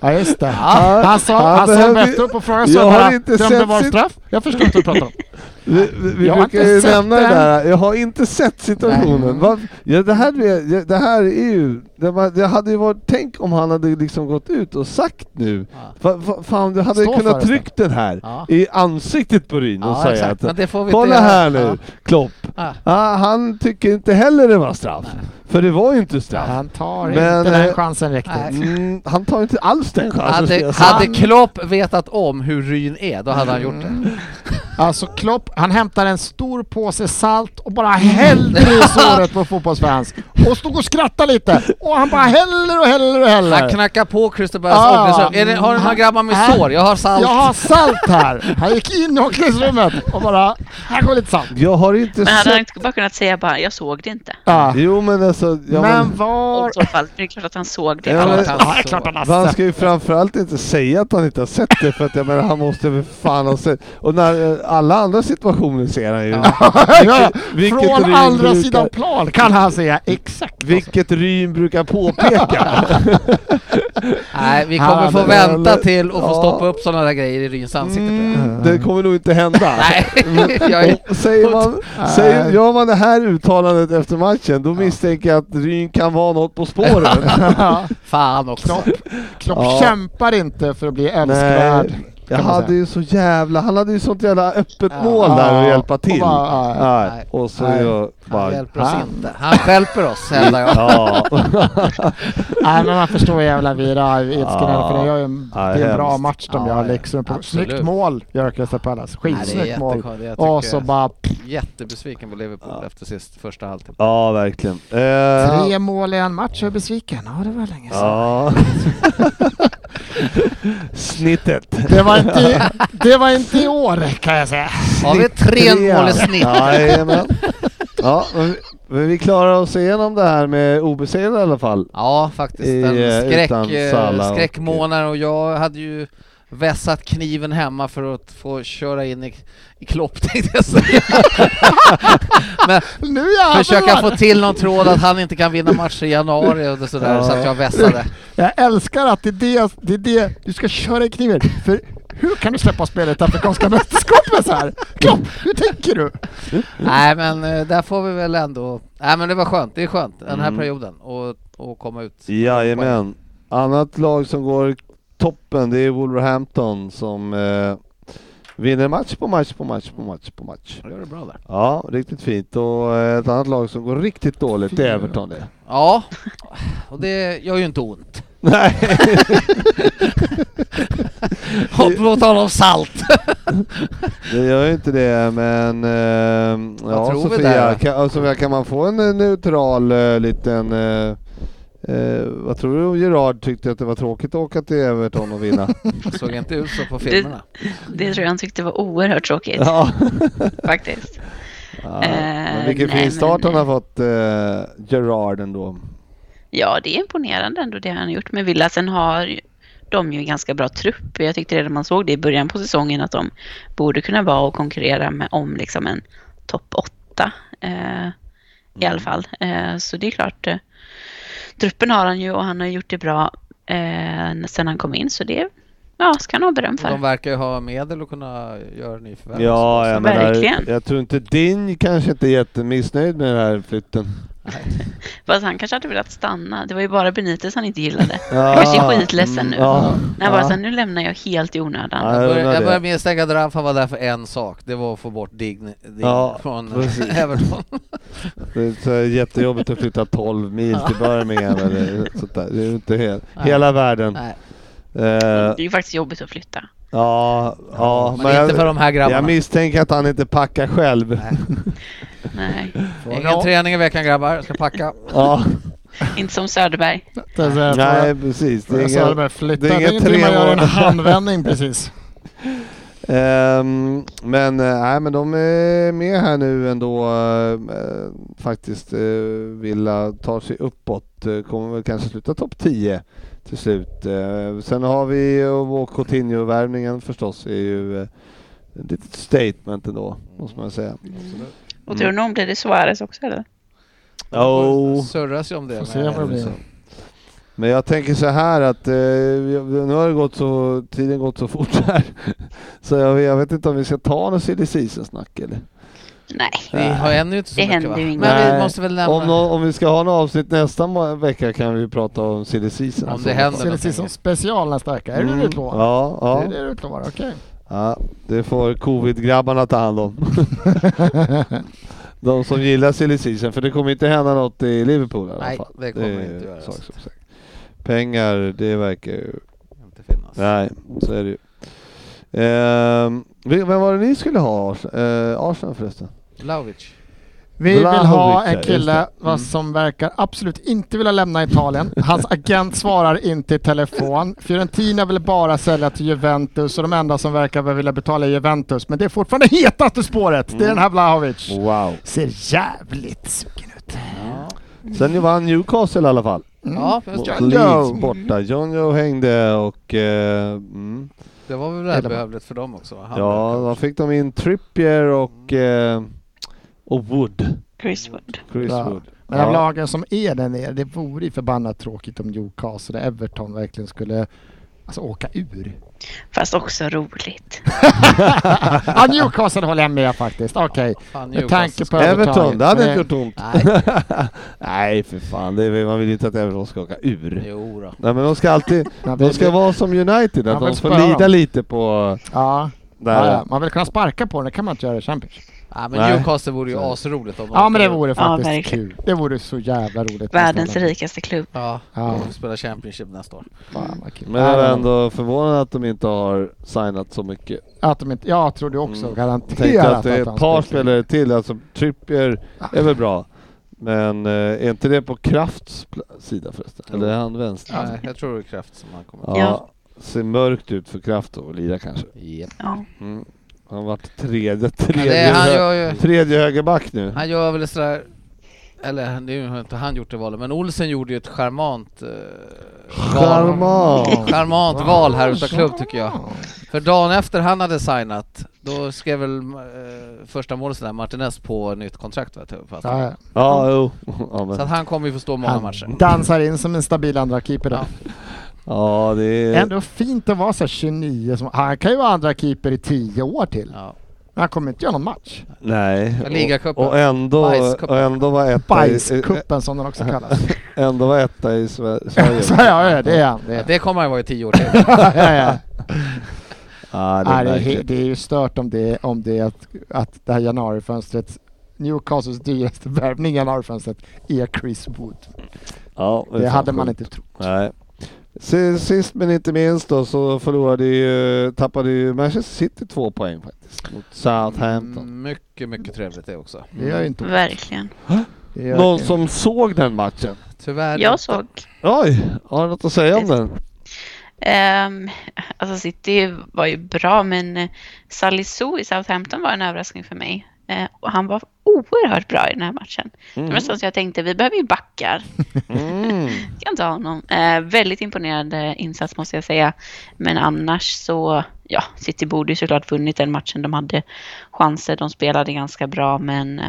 [SPEAKER 6] Ja, just det.
[SPEAKER 3] Ja,
[SPEAKER 6] Han sa,
[SPEAKER 3] han
[SPEAKER 6] han sa
[SPEAKER 3] behövde-
[SPEAKER 6] bättre upp och frågade
[SPEAKER 3] Jag
[SPEAKER 6] så
[SPEAKER 3] har
[SPEAKER 6] bara,
[SPEAKER 3] inte
[SPEAKER 6] dömde
[SPEAKER 3] sett
[SPEAKER 6] var en
[SPEAKER 3] sitt-
[SPEAKER 6] straff? Jag förstår inte vad du pratar om.
[SPEAKER 3] Vi, vi, vi
[SPEAKER 6] Jag har
[SPEAKER 3] brukar
[SPEAKER 6] inte
[SPEAKER 3] ju
[SPEAKER 6] sett
[SPEAKER 3] nämna det
[SPEAKER 6] den.
[SPEAKER 3] där, jag har inte sett situationen.
[SPEAKER 6] Nej.
[SPEAKER 3] Va, ja, det, här, är- det här är ju... Det, var, det hade ju varit, tänk om han hade liksom gått ut och sagt nu,
[SPEAKER 4] Ja.
[SPEAKER 3] va, va, fan du hade
[SPEAKER 6] Stå
[SPEAKER 3] kunnat
[SPEAKER 6] för det.
[SPEAKER 3] tryckt den här
[SPEAKER 4] Ja.
[SPEAKER 3] i ansiktet på Ryn och
[SPEAKER 4] Ja,
[SPEAKER 3] säga
[SPEAKER 4] exakt. Men
[SPEAKER 3] att
[SPEAKER 4] det får vi
[SPEAKER 3] kolla
[SPEAKER 4] inte göra."
[SPEAKER 3] här nu,
[SPEAKER 4] Ja.
[SPEAKER 3] Klopp.
[SPEAKER 4] Ah.
[SPEAKER 3] Ah, han tycker inte heller det var straff, för det var ju inte straff.
[SPEAKER 6] Han tar
[SPEAKER 3] Men,
[SPEAKER 6] inte den
[SPEAKER 3] eh,
[SPEAKER 6] chansen riktigt.
[SPEAKER 4] nej.
[SPEAKER 3] Mm, han tar inte alls den chansen. Alltså, ska
[SPEAKER 4] Hade,
[SPEAKER 3] jag säga.
[SPEAKER 4] hade Klopp vetat om hur Ryn är, då hade han gjort
[SPEAKER 3] Mm.
[SPEAKER 4] det.
[SPEAKER 6] Alltså Klopp, han hämtar en stor påse salt och bara häller i såret på fotbollsfans. Och stod och skrattade lite. Och han bara häller och häller och
[SPEAKER 4] Han
[SPEAKER 6] häller.
[SPEAKER 4] knackar på Crystal Palace
[SPEAKER 6] Ah.
[SPEAKER 4] omklädningsrum. Är det- Har du några grabbar med
[SPEAKER 6] Ah.
[SPEAKER 4] sår? Jag har salt.
[SPEAKER 6] Jag har salt här! Han gick in i omklädningsrummet och bara, här går lite salt.
[SPEAKER 3] Jag har inte
[SPEAKER 5] Men hade han
[SPEAKER 3] sett...
[SPEAKER 5] inte bara kunnat säga bara jag såg det inte?
[SPEAKER 6] Ja.
[SPEAKER 3] Jo men alltså... Ja,
[SPEAKER 6] Men var...
[SPEAKER 5] Och i så fall, det är klart att han såg det.
[SPEAKER 3] Ja, men-
[SPEAKER 6] Ja, det är klart han
[SPEAKER 3] Men
[SPEAKER 6] har
[SPEAKER 3] han
[SPEAKER 6] sett.
[SPEAKER 3] ska ju framförallt inte säga att han inte har sett det för att jag menar han måste väl fan ha sett Och när eh, alla andra situationer ser han ju. (laughs)
[SPEAKER 6] Ja,
[SPEAKER 3] vilket
[SPEAKER 6] Från
[SPEAKER 3] Ryn
[SPEAKER 6] andra
[SPEAKER 3] brukar-
[SPEAKER 6] sidan plan kan han säga exakt vad som-
[SPEAKER 3] Vilket Ryn brukar påpeka.
[SPEAKER 4] Nej, vi kommer
[SPEAKER 6] Han
[SPEAKER 4] få
[SPEAKER 6] är-
[SPEAKER 4] vänta till och få
[SPEAKER 3] Ja.
[SPEAKER 4] stoppa upp sådana där grejer i Ryns ansikte tror jag.
[SPEAKER 3] Mm, det kommer nog inte hända.
[SPEAKER 4] (laughs) Nej, jag är...
[SPEAKER 3] Och säger man, säger, gör man det här uttalandet efter matchen då misstänker jag att Ryn kan vara något på spåren.
[SPEAKER 6] Ja,
[SPEAKER 4] Fan också.
[SPEAKER 6] (laughs) Klopp, Klopp
[SPEAKER 3] Ja.
[SPEAKER 6] kämpar inte för att bli älskvärd.
[SPEAKER 3] Nej, jag
[SPEAKER 6] man
[SPEAKER 3] hade
[SPEAKER 6] säga.
[SPEAKER 3] ju så jävla, han hade ju sånt jävla öppet
[SPEAKER 4] Ja.
[SPEAKER 3] mål där
[SPEAKER 6] Ja,
[SPEAKER 3] att hjälpa
[SPEAKER 6] och
[SPEAKER 3] till.
[SPEAKER 6] bara, nej.
[SPEAKER 3] Nej, och så är
[SPEAKER 6] Nej.
[SPEAKER 3] jag
[SPEAKER 4] Han
[SPEAKER 3] bara...
[SPEAKER 4] hjälper oss
[SPEAKER 6] Han-
[SPEAKER 4] inte. Han stjälper oss, hävdar jag.
[SPEAKER 3] Ja.
[SPEAKER 6] (laughs) Nej men man förstår jävla Vira ilskan
[SPEAKER 3] Ja.
[SPEAKER 6] för det gör ju en,
[SPEAKER 3] Ja,
[SPEAKER 6] det är en
[SPEAKER 3] hemskt.
[SPEAKER 6] bra match
[SPEAKER 4] Ja,
[SPEAKER 6] de gör
[SPEAKER 4] ja.
[SPEAKER 6] liksom. På,
[SPEAKER 4] Absolut.
[SPEAKER 6] snyggt mål gör Crystal Palace.
[SPEAKER 4] Nej, det
[SPEAKER 6] Skitsnyggt
[SPEAKER 4] är
[SPEAKER 6] mål.
[SPEAKER 4] jättekonstigt. Jag tycker
[SPEAKER 6] Och så
[SPEAKER 4] jag-
[SPEAKER 6] bara pff,
[SPEAKER 4] Jättebesviken på Liverpool efter sist, första halvtimmen.
[SPEAKER 3] Ja, verkligen. Eh,
[SPEAKER 6] tre mål i en match, jag är besviken. Ja det var länge sedan.
[SPEAKER 3] Ja. (laughs) Snittet.
[SPEAKER 6] Det, var inte, i-
[SPEAKER 3] (laughs)
[SPEAKER 6] det var inte i år kan jag säga.
[SPEAKER 4] Har vi tre
[SPEAKER 3] Trean.
[SPEAKER 4] mål i snitt?
[SPEAKER 3] Jajamän. Ja, men vi- men vi klarar oss igenom det här med obesegrade i alla fall.
[SPEAKER 4] Ja, faktiskt.
[SPEAKER 3] I, eh,
[SPEAKER 4] en skräck,
[SPEAKER 3] utan
[SPEAKER 4] eh,
[SPEAKER 3] Salah och-
[SPEAKER 4] skräckmånad och jag hade ju vässat kniven hemma för att få köra in i, i Klopp (laughs) tänkte jag säga. Men
[SPEAKER 6] Nu jävlar!
[SPEAKER 4] försöka få till någon tråd att han inte kan vinna matcher i januari och det sådär
[SPEAKER 3] Ja.
[SPEAKER 4] så att jag vässade.
[SPEAKER 6] Jag älskar att det är det, det är det du ska köra i kniven. För Hur kan du släppa spelet Afrikanska mästerskapet så här? Klopp, hur tänker du?
[SPEAKER 4] Nej men eh, där får vi väl ändå... Nej men det var skönt, det är skönt den här
[SPEAKER 3] Mm.
[SPEAKER 4] perioden och, och komma ut.
[SPEAKER 3] Jajamän. Annat lag som går toppen, det är Wolverhampton som eh, vinner match på match på match på match på match.
[SPEAKER 4] Gör det bra där.
[SPEAKER 3] Ja, riktigt fint. Och eh, ett annat lag som går riktigt dåligt, det är Everton
[SPEAKER 4] (laughs)
[SPEAKER 3] det.
[SPEAKER 4] Ja, och det gör ju inte ont.
[SPEAKER 3] Nej,
[SPEAKER 4] Och på tal om salt!
[SPEAKER 3] det gör ju inte det, men eh, ja,
[SPEAKER 4] tror vi
[SPEAKER 3] Sofia,
[SPEAKER 4] där?
[SPEAKER 3] kan, ja, Sofia, kan man få en eh, neutral eh, liten... Eh, eh, vad tror du Gerard tyckte att det var tråkigt att åka till Everton och vinna?
[SPEAKER 4] Det såg inte ut så på filmerna.
[SPEAKER 5] Det tror jag han tyckte var oerhört tråkigt
[SPEAKER 3] (laughs) ja.
[SPEAKER 5] faktiskt.
[SPEAKER 3] Ja,
[SPEAKER 5] Eh,
[SPEAKER 3] men vilken
[SPEAKER 5] nej,
[SPEAKER 3] fin start
[SPEAKER 5] men-
[SPEAKER 3] han har fått, eh, Gerard ändå.
[SPEAKER 5] Ja, det är imponerande ändå det han har gjort. Men Villa, sen har ju- de ju en ganska bra trupp. Jag tyckte redan man såg det i början på säsongen att de borde kunna vara och konkurrera med, om liksom en topp 8 eh, i
[SPEAKER 3] Mm.
[SPEAKER 5] alla fall. Eh, så det är klart, eh, truppen har han ju och han har gjort det bra eh, sen han kom in. Så det ja, ska han ha beröm
[SPEAKER 4] Och de
[SPEAKER 5] för.
[SPEAKER 4] verkar ju ha medel att kunna göra nyförvärv.
[SPEAKER 3] Ja, jag
[SPEAKER 5] Verkligen.
[SPEAKER 3] menar, jag tror inte Din kanske inte är jättemissnöjd med den här flytten.
[SPEAKER 5] Fast han kanske hade velat stanna. Det var ju bara Benitez han
[SPEAKER 3] (laughs)
[SPEAKER 5] inte gillade.
[SPEAKER 3] Ja.
[SPEAKER 5] kanske är skitledsen nu.
[SPEAKER 3] Ja.
[SPEAKER 5] Han bara,
[SPEAKER 3] Ja.
[SPEAKER 5] så här, nu lämnar jag helt i onödan.
[SPEAKER 3] Ja,
[SPEAKER 4] Jag börjar, jag
[SPEAKER 3] undrar
[SPEAKER 4] börjar
[SPEAKER 3] det.
[SPEAKER 4] misstänka att Rafa var där för en sak, det var att få bort Dign, Dign
[SPEAKER 3] Ja,
[SPEAKER 4] från
[SPEAKER 3] precis.
[SPEAKER 4] (laughs) Everton.
[SPEAKER 3] Det är så här jättejobbigt att flytta 12 mil till Birmingham eller sånt där. Det är ju inte he-
[SPEAKER 4] Nej.
[SPEAKER 3] hela världen.
[SPEAKER 4] Nej,
[SPEAKER 3] Eh,
[SPEAKER 5] Det är ju faktiskt jobbigt att flytta.
[SPEAKER 3] ja, ja,
[SPEAKER 4] men inte för de här grabbarna.
[SPEAKER 3] jag misstänker att han inte packar själv.
[SPEAKER 5] Nej,
[SPEAKER 4] Ingen träning i veckan grabbar, jag ska packa.
[SPEAKER 3] Ja,
[SPEAKER 5] inte som Söderberg.
[SPEAKER 6] Det är
[SPEAKER 4] (laughs)
[SPEAKER 6] så här,
[SPEAKER 3] nej precis.
[SPEAKER 6] Alltså, Det är
[SPEAKER 3] inga-
[SPEAKER 6] inga,
[SPEAKER 3] det
[SPEAKER 6] flytta.
[SPEAKER 3] är
[SPEAKER 6] Det
[SPEAKER 3] inga
[SPEAKER 6] är ingenting man
[SPEAKER 3] tre
[SPEAKER 6] gör i en
[SPEAKER 3] månader. (laughs)
[SPEAKER 6] handvändning precis.
[SPEAKER 3] Ehm, men, eh, nej, men de är med här nu ändå eh, eh, faktiskt. Eh, Villa tar sig uppåt, eh, kommer väl kanske sluta topp 10 till slut. Eh, sen har vi eh, Coutinho-värvningen förstås, är ju eh, ett litet statement ändå, måste man säga.
[SPEAKER 5] Och tror ni om blir det Suarez också eller?
[SPEAKER 4] Det surras ju om det.
[SPEAKER 6] Får
[SPEAKER 4] men
[SPEAKER 6] se
[SPEAKER 4] jag
[SPEAKER 6] vad
[SPEAKER 4] vet
[SPEAKER 6] det
[SPEAKER 4] inte.
[SPEAKER 6] blir.
[SPEAKER 3] Men jag tänker så här att eh, jag- nu har det gått så, tiden gått så fort här. (laughs) Så jag, jag vet inte om vi ska ta något silly season-snack eller?
[SPEAKER 5] Nej.
[SPEAKER 4] Vi har ännu inte så
[SPEAKER 5] Det
[SPEAKER 4] mycket
[SPEAKER 5] händer
[SPEAKER 4] va?
[SPEAKER 5] ju inget.
[SPEAKER 4] Men
[SPEAKER 3] Nej.
[SPEAKER 4] vi måste väl nämna...
[SPEAKER 3] Om, nå- om vi ska ha något avsnitt nästa må- vecka kan vi prata om silly season.
[SPEAKER 4] Om
[SPEAKER 3] Alltså,
[SPEAKER 4] det händer.
[SPEAKER 6] Ser det ut som special nästa vecka? Är det det du utlovar?
[SPEAKER 3] Mm. Ja,
[SPEAKER 6] Det är
[SPEAKER 3] ja.
[SPEAKER 6] det du utlovar, okej.
[SPEAKER 3] ja, det får covid-grabbarna ta hand om. (laughs) De som gillar silly season, för det kommer inte hända något i Liverpool i alla
[SPEAKER 4] Nej,
[SPEAKER 3] fall.
[SPEAKER 4] det kommer
[SPEAKER 3] är
[SPEAKER 4] inte göra.
[SPEAKER 3] sak som sagt. Pengar, det verkar ju...
[SPEAKER 4] Inte finnas.
[SPEAKER 3] Nej, så är det ju. Ehm, vi- vem var det ni skulle ha? Ars- eh, Arsenal förresten?
[SPEAKER 4] Vlahovic.
[SPEAKER 5] Mm.
[SPEAKER 6] Vi vill ha
[SPEAKER 3] Vlahovic, ja,
[SPEAKER 6] en
[SPEAKER 3] just det.
[SPEAKER 6] kille
[SPEAKER 3] Mm.
[SPEAKER 6] vad som verkar absolut inte vilja lämna Italien.
[SPEAKER 3] (laughs)
[SPEAKER 6] Hans agent svarar inte i telefon. Fiorentina vill bara sälja till Juventus och de enda som verkar vilja betala är Juventus. Men det är fortfarande hetaste spåret. Det är den
[SPEAKER 3] Mm.
[SPEAKER 6] här Vlahovic.
[SPEAKER 3] Wow.
[SPEAKER 6] Ser jävligt sugen ut.
[SPEAKER 3] Sen ju vann Newcastle i alla fall.
[SPEAKER 6] Mm.
[SPEAKER 4] Ja, just
[SPEAKER 3] Mot
[SPEAKER 4] det.
[SPEAKER 6] John Joe.
[SPEAKER 3] Leeds borta. John Joe hängde och... eh, mm.
[SPEAKER 4] det var väl
[SPEAKER 6] Eller-
[SPEAKER 4] välbehövligt för dem också? va? Han-
[SPEAKER 3] Ja, då fick de in Trippier och, eh, och Wood.
[SPEAKER 5] Chris Wood.
[SPEAKER 3] Chris
[SPEAKER 6] Ja.
[SPEAKER 3] Wood.
[SPEAKER 6] Men de
[SPEAKER 3] Ja.
[SPEAKER 6] lagen som är där nere, det vore ju förbannat tråkigt om Newcastle och Everton verkligen skulle alltså, åka ur.
[SPEAKER 3] (laughs)
[SPEAKER 5] Fast också roligt.
[SPEAKER 6] ja, Newcastle håller jag med faktiskt. Okej.
[SPEAKER 4] Fan,
[SPEAKER 6] Med
[SPEAKER 4] Newcastle
[SPEAKER 6] tanke på
[SPEAKER 4] ska-
[SPEAKER 3] Everton, det hade
[SPEAKER 6] Men-
[SPEAKER 3] inte gjort ont.
[SPEAKER 4] Nej,
[SPEAKER 3] (laughs) Nej, för fan. Det är, man vill ju inte att Everton ska åka ur.
[SPEAKER 4] jo då.
[SPEAKER 3] Nej, men de ska
[SPEAKER 6] (laughs)
[SPEAKER 3] alltid... De ska vara som United, att
[SPEAKER 6] Ja,
[SPEAKER 3] de
[SPEAKER 6] men
[SPEAKER 3] får
[SPEAKER 6] spöa
[SPEAKER 3] lida
[SPEAKER 6] dem.
[SPEAKER 3] lite på...
[SPEAKER 6] Ja.
[SPEAKER 3] Där.
[SPEAKER 6] Ja, ja. Man vill kunna sparka på den, det kan man inte göra i Champions.
[SPEAKER 4] Nej, men
[SPEAKER 3] Nej.
[SPEAKER 4] Newcastle vore ju
[SPEAKER 3] Så.
[SPEAKER 4] asroligt om de
[SPEAKER 6] Ja men det
[SPEAKER 4] åkte-
[SPEAKER 6] vore
[SPEAKER 5] Ja,
[SPEAKER 6] faktiskt
[SPEAKER 5] verkligen.
[SPEAKER 6] kul. Det vore så jävla roligt.
[SPEAKER 5] Världens
[SPEAKER 6] Nästan.
[SPEAKER 5] rikaste klubb.
[SPEAKER 4] Ja,
[SPEAKER 6] Ja.
[SPEAKER 4] de får spela Championship nästa år.
[SPEAKER 6] Fan, vad kul.
[SPEAKER 3] Men jag var
[SPEAKER 6] Ja,
[SPEAKER 3] ändå förvånad att de inte har signat så mycket.
[SPEAKER 6] Att de inte, jag trodde också
[SPEAKER 3] Mm. Tänkte
[SPEAKER 6] garanterat
[SPEAKER 3] att det är
[SPEAKER 6] han
[SPEAKER 3] ett par
[SPEAKER 6] skulle-
[SPEAKER 3] spelare till, alltså Trippier är väl bra. Men eh, är inte det på Krafts pl- sida förresten? Eller är han vänster?
[SPEAKER 4] Nej, jag tror det är Kraft som han
[SPEAKER 3] Ja.
[SPEAKER 4] kommer.
[SPEAKER 5] Ja.
[SPEAKER 3] Ser mörkt ut för Kraft och lira kanske.
[SPEAKER 4] Yep.
[SPEAKER 5] Ja.
[SPEAKER 3] Mm. Han har varit tredje,
[SPEAKER 4] Men
[SPEAKER 3] tredje,
[SPEAKER 4] det, är- han,
[SPEAKER 3] hö-
[SPEAKER 4] gör ju,
[SPEAKER 3] tredje högerback nu.
[SPEAKER 4] han gör väl sådär... Eller nu har inte han gjort det valet, men Olsen gjorde ju ett charmant... Eh,
[SPEAKER 3] Charmant.
[SPEAKER 4] val, charmant val här utav klubb tycker jag. För dagen efter han hade signat, då skrev väl eh, första målisen där Martinez på nytt kontrakt va? Typ, för att-
[SPEAKER 6] Ja, ja.
[SPEAKER 3] Ja, jo. Ja, men.
[SPEAKER 4] Så att han kommer ju få stå många matcher.
[SPEAKER 6] Han dansar in som en stabil andra keeper.
[SPEAKER 4] Ja.
[SPEAKER 3] Ja, det är...
[SPEAKER 6] Ändå fint att vara så här 29. Som, han kan ju vara andra keeper i 10 år till.
[SPEAKER 4] Ja.
[SPEAKER 6] Men han kommer inte göra någon match.
[SPEAKER 3] Eh, Nej.
[SPEAKER 4] Ja, ligacupen.
[SPEAKER 3] Och, och, ändå,
[SPEAKER 4] Bajscupen.
[SPEAKER 3] och ändå var etta i, eh,
[SPEAKER 6] Bajskuppen som den också
[SPEAKER 3] (laughs)
[SPEAKER 6] kallas.
[SPEAKER 3] ändå var etta i
[SPEAKER 6] (laughs)
[SPEAKER 3] Sve-
[SPEAKER 6] så,
[SPEAKER 3] Sverige.
[SPEAKER 6] ja, ja, det är han. Det är.
[SPEAKER 4] Det kommer han vara i tio år till.
[SPEAKER 6] (laughs) ja, ja.
[SPEAKER 3] Ja, det
[SPEAKER 6] Nej,
[SPEAKER 3] är
[SPEAKER 6] det, är he-
[SPEAKER 3] märkligt.
[SPEAKER 6] det är ju stört om det, om det är att, att det här januarifönstret Newcastles dyraste värvning i januarifönstret är Chris Wood.
[SPEAKER 3] Ja,
[SPEAKER 6] Det,
[SPEAKER 3] är fan
[SPEAKER 6] hade man
[SPEAKER 3] sjukt.
[SPEAKER 6] inte trott.
[SPEAKER 3] Nej. Si- Sist men inte minst då så förlorade ju, tappade ju Manchester City två poäng faktiskt mot
[SPEAKER 6] Mm,
[SPEAKER 3] Southampton.
[SPEAKER 4] Mm, Mycket, mycket trevligt det också.
[SPEAKER 6] Det gör ju inte ont.
[SPEAKER 5] Verkligen.
[SPEAKER 6] Det gör
[SPEAKER 3] Någon
[SPEAKER 6] ju-
[SPEAKER 3] som såg den matchen?
[SPEAKER 4] Tyvärr
[SPEAKER 5] Jag såg
[SPEAKER 3] Oj, har du något att säga om den?
[SPEAKER 5] Ehm, alltså City var ju bra, men eh, Salisu i Southampton var en överraskning för mig. Eh, och han var oerhört bra i den här matchen. Det var nästan så jag tänkte, vi behöver ju backar.
[SPEAKER 3] Mm.
[SPEAKER 5] Ska inte ha honom. Eh, väldigt imponerande insats måste jag säga. Men annars så, ja, City borde ju såklart vunnit den matchen. De hade chanser, de spelade ganska bra, men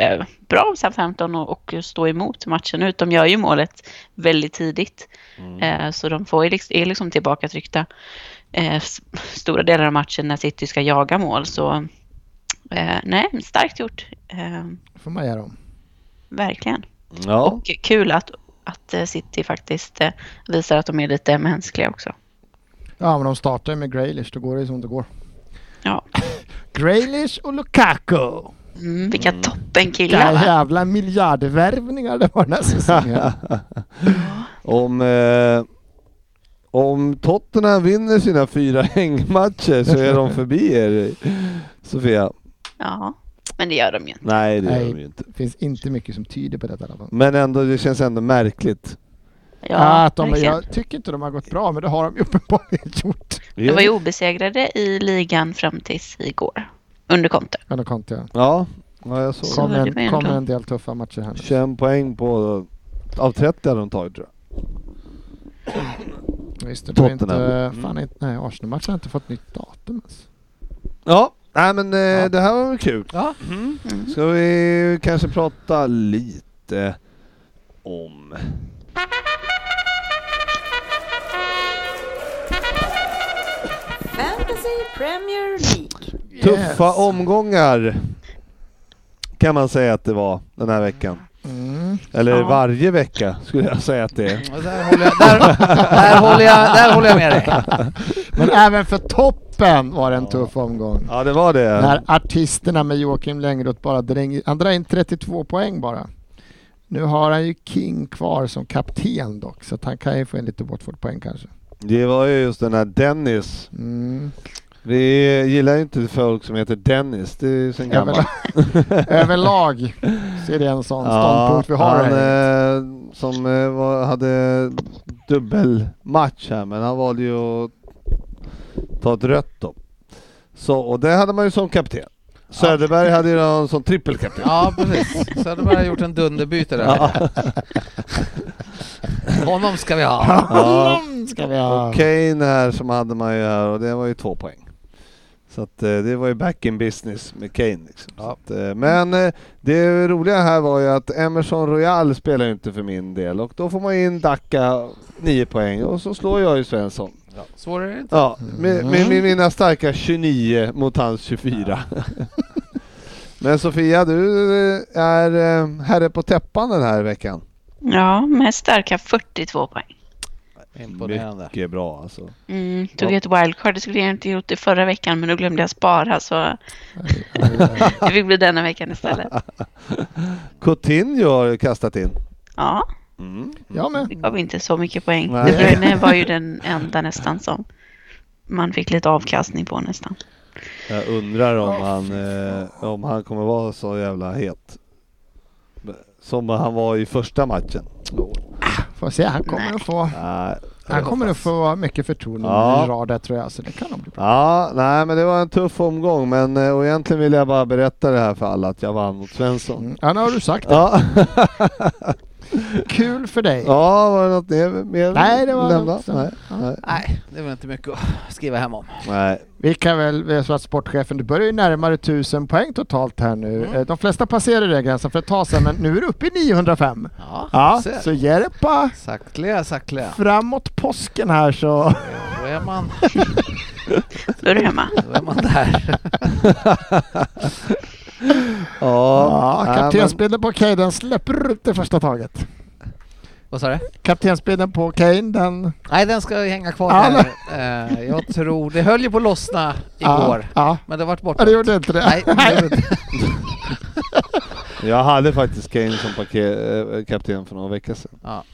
[SPEAKER 5] eh, bra av Southampton och, och stå emot matchen ut. De gör ju målet väldigt tidigt. Eh, så de får ju liksom, är liksom tillbaka tryckta eh, s- stora delar av matchen när City ska jaga mål. Så eh, nej, starkt gjort. Eh,
[SPEAKER 6] får man göra om.
[SPEAKER 5] verkligen.
[SPEAKER 3] Ja,
[SPEAKER 5] Och kul att, att eh, City faktiskt eh, visar att de är lite mänskliga också.
[SPEAKER 6] Ja, men de startar ju med Graylish, då går det ju som det går.
[SPEAKER 5] Ja.
[SPEAKER 6] Graylish och Lukaku!
[SPEAKER 5] Mm, vilka toppenkillar!
[SPEAKER 6] Vilka
[SPEAKER 5] va?
[SPEAKER 6] jävla miljardvärvningar det var den här säsongen.
[SPEAKER 3] om, eh, om Tottenham vinner sina fyra (laughs) hängmatcher så är de förbi er, Sofia.
[SPEAKER 5] Ja, men det gör de ju. inte.
[SPEAKER 3] Nej, det gör
[SPEAKER 6] Nej.
[SPEAKER 3] de ju inte.
[SPEAKER 6] Det finns inte mycket som tyder på detta i alla fall.
[SPEAKER 3] Men ändå, det känns ändå märkligt.
[SPEAKER 5] Ja,
[SPEAKER 6] att de,
[SPEAKER 5] verkligen.
[SPEAKER 6] jag tycker inte de har gått bra, men det har de ju uppenbarligen (laughs) gjort.
[SPEAKER 5] De var ju obesegrade i ligan fram tills igår. Under Conte.
[SPEAKER 6] Ja, då kom jag.
[SPEAKER 3] Ja, ja jag såg
[SPEAKER 5] Så
[SPEAKER 6] Kommer
[SPEAKER 5] var det
[SPEAKER 6] en,
[SPEAKER 5] väl
[SPEAKER 6] kommer
[SPEAKER 5] då.
[SPEAKER 6] en del tuffa matcher här nu.
[SPEAKER 3] 21 poäng på... Av 30 hade de tagit tror jag.
[SPEAKER 6] Visst, det var inte,
[SPEAKER 3] Tottenham.
[SPEAKER 4] Mm.
[SPEAKER 6] fan, inte, nej, Arsenal-matchen har inte fått nytt datum ens.
[SPEAKER 3] Ja, Mm. nej men eh,
[SPEAKER 4] Ja.
[SPEAKER 3] det här var väl kul.
[SPEAKER 4] Ja.
[SPEAKER 3] Ska vi kanske prata lite om...
[SPEAKER 7] Fantasy Premier League.
[SPEAKER 3] Tuffa omgångar kan man säga att det var den här veckan.
[SPEAKER 6] Mm.
[SPEAKER 3] Eller
[SPEAKER 5] Ja.
[SPEAKER 3] varje vecka skulle jag säga att det är.
[SPEAKER 4] Och Där håller, jag, där, där, håller jag, där håller jag med dig.
[SPEAKER 6] (laughs) Men även för toppen var det en tuff omgång.
[SPEAKER 3] Ja, det var det.
[SPEAKER 6] När artisterna med Joakim Lönnroth bara dräng, han drar in 32 poäng bara. Nu har han ju King kvar som kapten dock, så att han kan ju få in lite Watford-poäng kanske.
[SPEAKER 3] Det var ju just den här Dennis.
[SPEAKER 6] Mm.
[SPEAKER 3] Vi gillar ju inte folk som heter Dennis. Det är ju sen gammalt.
[SPEAKER 6] Överlag, (laughs) överlag så är det en sån ståndpunkt vi har
[SPEAKER 3] han,
[SPEAKER 6] här.
[SPEAKER 3] eh, som eh, var, hade dubbelmatch här, men han valde ju att ta ett rött då. Så, och det hade man ju som kapten. Söderberg hade ju någon som trippelkapten.
[SPEAKER 4] Ja, precis. Så hade bara gjort en dunderbyte där. Honom ska vi ha.
[SPEAKER 3] Ja.
[SPEAKER 6] Ska vi ha.
[SPEAKER 3] Och Kane här som hade man ju här och det var ju två poäng. Så att eh, det var ju back in business med Kane. Liksom. Så
[SPEAKER 4] Ja.
[SPEAKER 3] att, eh, men eh, det roliga här var ju att Emerson Royal spelar ju inte för min del och då får man in Dacca 9 poäng och så slår jag ju Svensson.
[SPEAKER 4] Svårare är det inte.
[SPEAKER 3] Ja, med, med, med mina starka 29 mot hans 24. (laughs) Men Sofia, du är eh, herre på täppan den här veckan.
[SPEAKER 5] Ja, med starka 42 poäng.
[SPEAKER 4] Imponerande.
[SPEAKER 3] Mycket bra alltså.
[SPEAKER 5] Mm, tog ett wildcard, det skulle jag inte gjort det förra veckan men då glömde jag spara (laughs) så det fick bli denna veckan istället. (laughs)
[SPEAKER 3] Coutinho har ju kastat in.
[SPEAKER 5] Ja,
[SPEAKER 3] Mm.
[SPEAKER 6] Jag med.
[SPEAKER 5] det gav inte så mycket poäng.
[SPEAKER 3] Nej.
[SPEAKER 5] De Bruyne var ju den enda nästan som man fick lite avkastning på nästan.
[SPEAKER 3] Jag undrar om, han, eh, om han kommer vara så jävla het. Som han var i första matchen.
[SPEAKER 6] Får se, han kommer att få,
[SPEAKER 3] Nej.
[SPEAKER 6] han kommer att få mycket förtroende
[SPEAKER 3] Ja.
[SPEAKER 6] i rader tror jag, så det kan nog bli bra.
[SPEAKER 3] Ja, nej men det var en tuff omgång men eh, och egentligen vill jag bara berätta det här för alla att jag vann mot Svensson.
[SPEAKER 6] Mm. Ja, nu har du sagt det.
[SPEAKER 3] Ja.
[SPEAKER 6] Kul för dig.
[SPEAKER 3] Ja, var det något mer- mer
[SPEAKER 6] Nej, det var
[SPEAKER 3] lämna?
[SPEAKER 6] något sånt.
[SPEAKER 3] Nej, nej.
[SPEAKER 4] Nej, det var inte mycket att skriva hem om.
[SPEAKER 3] (laughs) nej.
[SPEAKER 6] Vi kan väl, vi har svarat sportchefen, du börjar ju närmare 1000 poäng totalt här nu. Eh, De flesta passerade den gränsen för ett tag sedan, men nu är du uppe i 905.
[SPEAKER 4] Ja, ser.
[SPEAKER 6] Så ge det bara
[SPEAKER 4] Sakteliga, sakteliga.
[SPEAKER 6] framåt påsken här så...
[SPEAKER 4] Då är man,
[SPEAKER 5] Då är
[SPEAKER 4] (laughs)
[SPEAKER 5] du hemma.
[SPEAKER 4] då är man
[SPEAKER 6] (laughs)
[SPEAKER 4] där.
[SPEAKER 3] Ja,
[SPEAKER 6] Ja,
[SPEAKER 3] nej,
[SPEAKER 6] kaptensbilden på Kane, den släpper ut i första taget.
[SPEAKER 4] Vad sa du?
[SPEAKER 6] Kaptensbilden på Kane, den...
[SPEAKER 4] Nej, den ska hänga kvar
[SPEAKER 6] Ja,
[SPEAKER 4] där. Eh, jag tror, det höll ju på att lossna igår.
[SPEAKER 6] Ja,
[SPEAKER 4] Men det vart
[SPEAKER 6] ja.
[SPEAKER 4] borta.
[SPEAKER 6] det gjorde inte det.
[SPEAKER 4] Nej, det gjorde inte.
[SPEAKER 3] men jag hade faktiskt Kane som parke- eh, kapten för några veckor sedan.
[SPEAKER 4] Ja.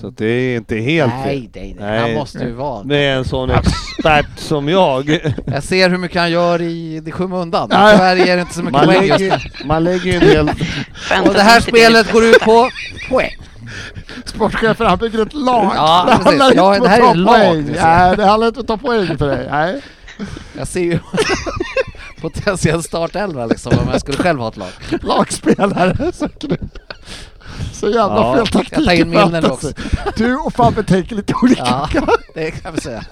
[SPEAKER 3] Så det är inte helt
[SPEAKER 4] nej,
[SPEAKER 3] fel.
[SPEAKER 4] nej, nej.
[SPEAKER 3] Nej.
[SPEAKER 4] Han måste ju vara.
[SPEAKER 3] Med en sån expert som jag.
[SPEAKER 4] Jag ser hur mycket han gör i det skymundan.
[SPEAKER 3] Ja.
[SPEAKER 4] Tyvärr ger det inte så mycket
[SPEAKER 3] Man
[SPEAKER 4] poäng just nu.
[SPEAKER 3] lägger, man lägger ju en del...
[SPEAKER 5] Skönt
[SPEAKER 4] Och
[SPEAKER 5] att
[SPEAKER 4] det här
[SPEAKER 5] inte är din
[SPEAKER 4] spelet går ut på poäng.
[SPEAKER 6] (laughs) Sportchefen, han bygger ett lag.
[SPEAKER 4] Ja, precis.
[SPEAKER 6] det handlar inte
[SPEAKER 4] Ja,
[SPEAKER 6] om
[SPEAKER 4] det här
[SPEAKER 6] att ta
[SPEAKER 4] är ett lag,
[SPEAKER 6] poäng.
[SPEAKER 4] du ser.
[SPEAKER 6] Nej, det handlar inte om att ta poäng för dig. Nej.
[SPEAKER 4] Jag ser ju (laughs) potentiell startelva liksom om jag skulle själv ha ett lag.
[SPEAKER 6] lagspelare. (laughs) Så, kul. så jävla
[SPEAKER 3] Ja,
[SPEAKER 6] fel taktik.
[SPEAKER 4] jag tar in
[SPEAKER 6] i
[SPEAKER 4] Milner
[SPEAKER 6] fantasy.
[SPEAKER 4] också.
[SPEAKER 6] Du och Fabbe tänker lite olika.
[SPEAKER 4] Ja, det kan vi säga.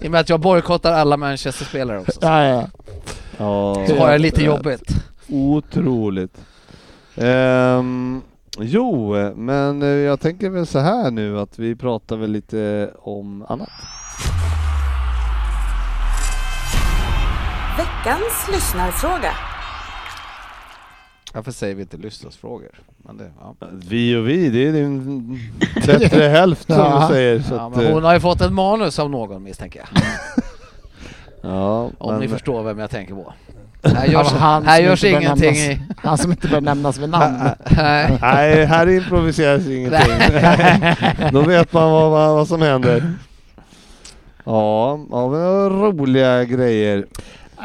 [SPEAKER 4] I och med att jag bojkottar alla Manchester-spelare också.
[SPEAKER 6] Ja, ja.
[SPEAKER 3] (laughs) Ja,
[SPEAKER 4] Så har jag lite jobbigt.
[SPEAKER 3] Otroligt. Ehm, jo, men eh, jag tänker väl så här nu att vi pratar väl lite om annat.
[SPEAKER 7] Veckans lyssnarfråga.
[SPEAKER 4] Varför säger vi inte lyssnarsfrågor? Men det, ja.
[SPEAKER 3] Vi och vi, det är din
[SPEAKER 4] (laughs)
[SPEAKER 3] bättre hälft som
[SPEAKER 6] Ja.
[SPEAKER 3] du säger. Så
[SPEAKER 4] Ja,
[SPEAKER 3] att,
[SPEAKER 4] men
[SPEAKER 3] eh,
[SPEAKER 4] hon har ju fått ett manus av någon misstänker jag.
[SPEAKER 3] eh, ja,
[SPEAKER 4] Om
[SPEAKER 3] men-
[SPEAKER 4] ni förstår vem jag
[SPEAKER 3] (laughs)
[SPEAKER 4] tänker på. Här görs,
[SPEAKER 6] Av Alltså, han
[SPEAKER 4] här
[SPEAKER 6] som
[SPEAKER 4] görs
[SPEAKER 6] inte bör
[SPEAKER 4] ingenting
[SPEAKER 6] nämnas.
[SPEAKER 4] i... (laughs)
[SPEAKER 6] Han som inte bör nämnas vid namn.
[SPEAKER 4] Nej.
[SPEAKER 3] Nej, här improviseras ingenting.
[SPEAKER 4] (laughs)
[SPEAKER 3] Då vet man vad, vad, vad som händer. Ja, ja men det var roliga grejer.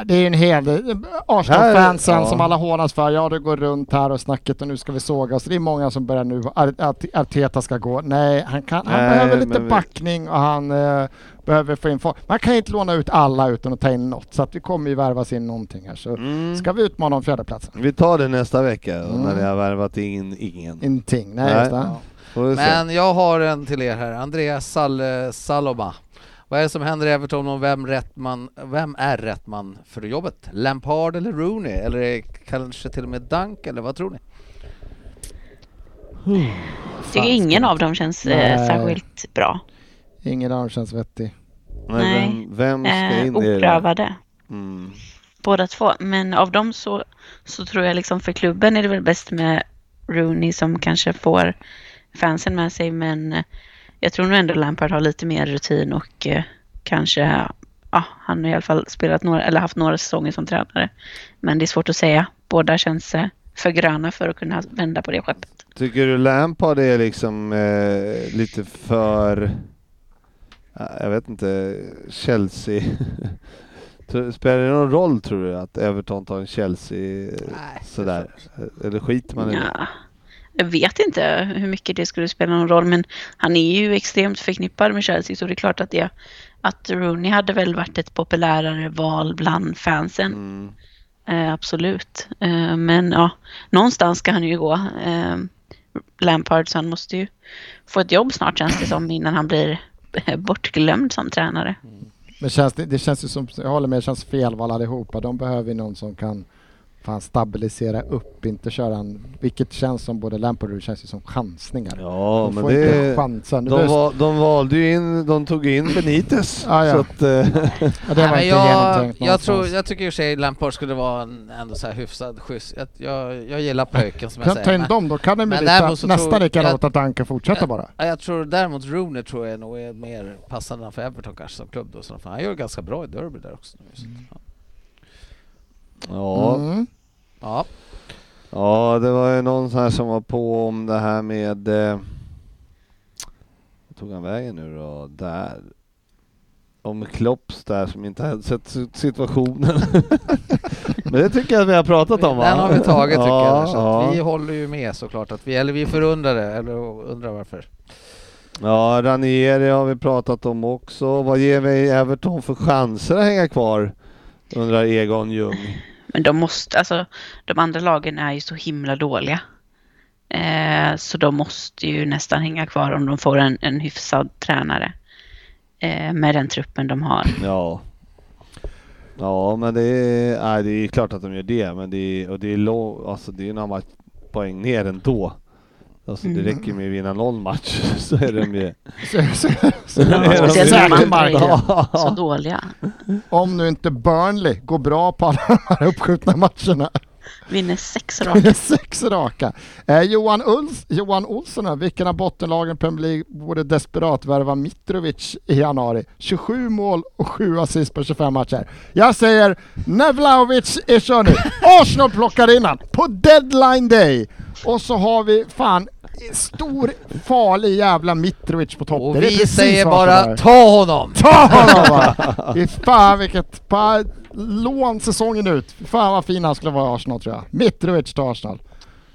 [SPEAKER 6] Det är ju en hel del. Arsenal-fansen
[SPEAKER 3] Här- ja.
[SPEAKER 6] som alla hånas för. Ja, det går runt här och snacket och nu ska vi såga oss. Det är många som börjar nu att att Arteta ska gå. Nej, han, kan, han
[SPEAKER 3] Nej,
[SPEAKER 6] behöver lite
[SPEAKER 3] men vi-
[SPEAKER 6] backning och han eh, behöver få in folk. Man kan ju inte låna ut alla utan att ta in något. Så att det kommer ju värvas in någonting här. Så
[SPEAKER 3] Mm.
[SPEAKER 6] ska vi utmana om fjärdeplatsen.
[SPEAKER 3] Vi tar det nästa vecka och när
[SPEAKER 6] Mm.
[SPEAKER 3] vi har värvat in ingen.
[SPEAKER 6] Ingenting. Nej,
[SPEAKER 3] Nej.
[SPEAKER 6] Just det.
[SPEAKER 3] Får vi se.
[SPEAKER 4] Men jag har en till er här. Andreas Sal- Saloma. Vad är det som händer i Everton och vem, rätt man, vem är rätt man för jobbet? Lampard eller Rooney? Eller kanske till och med Dunk? Eller vad tror ni?
[SPEAKER 5] Jag tycker ingen av dem känns eh,
[SPEAKER 6] Nej.
[SPEAKER 5] särskilt bra.
[SPEAKER 6] Ingen av dem känns vettig.
[SPEAKER 3] Men vem, vem ska
[SPEAKER 5] Eh,
[SPEAKER 3] in i det? där?
[SPEAKER 5] oprövade,
[SPEAKER 3] Mm.
[SPEAKER 5] båda två. Men av dem så, så tror jag liksom för klubben är det väl bäst med Rooney som kanske får fansen med sig. Men eh, jag tror nog ändå Lampard har lite mer rutin och eh, kanske, ja, han har i alla fall spelat några, eller haft några säsonger som tränare. Men det är svårt att säga. Båda känns eh, för gröna för att kunna vända på det skeppet.
[SPEAKER 3] Tycker du Lampard är liksom eh, lite för, ja, jag vet inte, Chelsea? (laughs) Tror- Spelar det någon roll tror du att Everton tar en Chelsea eh,
[SPEAKER 4] Nej,
[SPEAKER 3] sådär? Eh, Eller skiter man i det?
[SPEAKER 5] Ja. Jag vet inte hur mycket det skulle spela någon roll, men han är ju extremt förknippad med Chelsea, så det är klart att, det, att Rooney hade väl varit ett populärare val bland fansen.
[SPEAKER 3] Mm.
[SPEAKER 5] Eh, absolut. Eh, men ja, någonstans ska han ju gå. Eh, Lampard, så han måste ju få ett jobb snart känns det som, innan han blir (laughs) eh, bortglömd som tränare.
[SPEAKER 6] Men känns det, det känns ju som, jag håller med, det känns felval allihopa. De behöver ju någon som kan fan stabilisera upp, inte köra en, vilket känns som både Lampard och det känns ju som chansningar.
[SPEAKER 3] Ja,
[SPEAKER 6] de
[SPEAKER 3] men
[SPEAKER 6] får inte
[SPEAKER 3] det...
[SPEAKER 6] chansa. Nu
[SPEAKER 3] De,
[SPEAKER 6] behövs-
[SPEAKER 3] va, de valde ju in, de tog in Benitez.
[SPEAKER 6] Ja, ja.
[SPEAKER 3] Så att, eh,
[SPEAKER 6] ja, det var
[SPEAKER 4] Nej,
[SPEAKER 6] inte
[SPEAKER 4] men jag,
[SPEAKER 6] genomtänkt
[SPEAKER 4] jag, tror,
[SPEAKER 6] någonstans.
[SPEAKER 4] jag tycker i och för sig Lampard skulle vara en ändå så här hyfsad skjuts. Jag, jag, jag gillar pojken som jag
[SPEAKER 6] Kan ta
[SPEAKER 4] säger.
[SPEAKER 6] in
[SPEAKER 4] men-
[SPEAKER 6] dem, då kan de
[SPEAKER 4] men
[SPEAKER 6] bli
[SPEAKER 4] däremot
[SPEAKER 6] lite,
[SPEAKER 4] så
[SPEAKER 6] nästan
[SPEAKER 4] tror-
[SPEAKER 6] lika gärna
[SPEAKER 4] jag-
[SPEAKER 6] låta Danka fortsätta bara.
[SPEAKER 4] Ja, jag tror däremot Rooney tror jag nog är mer passande för Everton kanske som klubb då. Så fan, han gör ganska bra i Derby där också. nu, så att,
[SPEAKER 3] (laughs) ja,
[SPEAKER 6] Mm. (laughs)
[SPEAKER 4] Ja.
[SPEAKER 3] ja, det var ju någon så här som var på om det här med... Eh, vart tog han vägen nu då? Där. Om Klopps där som inte hade sett si- situationen. (laughs) men det tycker jag att vi har pratat om va?
[SPEAKER 4] Den har vi tagit tycker
[SPEAKER 3] ja,
[SPEAKER 4] jag. Så
[SPEAKER 3] ja.
[SPEAKER 4] att vi håller ju med såklart. Att vi, eller vi är förundrade, eller undrar varför.
[SPEAKER 3] Ja, Ranieri har vi pratat om också. Vad ger vi Everton för chanser att hänga kvar? Undrar Egon Ljung.
[SPEAKER 5] Men de måste, alltså de andra lagen är ju så himla dåliga. Eh, så de måste ju nästan hänga kvar om de får en, en hyfsad tränare eh, med den truppen de har.
[SPEAKER 3] Ja. Ja, men det är, nej, det är klart att de gör det, men det är, och det är, lång, alltså det är några match, poäng ner ändå. Alltså det räcker med att vinna någon match (laughs) så är de ju...
[SPEAKER 6] Så, så, så,
[SPEAKER 3] är de ju-
[SPEAKER 5] speciellt när man-
[SPEAKER 6] säkert marken.
[SPEAKER 5] Så dåliga.
[SPEAKER 6] Om nu inte Burnley går bra på alla de här uppskjutna matcherna.
[SPEAKER 5] Vinner sex
[SPEAKER 6] Det
[SPEAKER 5] raka.
[SPEAKER 6] är (laughs) Sex raka. Eh, Johan, Uls, Johan Olsson, här, vilken av bottenlagen i Premier League borde desperat värva Mitrovic i januari? 27 mål och 7 assist på 25 matcher. Jag säger Nevlaovic är kör nu. Arsenal plockar in han på deadline day. Och så har vi fan stor farlig jävla Mitrovic på topp.
[SPEAKER 4] Och
[SPEAKER 6] Det är
[SPEAKER 4] vi
[SPEAKER 6] precis
[SPEAKER 4] säger
[SPEAKER 6] vad som
[SPEAKER 4] bara
[SPEAKER 6] är.
[SPEAKER 4] ta honom!
[SPEAKER 6] Ta honom
[SPEAKER 3] (laughs)
[SPEAKER 6] bara! Fy fan vilket... Pa, lån säsongen ut. Fy fan vad fin han skulle vara i Arsenal tror jag. Mitrovic till Arsenal.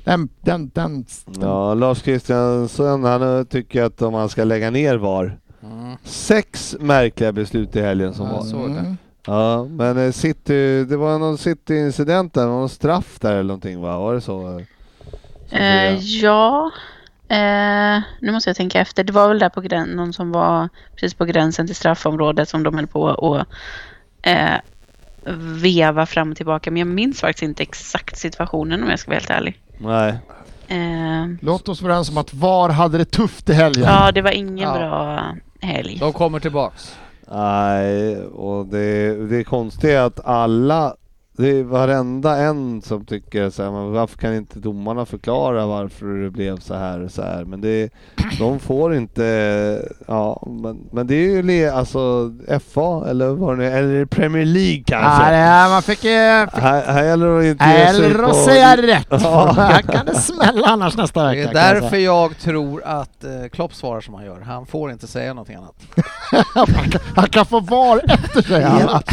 [SPEAKER 6] Den, den, den, den.
[SPEAKER 3] Ja, Lars Kristiansson han eh, tycker att om man ska lägga ner VAR.
[SPEAKER 4] Mm.
[SPEAKER 3] Sex märkliga beslut i helgen som
[SPEAKER 4] Ja,
[SPEAKER 3] var.
[SPEAKER 6] Alltså.
[SPEAKER 4] så- såg
[SPEAKER 6] Mm.
[SPEAKER 4] det.
[SPEAKER 3] Ja, men eh, City, det var någon City-incident där, någon straff där eller någonting va? Var det så?
[SPEAKER 5] Eh,
[SPEAKER 3] Sofia?
[SPEAKER 5] ja, eh, nu måste jag tänka efter. Det var väl där på gränsen, någon som var precis på gränsen till straffområdet som de höll på att eh, veva fram och tillbaka. Men jag minns faktiskt inte exakt situationen om jag ska vara helt ärlig.
[SPEAKER 3] Nej.
[SPEAKER 5] Eh,
[SPEAKER 6] Låt oss vara överens om att VAR hade det tufft i helgen.
[SPEAKER 5] ja, det var ingen
[SPEAKER 4] Ja.
[SPEAKER 5] bra helg.
[SPEAKER 4] De kommer tillbaks.
[SPEAKER 3] Nej, och det, det konstiga är att alla, det är varenda en som tycker så här, men varför kan inte domarna förklara varför det blev så här och så här? Men det, de får inte, ja, men, men det är ju le, alltså FA eller vad det nu är, eller Premier League kanske.
[SPEAKER 6] Ja, det här, man fick ju... fick-
[SPEAKER 3] här, här gäller det att inte ge sig
[SPEAKER 6] Eller
[SPEAKER 3] på...
[SPEAKER 6] att säga rätt. (laughs)
[SPEAKER 3] Ja.
[SPEAKER 6] Här kan det smälla annars nästa vecka.
[SPEAKER 4] Det är
[SPEAKER 6] kan jag
[SPEAKER 4] därför jag tror att eh, Klopp svarar som han gör. Han får inte säga någonting annat.
[SPEAKER 6] säga. Han kan- Han kan få VAR efter sig annars.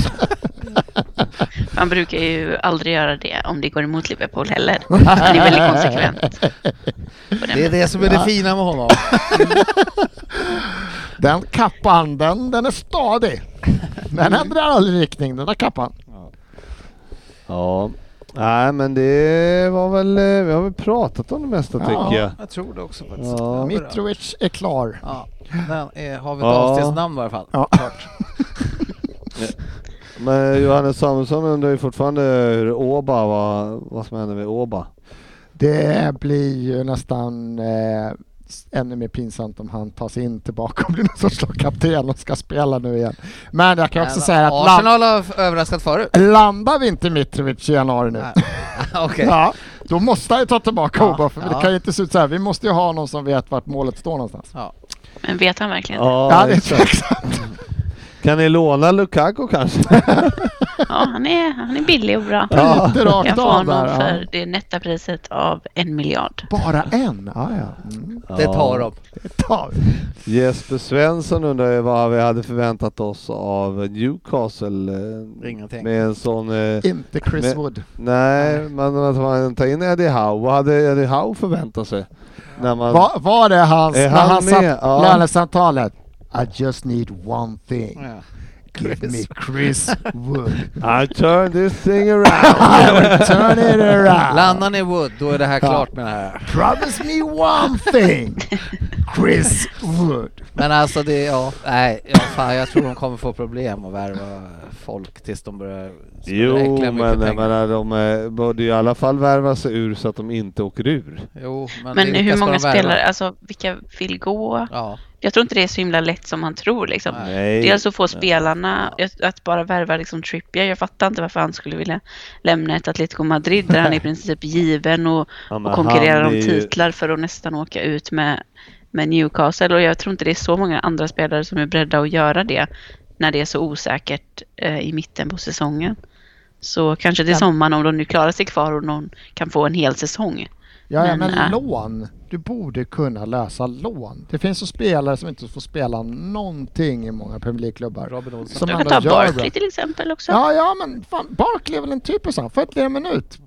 [SPEAKER 5] Man brukar ju aldrig göra det om det går emot Liverpool heller. Han är väldigt konsekvent. på den
[SPEAKER 4] Det är det som är det fina med
[SPEAKER 6] (laughs)
[SPEAKER 4] honom.
[SPEAKER 6] Den kappan, den, den
[SPEAKER 3] (laughs)
[SPEAKER 6] är stadig. Den ändrar aldrig riktning, den där kappan.
[SPEAKER 3] Ja. Nej men det var väl, eh, vi har väl pratat om det mesta
[SPEAKER 6] Ja.
[SPEAKER 3] tycker jag.
[SPEAKER 4] Jag tror det också faktiskt.
[SPEAKER 3] Ja.
[SPEAKER 4] Ja.
[SPEAKER 6] Mitrovic är klar.
[SPEAKER 4] Ja, den är, har vi ett
[SPEAKER 3] Ja.
[SPEAKER 4] avsnittsnamn i alla fall.
[SPEAKER 6] Ja.
[SPEAKER 4] Klart.
[SPEAKER 3] Men Johannes Samuelsson undrar ju fortfarande hur Åba, vad, vad som hände med Åba.
[SPEAKER 6] Det blir ju nästan eh, s- ännu mer pinsamt om han tas in tillbaka och blir någon sorts lagkapten och ska spela nu igen. Men jag kan också säga att land,
[SPEAKER 4] Arsenal har f- överraskat förut.
[SPEAKER 6] landar vi inte Mitrovic i januari nu,
[SPEAKER 4] Nej. (laughs) Okej.
[SPEAKER 6] ja, då måste han ju ta tillbaka
[SPEAKER 4] Ja,
[SPEAKER 6] Oba, för det
[SPEAKER 4] ja.
[SPEAKER 6] kan ju inte se ut så här. Vi måste ju ha någon som vet vart målet står någonstans.
[SPEAKER 4] Ja.
[SPEAKER 5] Men vet han verkligen det?
[SPEAKER 3] Ja,
[SPEAKER 6] Ja, det är
[SPEAKER 3] exakt.
[SPEAKER 6] exakt.
[SPEAKER 3] Kan ni låna Lukaku kanske?
[SPEAKER 5] Ja, han är, han är billig och bra.
[SPEAKER 3] Ja.
[SPEAKER 6] (laughs) Lite
[SPEAKER 5] Jag
[SPEAKER 6] rakt
[SPEAKER 5] får
[SPEAKER 6] av
[SPEAKER 5] honom
[SPEAKER 6] där.
[SPEAKER 5] för
[SPEAKER 6] Ja.
[SPEAKER 5] det nätta priset av en miljard.
[SPEAKER 6] Bara en? Ja, ja. Mm.
[SPEAKER 4] (laughs) Det tar de.
[SPEAKER 6] Ta.
[SPEAKER 3] Jesper Svensson undrar ju vad vi hade förväntat oss av Newcastle. eh,
[SPEAKER 4] Ingenting.
[SPEAKER 3] Med en sån... eh,
[SPEAKER 6] Inte Chris
[SPEAKER 3] Men-
[SPEAKER 6] Wood.
[SPEAKER 3] Nej, men att man tar in Eddie Howe. Vad hade Eddie Howe förväntat sig? När man...
[SPEAKER 6] Va, var det hans,
[SPEAKER 3] Är
[SPEAKER 6] när
[SPEAKER 3] han
[SPEAKER 6] han
[SPEAKER 3] med?
[SPEAKER 6] satt
[SPEAKER 3] Ja.
[SPEAKER 6] lönesamtalet? I just need one thing.
[SPEAKER 4] Ja.
[SPEAKER 6] Give me Chris Wood.
[SPEAKER 3] I turn this thing around!
[SPEAKER 4] (laughs)
[SPEAKER 6] I will turn it around.
[SPEAKER 4] Landar ni i Wood, då är det här klart med det här.
[SPEAKER 6] Promise me one thing. Chris Wood.
[SPEAKER 4] Men alltså det, ja, nej, ja, fan, jag tror de kommer få problem att värva folk tills de börjar spela
[SPEAKER 3] jo,
[SPEAKER 4] äckliga mycket
[SPEAKER 3] men jag
[SPEAKER 4] pengar.
[SPEAKER 3] menar, de eh, borde ju i alla fall värva sig ur så att de inte åker ur.
[SPEAKER 4] jo, men,
[SPEAKER 5] Men
[SPEAKER 4] vilka
[SPEAKER 5] hur
[SPEAKER 4] ska
[SPEAKER 5] många
[SPEAKER 4] de värva?
[SPEAKER 5] spelare, alltså vilka vill gå?
[SPEAKER 4] Ja,
[SPEAKER 5] Jag tror inte det är så himla lätt som man tror liksom.
[SPEAKER 3] Nej.
[SPEAKER 5] Dels att få spelarna, att- att bara värva liksom Trippier, jag fattar inte varför han skulle vilja lämna ett Atletico Madrid där han är i princip given och,
[SPEAKER 3] Ja, men
[SPEAKER 5] och konkurrerar
[SPEAKER 3] han
[SPEAKER 5] om
[SPEAKER 3] är ju-
[SPEAKER 5] titlar för att nästan åka ut med, med Newcastle och jag tror inte det är så många andra spelare som är beredda att göra det när det är så osäkert eh, i mitten på säsongen. Så kanske till sommaren om de nu klarar sig kvar och någon kan få en hel säsong.
[SPEAKER 6] Ja, ja, men
[SPEAKER 5] Men, äh.
[SPEAKER 6] lån. Du borde kunna lösa lån. Det finns ju spelare som inte får spela någonting i många Premier League-klubbar.
[SPEAKER 4] Robin Olsen.
[SPEAKER 6] Som
[SPEAKER 5] De kan
[SPEAKER 6] ändå
[SPEAKER 5] ta
[SPEAKER 6] gör bra.
[SPEAKER 5] Barkley till exempel också.
[SPEAKER 6] Ja, ja, men fan, Barkley är väl en typ av sån. 41 minut.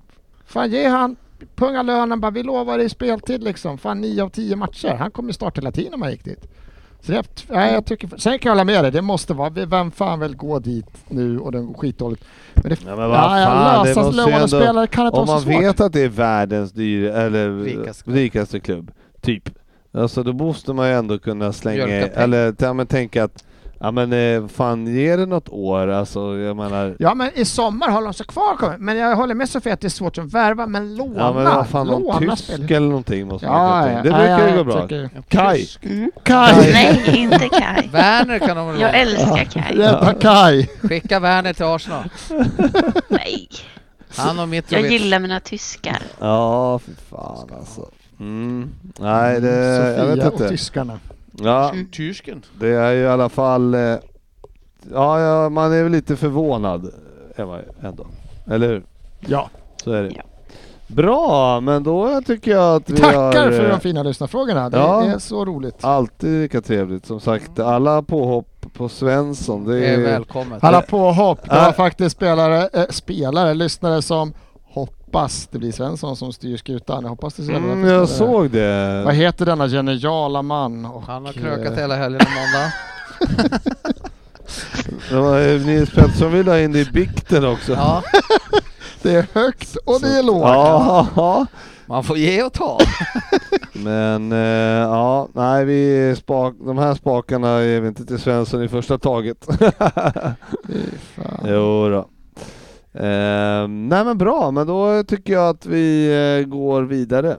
[SPEAKER 6] Fan, ge han punga lönen bara. Vi lovar dig speltid liksom. Fan, 9 av 10 matcher. Han kommer ju starta hela tiden om han gick dit. Så det, nej, jag tycker, sen kan jag hålla med dig, det måste vara, vem fan vill gå dit nu och den skitdåligt. Men det,
[SPEAKER 3] Ja, men vad fan, det måste ju ändå-
[SPEAKER 6] spelare kan inte
[SPEAKER 3] Om
[SPEAKER 6] vara
[SPEAKER 3] man
[SPEAKER 6] så svårt.
[SPEAKER 3] vet att det är världens dyr, eller
[SPEAKER 4] Rikaste
[SPEAKER 3] rikaste,
[SPEAKER 4] klubb.
[SPEAKER 3] klubb, typ. Alltså då måste man ju ändå kunna slänga,
[SPEAKER 4] Mjölka pengar.
[SPEAKER 3] eller ja, men tänka att ja men eh, fan ge det något år, alltså jag menar.
[SPEAKER 6] Ja men i sommar håller de sig kvar kommer- Men jag håller med Sofia att det är svårt att värva, men låna!
[SPEAKER 3] Ja men vad fan, någon
[SPEAKER 6] låna
[SPEAKER 3] tysk
[SPEAKER 6] spelare.
[SPEAKER 3] eller någonting måste man
[SPEAKER 6] Ja,
[SPEAKER 3] kunna
[SPEAKER 6] ja,
[SPEAKER 3] tänka. Det
[SPEAKER 6] ja,
[SPEAKER 3] brukar
[SPEAKER 6] ja,
[SPEAKER 3] ju gå
[SPEAKER 6] jag
[SPEAKER 3] bra.
[SPEAKER 6] tycker-
[SPEAKER 3] Kaj!
[SPEAKER 5] Mm.
[SPEAKER 6] Kaj!
[SPEAKER 5] Nej, inte
[SPEAKER 4] (laughs)
[SPEAKER 5] Kai.
[SPEAKER 4] Werner kan de väl
[SPEAKER 5] (laughs) Jag
[SPEAKER 4] vara?
[SPEAKER 5] älskar
[SPEAKER 3] (laughs)
[SPEAKER 5] Kai.
[SPEAKER 6] Rädda Kaj!
[SPEAKER 4] Skicka Werner till Arsenal.
[SPEAKER 5] Nej.
[SPEAKER 4] Han och Mitrovic.
[SPEAKER 5] Jag gillar mina tyskar.
[SPEAKER 3] Ja, fy fan alltså. Mm. Nej, det, jag
[SPEAKER 6] Sofia
[SPEAKER 3] vet
[SPEAKER 6] Mm, och
[SPEAKER 3] inte.
[SPEAKER 6] tyskarna.
[SPEAKER 3] Ja,
[SPEAKER 4] Tysken.
[SPEAKER 3] det är ju i alla fall... eh, Ja, ja man är väl lite förvånad, är man ju ändå. Eller hur?
[SPEAKER 6] Ja.
[SPEAKER 3] Så är det.
[SPEAKER 5] Ja.
[SPEAKER 3] Bra, men då tycker jag att vi har
[SPEAKER 6] Tackar för
[SPEAKER 3] eh,
[SPEAKER 6] de fina lyssnarfrågorna, det
[SPEAKER 3] Ja.
[SPEAKER 6] är så roligt.
[SPEAKER 3] alltid lika trevligt. Som sagt, alla påhopp på Svensson, det
[SPEAKER 4] Det är
[SPEAKER 3] är...
[SPEAKER 4] välkommet.
[SPEAKER 6] Alla påhopp, det
[SPEAKER 3] Äh.
[SPEAKER 6] var faktiskt spelare, eh, spelare, lyssnare som hoppas det blir Svensson som styr skutan. Jag hoppas det så jävla
[SPEAKER 3] Mm,
[SPEAKER 6] bra.
[SPEAKER 3] jag såg det.
[SPEAKER 6] Vad heter denna geniala man? Och,
[SPEAKER 4] Han har
[SPEAKER 6] eh,
[SPEAKER 4] krökat
[SPEAKER 3] (laughs)
[SPEAKER 4] hela helgen och måndag.
[SPEAKER 3] Det var, eh, Nils Pettersson ville ha in det i bikten också.
[SPEAKER 4] Ja,
[SPEAKER 6] Det är högt och det är lågt.
[SPEAKER 3] Ja,
[SPEAKER 4] man får ge och ta.
[SPEAKER 3] men eh, ja, nej vi spak, de här spakarna är vi inte till Svensson i första taget. (laughs)
[SPEAKER 6] Fy fan.
[SPEAKER 3] jo då. Ehm, nej men bra, men då tycker jag att vi eh, går vidare.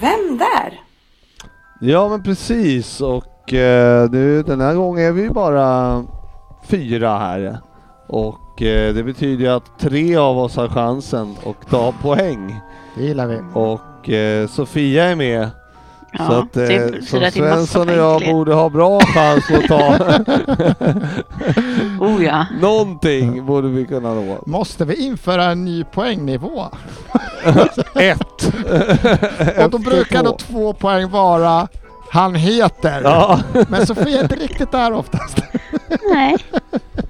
[SPEAKER 7] Vem där?
[SPEAKER 3] Ja men precis och eh, nu den här gången är vi ju bara fyra här. Och eh, det betyder ju att tre av oss har chansen och ta poäng.
[SPEAKER 6] Det gillar vi.
[SPEAKER 3] Och eh, Sofia är med.
[SPEAKER 5] Ja,
[SPEAKER 3] så att
[SPEAKER 5] det
[SPEAKER 3] eh,
[SPEAKER 5] betyder
[SPEAKER 3] så
[SPEAKER 5] att det är massa
[SPEAKER 3] Svensson och
[SPEAKER 5] poäng
[SPEAKER 3] jag
[SPEAKER 5] till er.
[SPEAKER 3] borde ha bra chans att
[SPEAKER 5] (laughs)
[SPEAKER 3] ta (laughs)
[SPEAKER 5] Oh ja.
[SPEAKER 3] någonting borde vi kunna nå.
[SPEAKER 6] Måste vi införa en ny
[SPEAKER 3] (laughs)
[SPEAKER 6] poängnivå?
[SPEAKER 3] Ett!
[SPEAKER 6] Och då brukar då två poäng vara han heter.
[SPEAKER 3] Ja.
[SPEAKER 6] Men Sofia är inte riktigt där oftast.
[SPEAKER 5] Nej.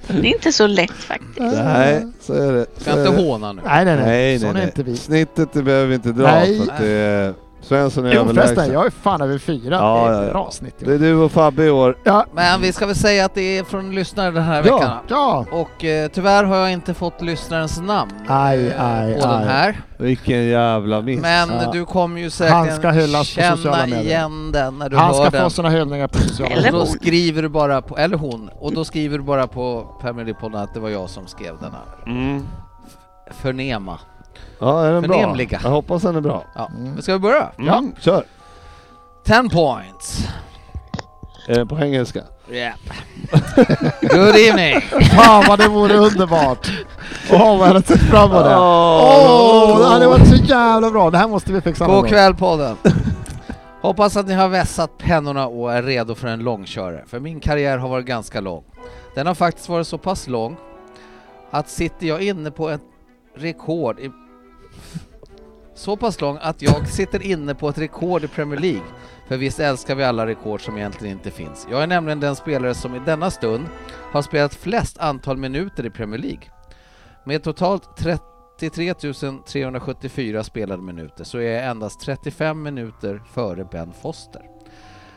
[SPEAKER 5] Det är inte så lätt faktiskt.
[SPEAKER 3] Nej, så är det. Så
[SPEAKER 4] Ska
[SPEAKER 3] är det.
[SPEAKER 4] inte håna nu.
[SPEAKER 6] Nej, nej, nej.
[SPEAKER 3] Nej,
[SPEAKER 6] Sån
[SPEAKER 3] nej,
[SPEAKER 6] är
[SPEAKER 3] nej.
[SPEAKER 6] inte vi.
[SPEAKER 3] Snittet det behöver vi inte dra
[SPEAKER 6] Nej.
[SPEAKER 3] för att det är... Svensson är
[SPEAKER 6] Jo förresten,
[SPEAKER 3] överlägsen.
[SPEAKER 6] jag är fan över fyra.
[SPEAKER 3] Ja,
[SPEAKER 6] det är
[SPEAKER 3] ja, ja.
[SPEAKER 6] ett bra snitt.
[SPEAKER 3] Det
[SPEAKER 6] ju.
[SPEAKER 3] är du och Fabbe i år.
[SPEAKER 6] Ja,
[SPEAKER 4] Men vi ska väl säga att det är från lyssnare den här
[SPEAKER 3] Ja.
[SPEAKER 4] veckan.
[SPEAKER 6] ja.
[SPEAKER 4] Och eh, tyvärr har jag inte fått lyssnarens namn
[SPEAKER 6] Aj,
[SPEAKER 4] eh,
[SPEAKER 6] aj,
[SPEAKER 4] på den
[SPEAKER 6] aj.
[SPEAKER 4] här.
[SPEAKER 3] Vilken jävla miss.
[SPEAKER 4] Men
[SPEAKER 6] Ja.
[SPEAKER 4] du kommer ju
[SPEAKER 6] Han ska
[SPEAKER 4] säkert
[SPEAKER 6] hyllas på
[SPEAKER 4] känna
[SPEAKER 6] sociala medier.
[SPEAKER 4] igen den när du
[SPEAKER 6] Han
[SPEAKER 4] hör
[SPEAKER 6] ska få
[SPEAKER 4] den.
[SPEAKER 6] sina hyllningar på sociala
[SPEAKER 5] Eller
[SPEAKER 4] Och då
[SPEAKER 5] hon.
[SPEAKER 4] skriver du bara på, eller hon, och då skriver du bara på Permelipodden att det var jag som skrev den här.
[SPEAKER 3] Mm.
[SPEAKER 4] Förnema.
[SPEAKER 3] Ja, är den bra?
[SPEAKER 4] Förnämliga.
[SPEAKER 3] Jag hoppas den är bra.
[SPEAKER 4] Ja. Men ska vi börja?
[SPEAKER 3] Mm. Ja, kör!
[SPEAKER 4] 10 points.
[SPEAKER 3] Är den Eh, på engelska?
[SPEAKER 4] Yeah. Good evening.
[SPEAKER 6] Fan vad det
[SPEAKER 3] (laughs)
[SPEAKER 6] vore underbart! Åh vad jag hade sett fram emot det! Åh, det hade varit så jävla bra! Det här måste vi fixa någon
[SPEAKER 4] God
[SPEAKER 6] gång.
[SPEAKER 4] kväll podden. (laughs) Hoppas att ni har vässat pennorna och är redo för en långkörare, för min karriär har varit ganska lång. Den har faktiskt varit så pass lång att sitter jag inne på ett rekord i... (laughs) Så pass lång att jag sitter inne på ett rekord i Premier League. För visst älskar vi alla rekord som egentligen inte finns. Jag är nämligen den spelare som i denna stund har spelat flest antal minuter i Premier League. Med totalt 30 till 374 spelade minuter så är jag endast 35 minuter före Ben Foster.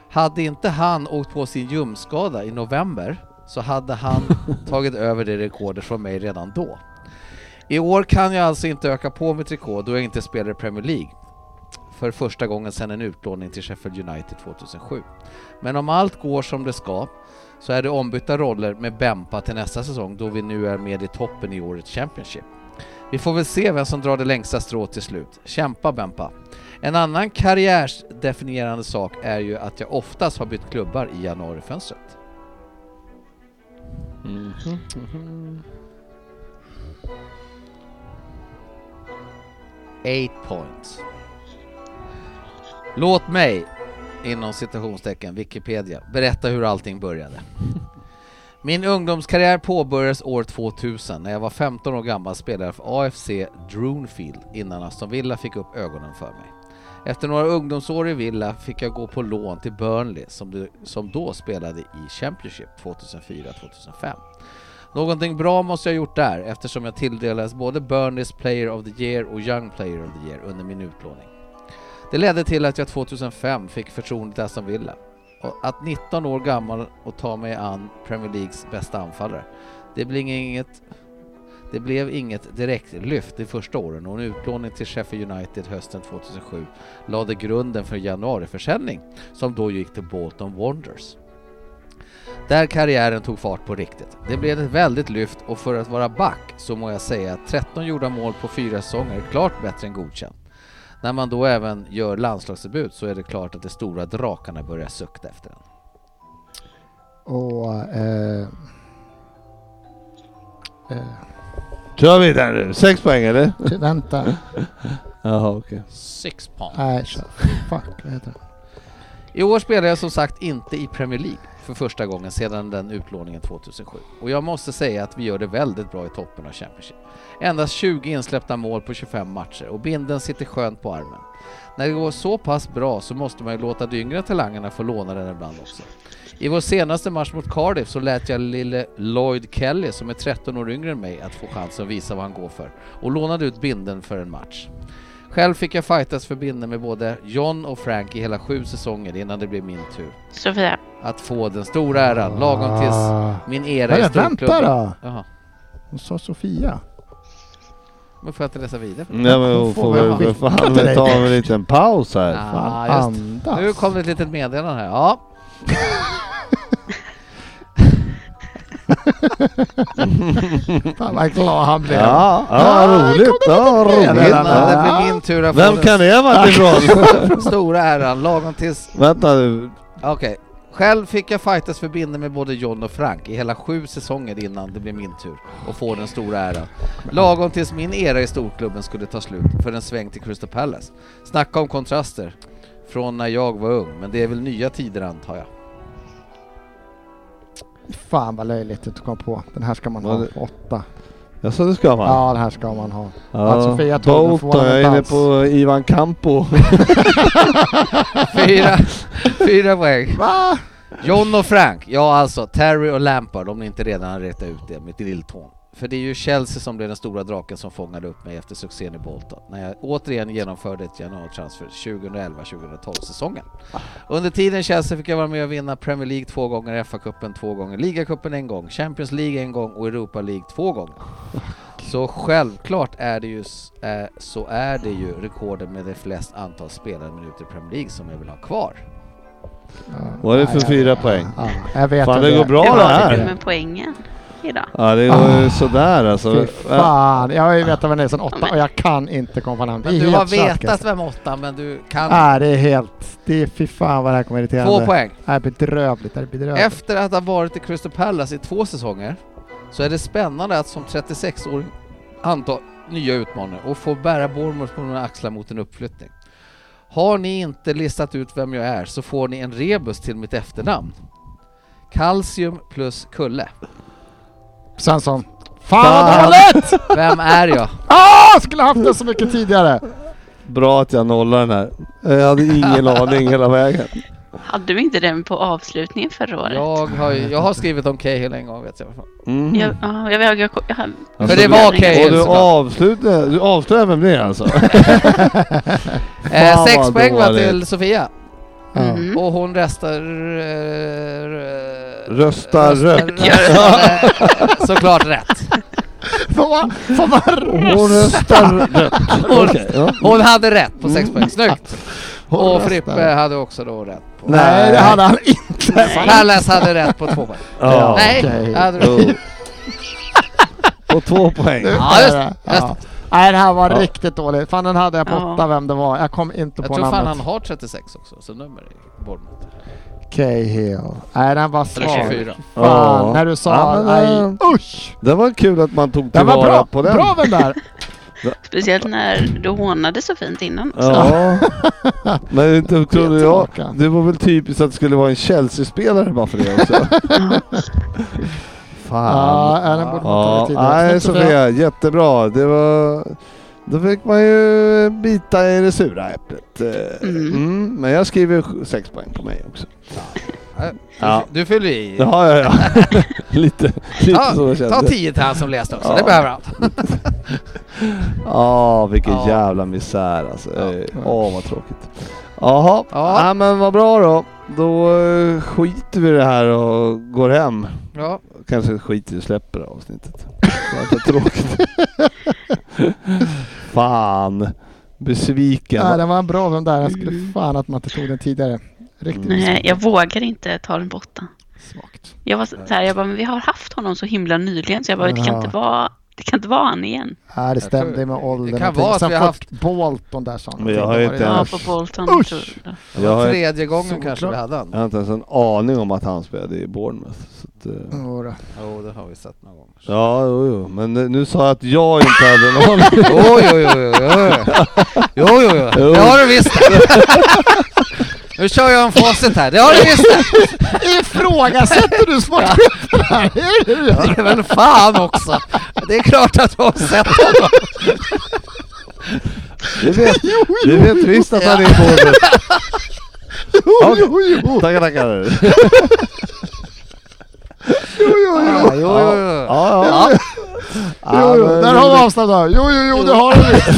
[SPEAKER 4] Hade inte han åkt på sin ljumskada i november så hade han tagit över det rekordet från mig redan då. I år kan jag alltså inte öka på mitt rekord då jag inte spelar i Premier League för första gången sedan en utlåning till Sheffield United 2007. Men om allt går som det ska så är det ombytta roller med Bempa till nästa säsong då vi nu är med i toppen i årets Championship. Vi får väl se vem som drar det längsta strået till slut. Kämpa Bempa! En annan karriärsdefinierande sak är ju att jag oftast har bytt klubbar i januarifönstret. Eight points. Låt mig, inom citationstecken, Wikipedia, berätta hur allting började. Min ungdomskarriär påbörjades år 2000 när jag var 15 år gammal spelare för AFC Droonfield innan Aston Villa fick upp ögonen för mig. Efter några ungdomsår i Villa fick jag gå på lån till Burnley som, du, som då spelade i Championship 2004-2005. Någonting bra måste jag ha gjort där eftersom jag tilldelades både Burnleys Player of the Year och Young Player of the Year under min utlåning. Det ledde till att jag 2005 fick förtroendet Aston Villa och att 19 år gammal och ta mig an Premier Leagues bästa anfallare. Det blev inget, det blev inget direkt lyft de första åren och en utlåning till Sheffield United hösten 2007 lade grunden för januariförsäljning som då gick till Bolton Wanderers. Där karriären tog fart på riktigt. Det blev ett väldigt lyft och för att vara back så må jag säga att 13 gjorda mål på fyra säsonger är klart bättre än godkänt. När man då även gör landslagsdebut så är det klart att de stora drakarna börjar sukta efter den.
[SPEAKER 6] Och, eh, eh,
[SPEAKER 3] Kör vi där nu. Sex poäng eller?
[SPEAKER 6] vänta.
[SPEAKER 3] Jaha okej.
[SPEAKER 4] Six pounds.
[SPEAKER 6] Nej, kör. Fuck, vad heter det?
[SPEAKER 4] I år spelar jag som sagt inte i Premier League för första gången sedan den utlåningen 2007 och jag måste säga att vi gör det väldigt bra i toppen av Championship. Endast 20 insläppta mål på 25 matcher och binden sitter skönt på armen. När det går så pass bra så måste man ju låta de yngre talangerna få låna den ibland också. I vår senaste match mot Cardiff så lät jag lille Lloyd Kelly, som är 13 år yngre än mig, att få chansen att visa vad han går för och lånade ut binden för en match. Själv fick jag fightas för binden med både John och Frank i hela sju säsonger innan det blev min tur
[SPEAKER 5] Sofia.
[SPEAKER 4] att få den stora äran lagom tills
[SPEAKER 6] Ah.
[SPEAKER 4] min era i
[SPEAKER 6] Hörru, vänta
[SPEAKER 4] storklubben...
[SPEAKER 6] då!
[SPEAKER 4] Jaha,
[SPEAKER 6] Hon sa Sofia.
[SPEAKER 4] men får jag inte läsa vidare?
[SPEAKER 3] Nej men hon får väl för fan väl ta en liten paus här.
[SPEAKER 4] Ah, just.
[SPEAKER 6] Andas.
[SPEAKER 4] Nu kom det ett litet meddelande här. Ja.
[SPEAKER 6] Fan vad glad han blev.
[SPEAKER 3] Ja, ja roligt. Ja,
[SPEAKER 4] Innan det
[SPEAKER 3] roligt.
[SPEAKER 4] blir min tur att
[SPEAKER 3] Vem
[SPEAKER 4] få
[SPEAKER 3] kan det ha varit ifrån?
[SPEAKER 6] (laughs)
[SPEAKER 4] den stora äran lagom tills
[SPEAKER 3] Vänta nu.
[SPEAKER 4] Okej. Själv fick jag fightas för binden med både John och Frank i hela sju säsonger innan det blev min tur och få den stora äran. Lagom tills min era i storklubben skulle ta slut för en sväng till Crystal Palace. Snacka om kontraster från när jag var ung, men det är väl nya tider antar jag.
[SPEAKER 6] Fan vad löjligt att du kom på. Den här ska man
[SPEAKER 3] Vad
[SPEAKER 6] ha.
[SPEAKER 3] det-
[SPEAKER 6] Åtta.
[SPEAKER 3] Jag sa det ska man.
[SPEAKER 6] Ja, den här ska man ha.
[SPEAKER 3] Ja,
[SPEAKER 6] att Sofia tog den
[SPEAKER 3] Bolton, jag
[SPEAKER 6] förvånande
[SPEAKER 3] är inne
[SPEAKER 6] dans.
[SPEAKER 3] på Ivan Campo.
[SPEAKER 4] Fyra, fyra poäng.
[SPEAKER 6] Va?
[SPEAKER 4] John och Frank, ja alltså Terry och Lampard om ni inte redan har rätt ut det, mitt lilltån. För det är ju Chelsea som blev den stora draken som fångade upp mig efter succén i Bolton, när jag återigen genomförde ett januartransfer 2011-2012 säsongen. Under tiden i Chelsea fick jag vara med och vinna Premier League två gånger, FA-cupen två gånger, ligacupen en gång, Champions League en gång och Europa League två gånger. Så självklart är det ju, s- eh, så är det ju rekorden med det flest antal spelade minuter i Premier League som jag vill ha kvar.
[SPEAKER 3] Vad är det för fyra poäng?
[SPEAKER 6] Ja, jag vet
[SPEAKER 3] Fan
[SPEAKER 6] att
[SPEAKER 3] det går bra
[SPEAKER 5] Hur
[SPEAKER 3] det
[SPEAKER 5] var det
[SPEAKER 3] här.
[SPEAKER 5] med poängen idag?
[SPEAKER 3] Ja det går ju sådär alltså.
[SPEAKER 6] Ah. Fy fan, jag har ju vetat vem det är sedan åtta och jag kan inte komma på namn. Det är
[SPEAKER 4] Men du
[SPEAKER 6] helt
[SPEAKER 4] har
[SPEAKER 6] snackat.
[SPEAKER 4] vetat
[SPEAKER 3] alltså.
[SPEAKER 4] vem åtta men du kan...
[SPEAKER 6] Nej, det är helt... Det är fy fan vad det här kommer irritera
[SPEAKER 4] Två
[SPEAKER 6] mig.
[SPEAKER 4] poäng.
[SPEAKER 6] Det här är bedrövligt. Det här är bedrövligt.
[SPEAKER 4] Efter att ha varit i Crystal Palace i två säsonger så är det spännande att som 36-åring anta nya utmaningar och få bära Bournemouth på några axlar mot en uppflyttning. Har ni inte listat ut vem jag är så får ni en rebus till mitt efternamn. Calcium plus Kulle.
[SPEAKER 6] Svensson. Fan vad dåligt!
[SPEAKER 4] Vem är jag?
[SPEAKER 6] Ah, skulle haft det så mycket tidigare.
[SPEAKER 3] Bra att jag nollar den här. Jag hade
[SPEAKER 6] (laughs)
[SPEAKER 3] ingen aning hela vägen.
[SPEAKER 5] Hade vi inte den på avslutningen förra året?
[SPEAKER 4] Jag har, ju- jag har skrivit om Cahill en gång vet jag.
[SPEAKER 3] Mm.
[SPEAKER 5] Jag, ja, jag, jag, jag, jag,
[SPEAKER 4] För det var
[SPEAKER 3] Och
[SPEAKER 4] Cahill
[SPEAKER 3] du
[SPEAKER 4] såklart.
[SPEAKER 3] avslutar, du avslöjar vem det är
[SPEAKER 6] (laughs)
[SPEAKER 3] alltså?
[SPEAKER 4] Eh,
[SPEAKER 3] Fan,
[SPEAKER 4] sex
[SPEAKER 3] vad
[SPEAKER 4] poäng var
[SPEAKER 3] dåligt.
[SPEAKER 4] till Sofia.
[SPEAKER 6] Ja.
[SPEAKER 5] mm.
[SPEAKER 4] Och hon restar... eh, r-
[SPEAKER 3] Röstar rött.
[SPEAKER 4] (laughs) röstar, eh, Såklart rätt.
[SPEAKER 6] Får man, får man
[SPEAKER 3] Hon röstar rött. Okej, ja.
[SPEAKER 4] Hon hade rätt på
[SPEAKER 3] Mm.
[SPEAKER 4] sex poäng, snyggt!
[SPEAKER 6] Hon
[SPEAKER 4] Och
[SPEAKER 6] röstar
[SPEAKER 4] Frippe
[SPEAKER 6] rätt.
[SPEAKER 4] hade också då rätt på...
[SPEAKER 6] Nej, det hade han inte.
[SPEAKER 4] Pallas hade rätt på två poäng.
[SPEAKER 3] Ja.
[SPEAKER 4] Nej,
[SPEAKER 6] okej.
[SPEAKER 4] jag hade
[SPEAKER 3] Jo. På två poäng.
[SPEAKER 4] Ja, just det.
[SPEAKER 6] Ja. Nej, det här var
[SPEAKER 3] Ja.
[SPEAKER 6] riktigt dåligt. Fan, den hade jag på
[SPEAKER 5] Ja.
[SPEAKER 6] åtta vem det var. Jag kom inte
[SPEAKER 4] Jag
[SPEAKER 6] på
[SPEAKER 4] tror
[SPEAKER 6] namnet.
[SPEAKER 4] fan han har 36 också, så nummer är Bournemouth.
[SPEAKER 6] Cahill. Nej, den var
[SPEAKER 4] Eller
[SPEAKER 6] svag.
[SPEAKER 4] 24.
[SPEAKER 6] Fan,
[SPEAKER 3] Ja.
[SPEAKER 6] när du sa...
[SPEAKER 3] Ja, men,
[SPEAKER 6] nej, usch!
[SPEAKER 3] Det var kul att man tog
[SPEAKER 6] Den var
[SPEAKER 3] tillvara
[SPEAKER 6] bra.
[SPEAKER 3] på den.
[SPEAKER 6] Bra den där!
[SPEAKER 5] Speciellt när du hånade så fint innan också.
[SPEAKER 3] Ja. Men inte (laughs) trodde jag.
[SPEAKER 6] tillbaka.
[SPEAKER 3] (laughs) Det var väl typiskt att det skulle vara en Chelsea-spelare bara för det också.
[SPEAKER 6] Ja,
[SPEAKER 3] Fan.
[SPEAKER 6] nej, den borde man
[SPEAKER 3] Ja,
[SPEAKER 6] tagit tidigare.
[SPEAKER 3] nej
[SPEAKER 6] Snyggt, Sofia.
[SPEAKER 3] Sofia, jättebra. Det var... Då fick man ju bita i det sura äpplet. Eh,
[SPEAKER 5] Mm.
[SPEAKER 3] Mm, men jag skriver sju- sex poäng på mig också. Ja.
[SPEAKER 4] Du fyller i.
[SPEAKER 3] Ja, ja, (laughs) ja. lite lite så
[SPEAKER 4] Ta,
[SPEAKER 3] känns
[SPEAKER 4] ta
[SPEAKER 3] det.
[SPEAKER 4] tio till han som läste också,
[SPEAKER 3] Ja.
[SPEAKER 4] det behöver han.
[SPEAKER 3] Ja, vilken
[SPEAKER 4] Ja.
[SPEAKER 3] jävla misär alltså.
[SPEAKER 4] Ja.
[SPEAKER 3] Eh, Åh, vad tråkigt. Jaha,
[SPEAKER 4] Ja.
[SPEAKER 3] ja. men vad bra då. Då eh, skiter vi i det här och går hem.
[SPEAKER 4] Ja.
[SPEAKER 3] Kanske skiter i och släpper det här avsnittet. Det var inte
[SPEAKER 4] (laughs)
[SPEAKER 3] tråkigt. Fan. Besviken.
[SPEAKER 6] Nej, den var en bra den där. Jag skulle fan att man inte tog den tidigare. Riktigt
[SPEAKER 5] Nej, jag vågar inte ta den borta.
[SPEAKER 6] svagt.
[SPEAKER 5] Jag var så så här, jag bara, men vi har haft honom så himla nyligen så jag bara, det kan inte vara, det kan inte vara han igen.
[SPEAKER 6] Nej, det stämde
[SPEAKER 4] tror-
[SPEAKER 6] med
[SPEAKER 4] det-
[SPEAKER 6] åldern.
[SPEAKER 4] det kan
[SPEAKER 6] och ting.
[SPEAKER 4] vara att
[SPEAKER 6] Sen
[SPEAKER 4] vi har
[SPEAKER 6] fått Bolton där sa han.
[SPEAKER 3] Men jag
[SPEAKER 6] Tänkte
[SPEAKER 3] har ju
[SPEAKER 6] bara,
[SPEAKER 3] inte
[SPEAKER 6] ja,
[SPEAKER 5] Ja,
[SPEAKER 3] ens-
[SPEAKER 5] på Bolton.
[SPEAKER 6] Usch!
[SPEAKER 5] tror-
[SPEAKER 4] Det
[SPEAKER 3] jag,
[SPEAKER 4] var
[SPEAKER 3] har,
[SPEAKER 4] tredje gången
[SPEAKER 6] Såklart.
[SPEAKER 4] kanske vi hade
[SPEAKER 3] jag
[SPEAKER 4] han.
[SPEAKER 3] har inte ens en aning om att han spelade i Bournemouth. Så att,
[SPEAKER 4] Mm.
[SPEAKER 3] eh,
[SPEAKER 6] Jo då.
[SPEAKER 4] Jo, det har vi sett någon gång.
[SPEAKER 3] ja, jo, jo. Men eh, nu sa jag att jag inte hade en aning.
[SPEAKER 4] Jo, jo, jo, jo, jo. Jo, jo, jo.
[SPEAKER 3] Jo.
[SPEAKER 4] Det har du visst det. Nu kör jag en facit här. Det har du visst det.
[SPEAKER 6] Ifrågasätter du sportchefen här? Är det det?
[SPEAKER 4] Det är väl fan också. Det är klart att jag har sett honom.
[SPEAKER 3] Du vet, du vet visst att han är i Bournemouth.
[SPEAKER 6] Jo, jo, jo.
[SPEAKER 3] Tackar, tackar.
[SPEAKER 4] Ja, jo, jo, jo.
[SPEAKER 3] Ja, ja.
[SPEAKER 4] Ja,
[SPEAKER 6] Jo, jo. Där har vi avstamp där. Jo, jo, jo, det
[SPEAKER 4] (laughs)
[SPEAKER 6] har vi.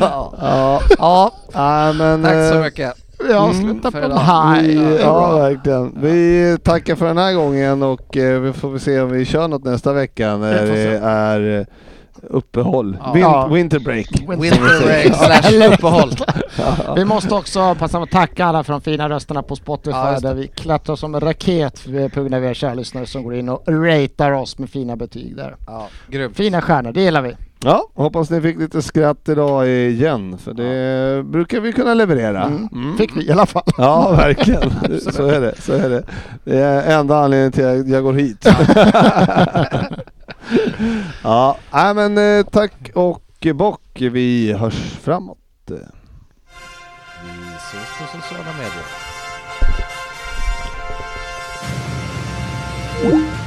[SPEAKER 3] Ja, ja. Nej, men,
[SPEAKER 4] tack så
[SPEAKER 3] eh,
[SPEAKER 4] mycket. Mm,
[SPEAKER 6] Vi avslutar
[SPEAKER 4] för
[SPEAKER 6] på
[SPEAKER 4] idag.
[SPEAKER 6] high.
[SPEAKER 3] Vi,
[SPEAKER 4] det är
[SPEAKER 3] ja,
[SPEAKER 4] bra.
[SPEAKER 3] verkligen. Vi tackar för den här gången och eh, vi får väl se om vi kör något nästa vecka när
[SPEAKER 6] Vi får se.
[SPEAKER 3] det är eh, uppehåll.
[SPEAKER 4] Ja.
[SPEAKER 3] Win-
[SPEAKER 6] Ja.
[SPEAKER 3] Winter break.
[SPEAKER 4] Winter break slash (laughs) uppehåll.
[SPEAKER 6] Vi måste också passa på att tacka alla för de fina rösterna på Spotify
[SPEAKER 4] Ja, just det.
[SPEAKER 6] där vi klättrar som en raket för- på grund av er kära lyssnare som går in och ratear oss med fina betyg där.
[SPEAKER 4] Ja, grymt.
[SPEAKER 6] Fina stjärnor, det gillar vi.
[SPEAKER 3] Ja, hoppas ni fick lite skratt idag igen för det brukar vi kunna leverera. Mm.
[SPEAKER 6] Fick vi i alla fall.
[SPEAKER 3] Ja, verkligen. (laughs) Så är det. Så är det. det är enda anledningen till att jag går hit. (laughs) ja, nej, men eh, tack och bock. Vi hörs framåt.
[SPEAKER 4] Vi syns på sociala medier.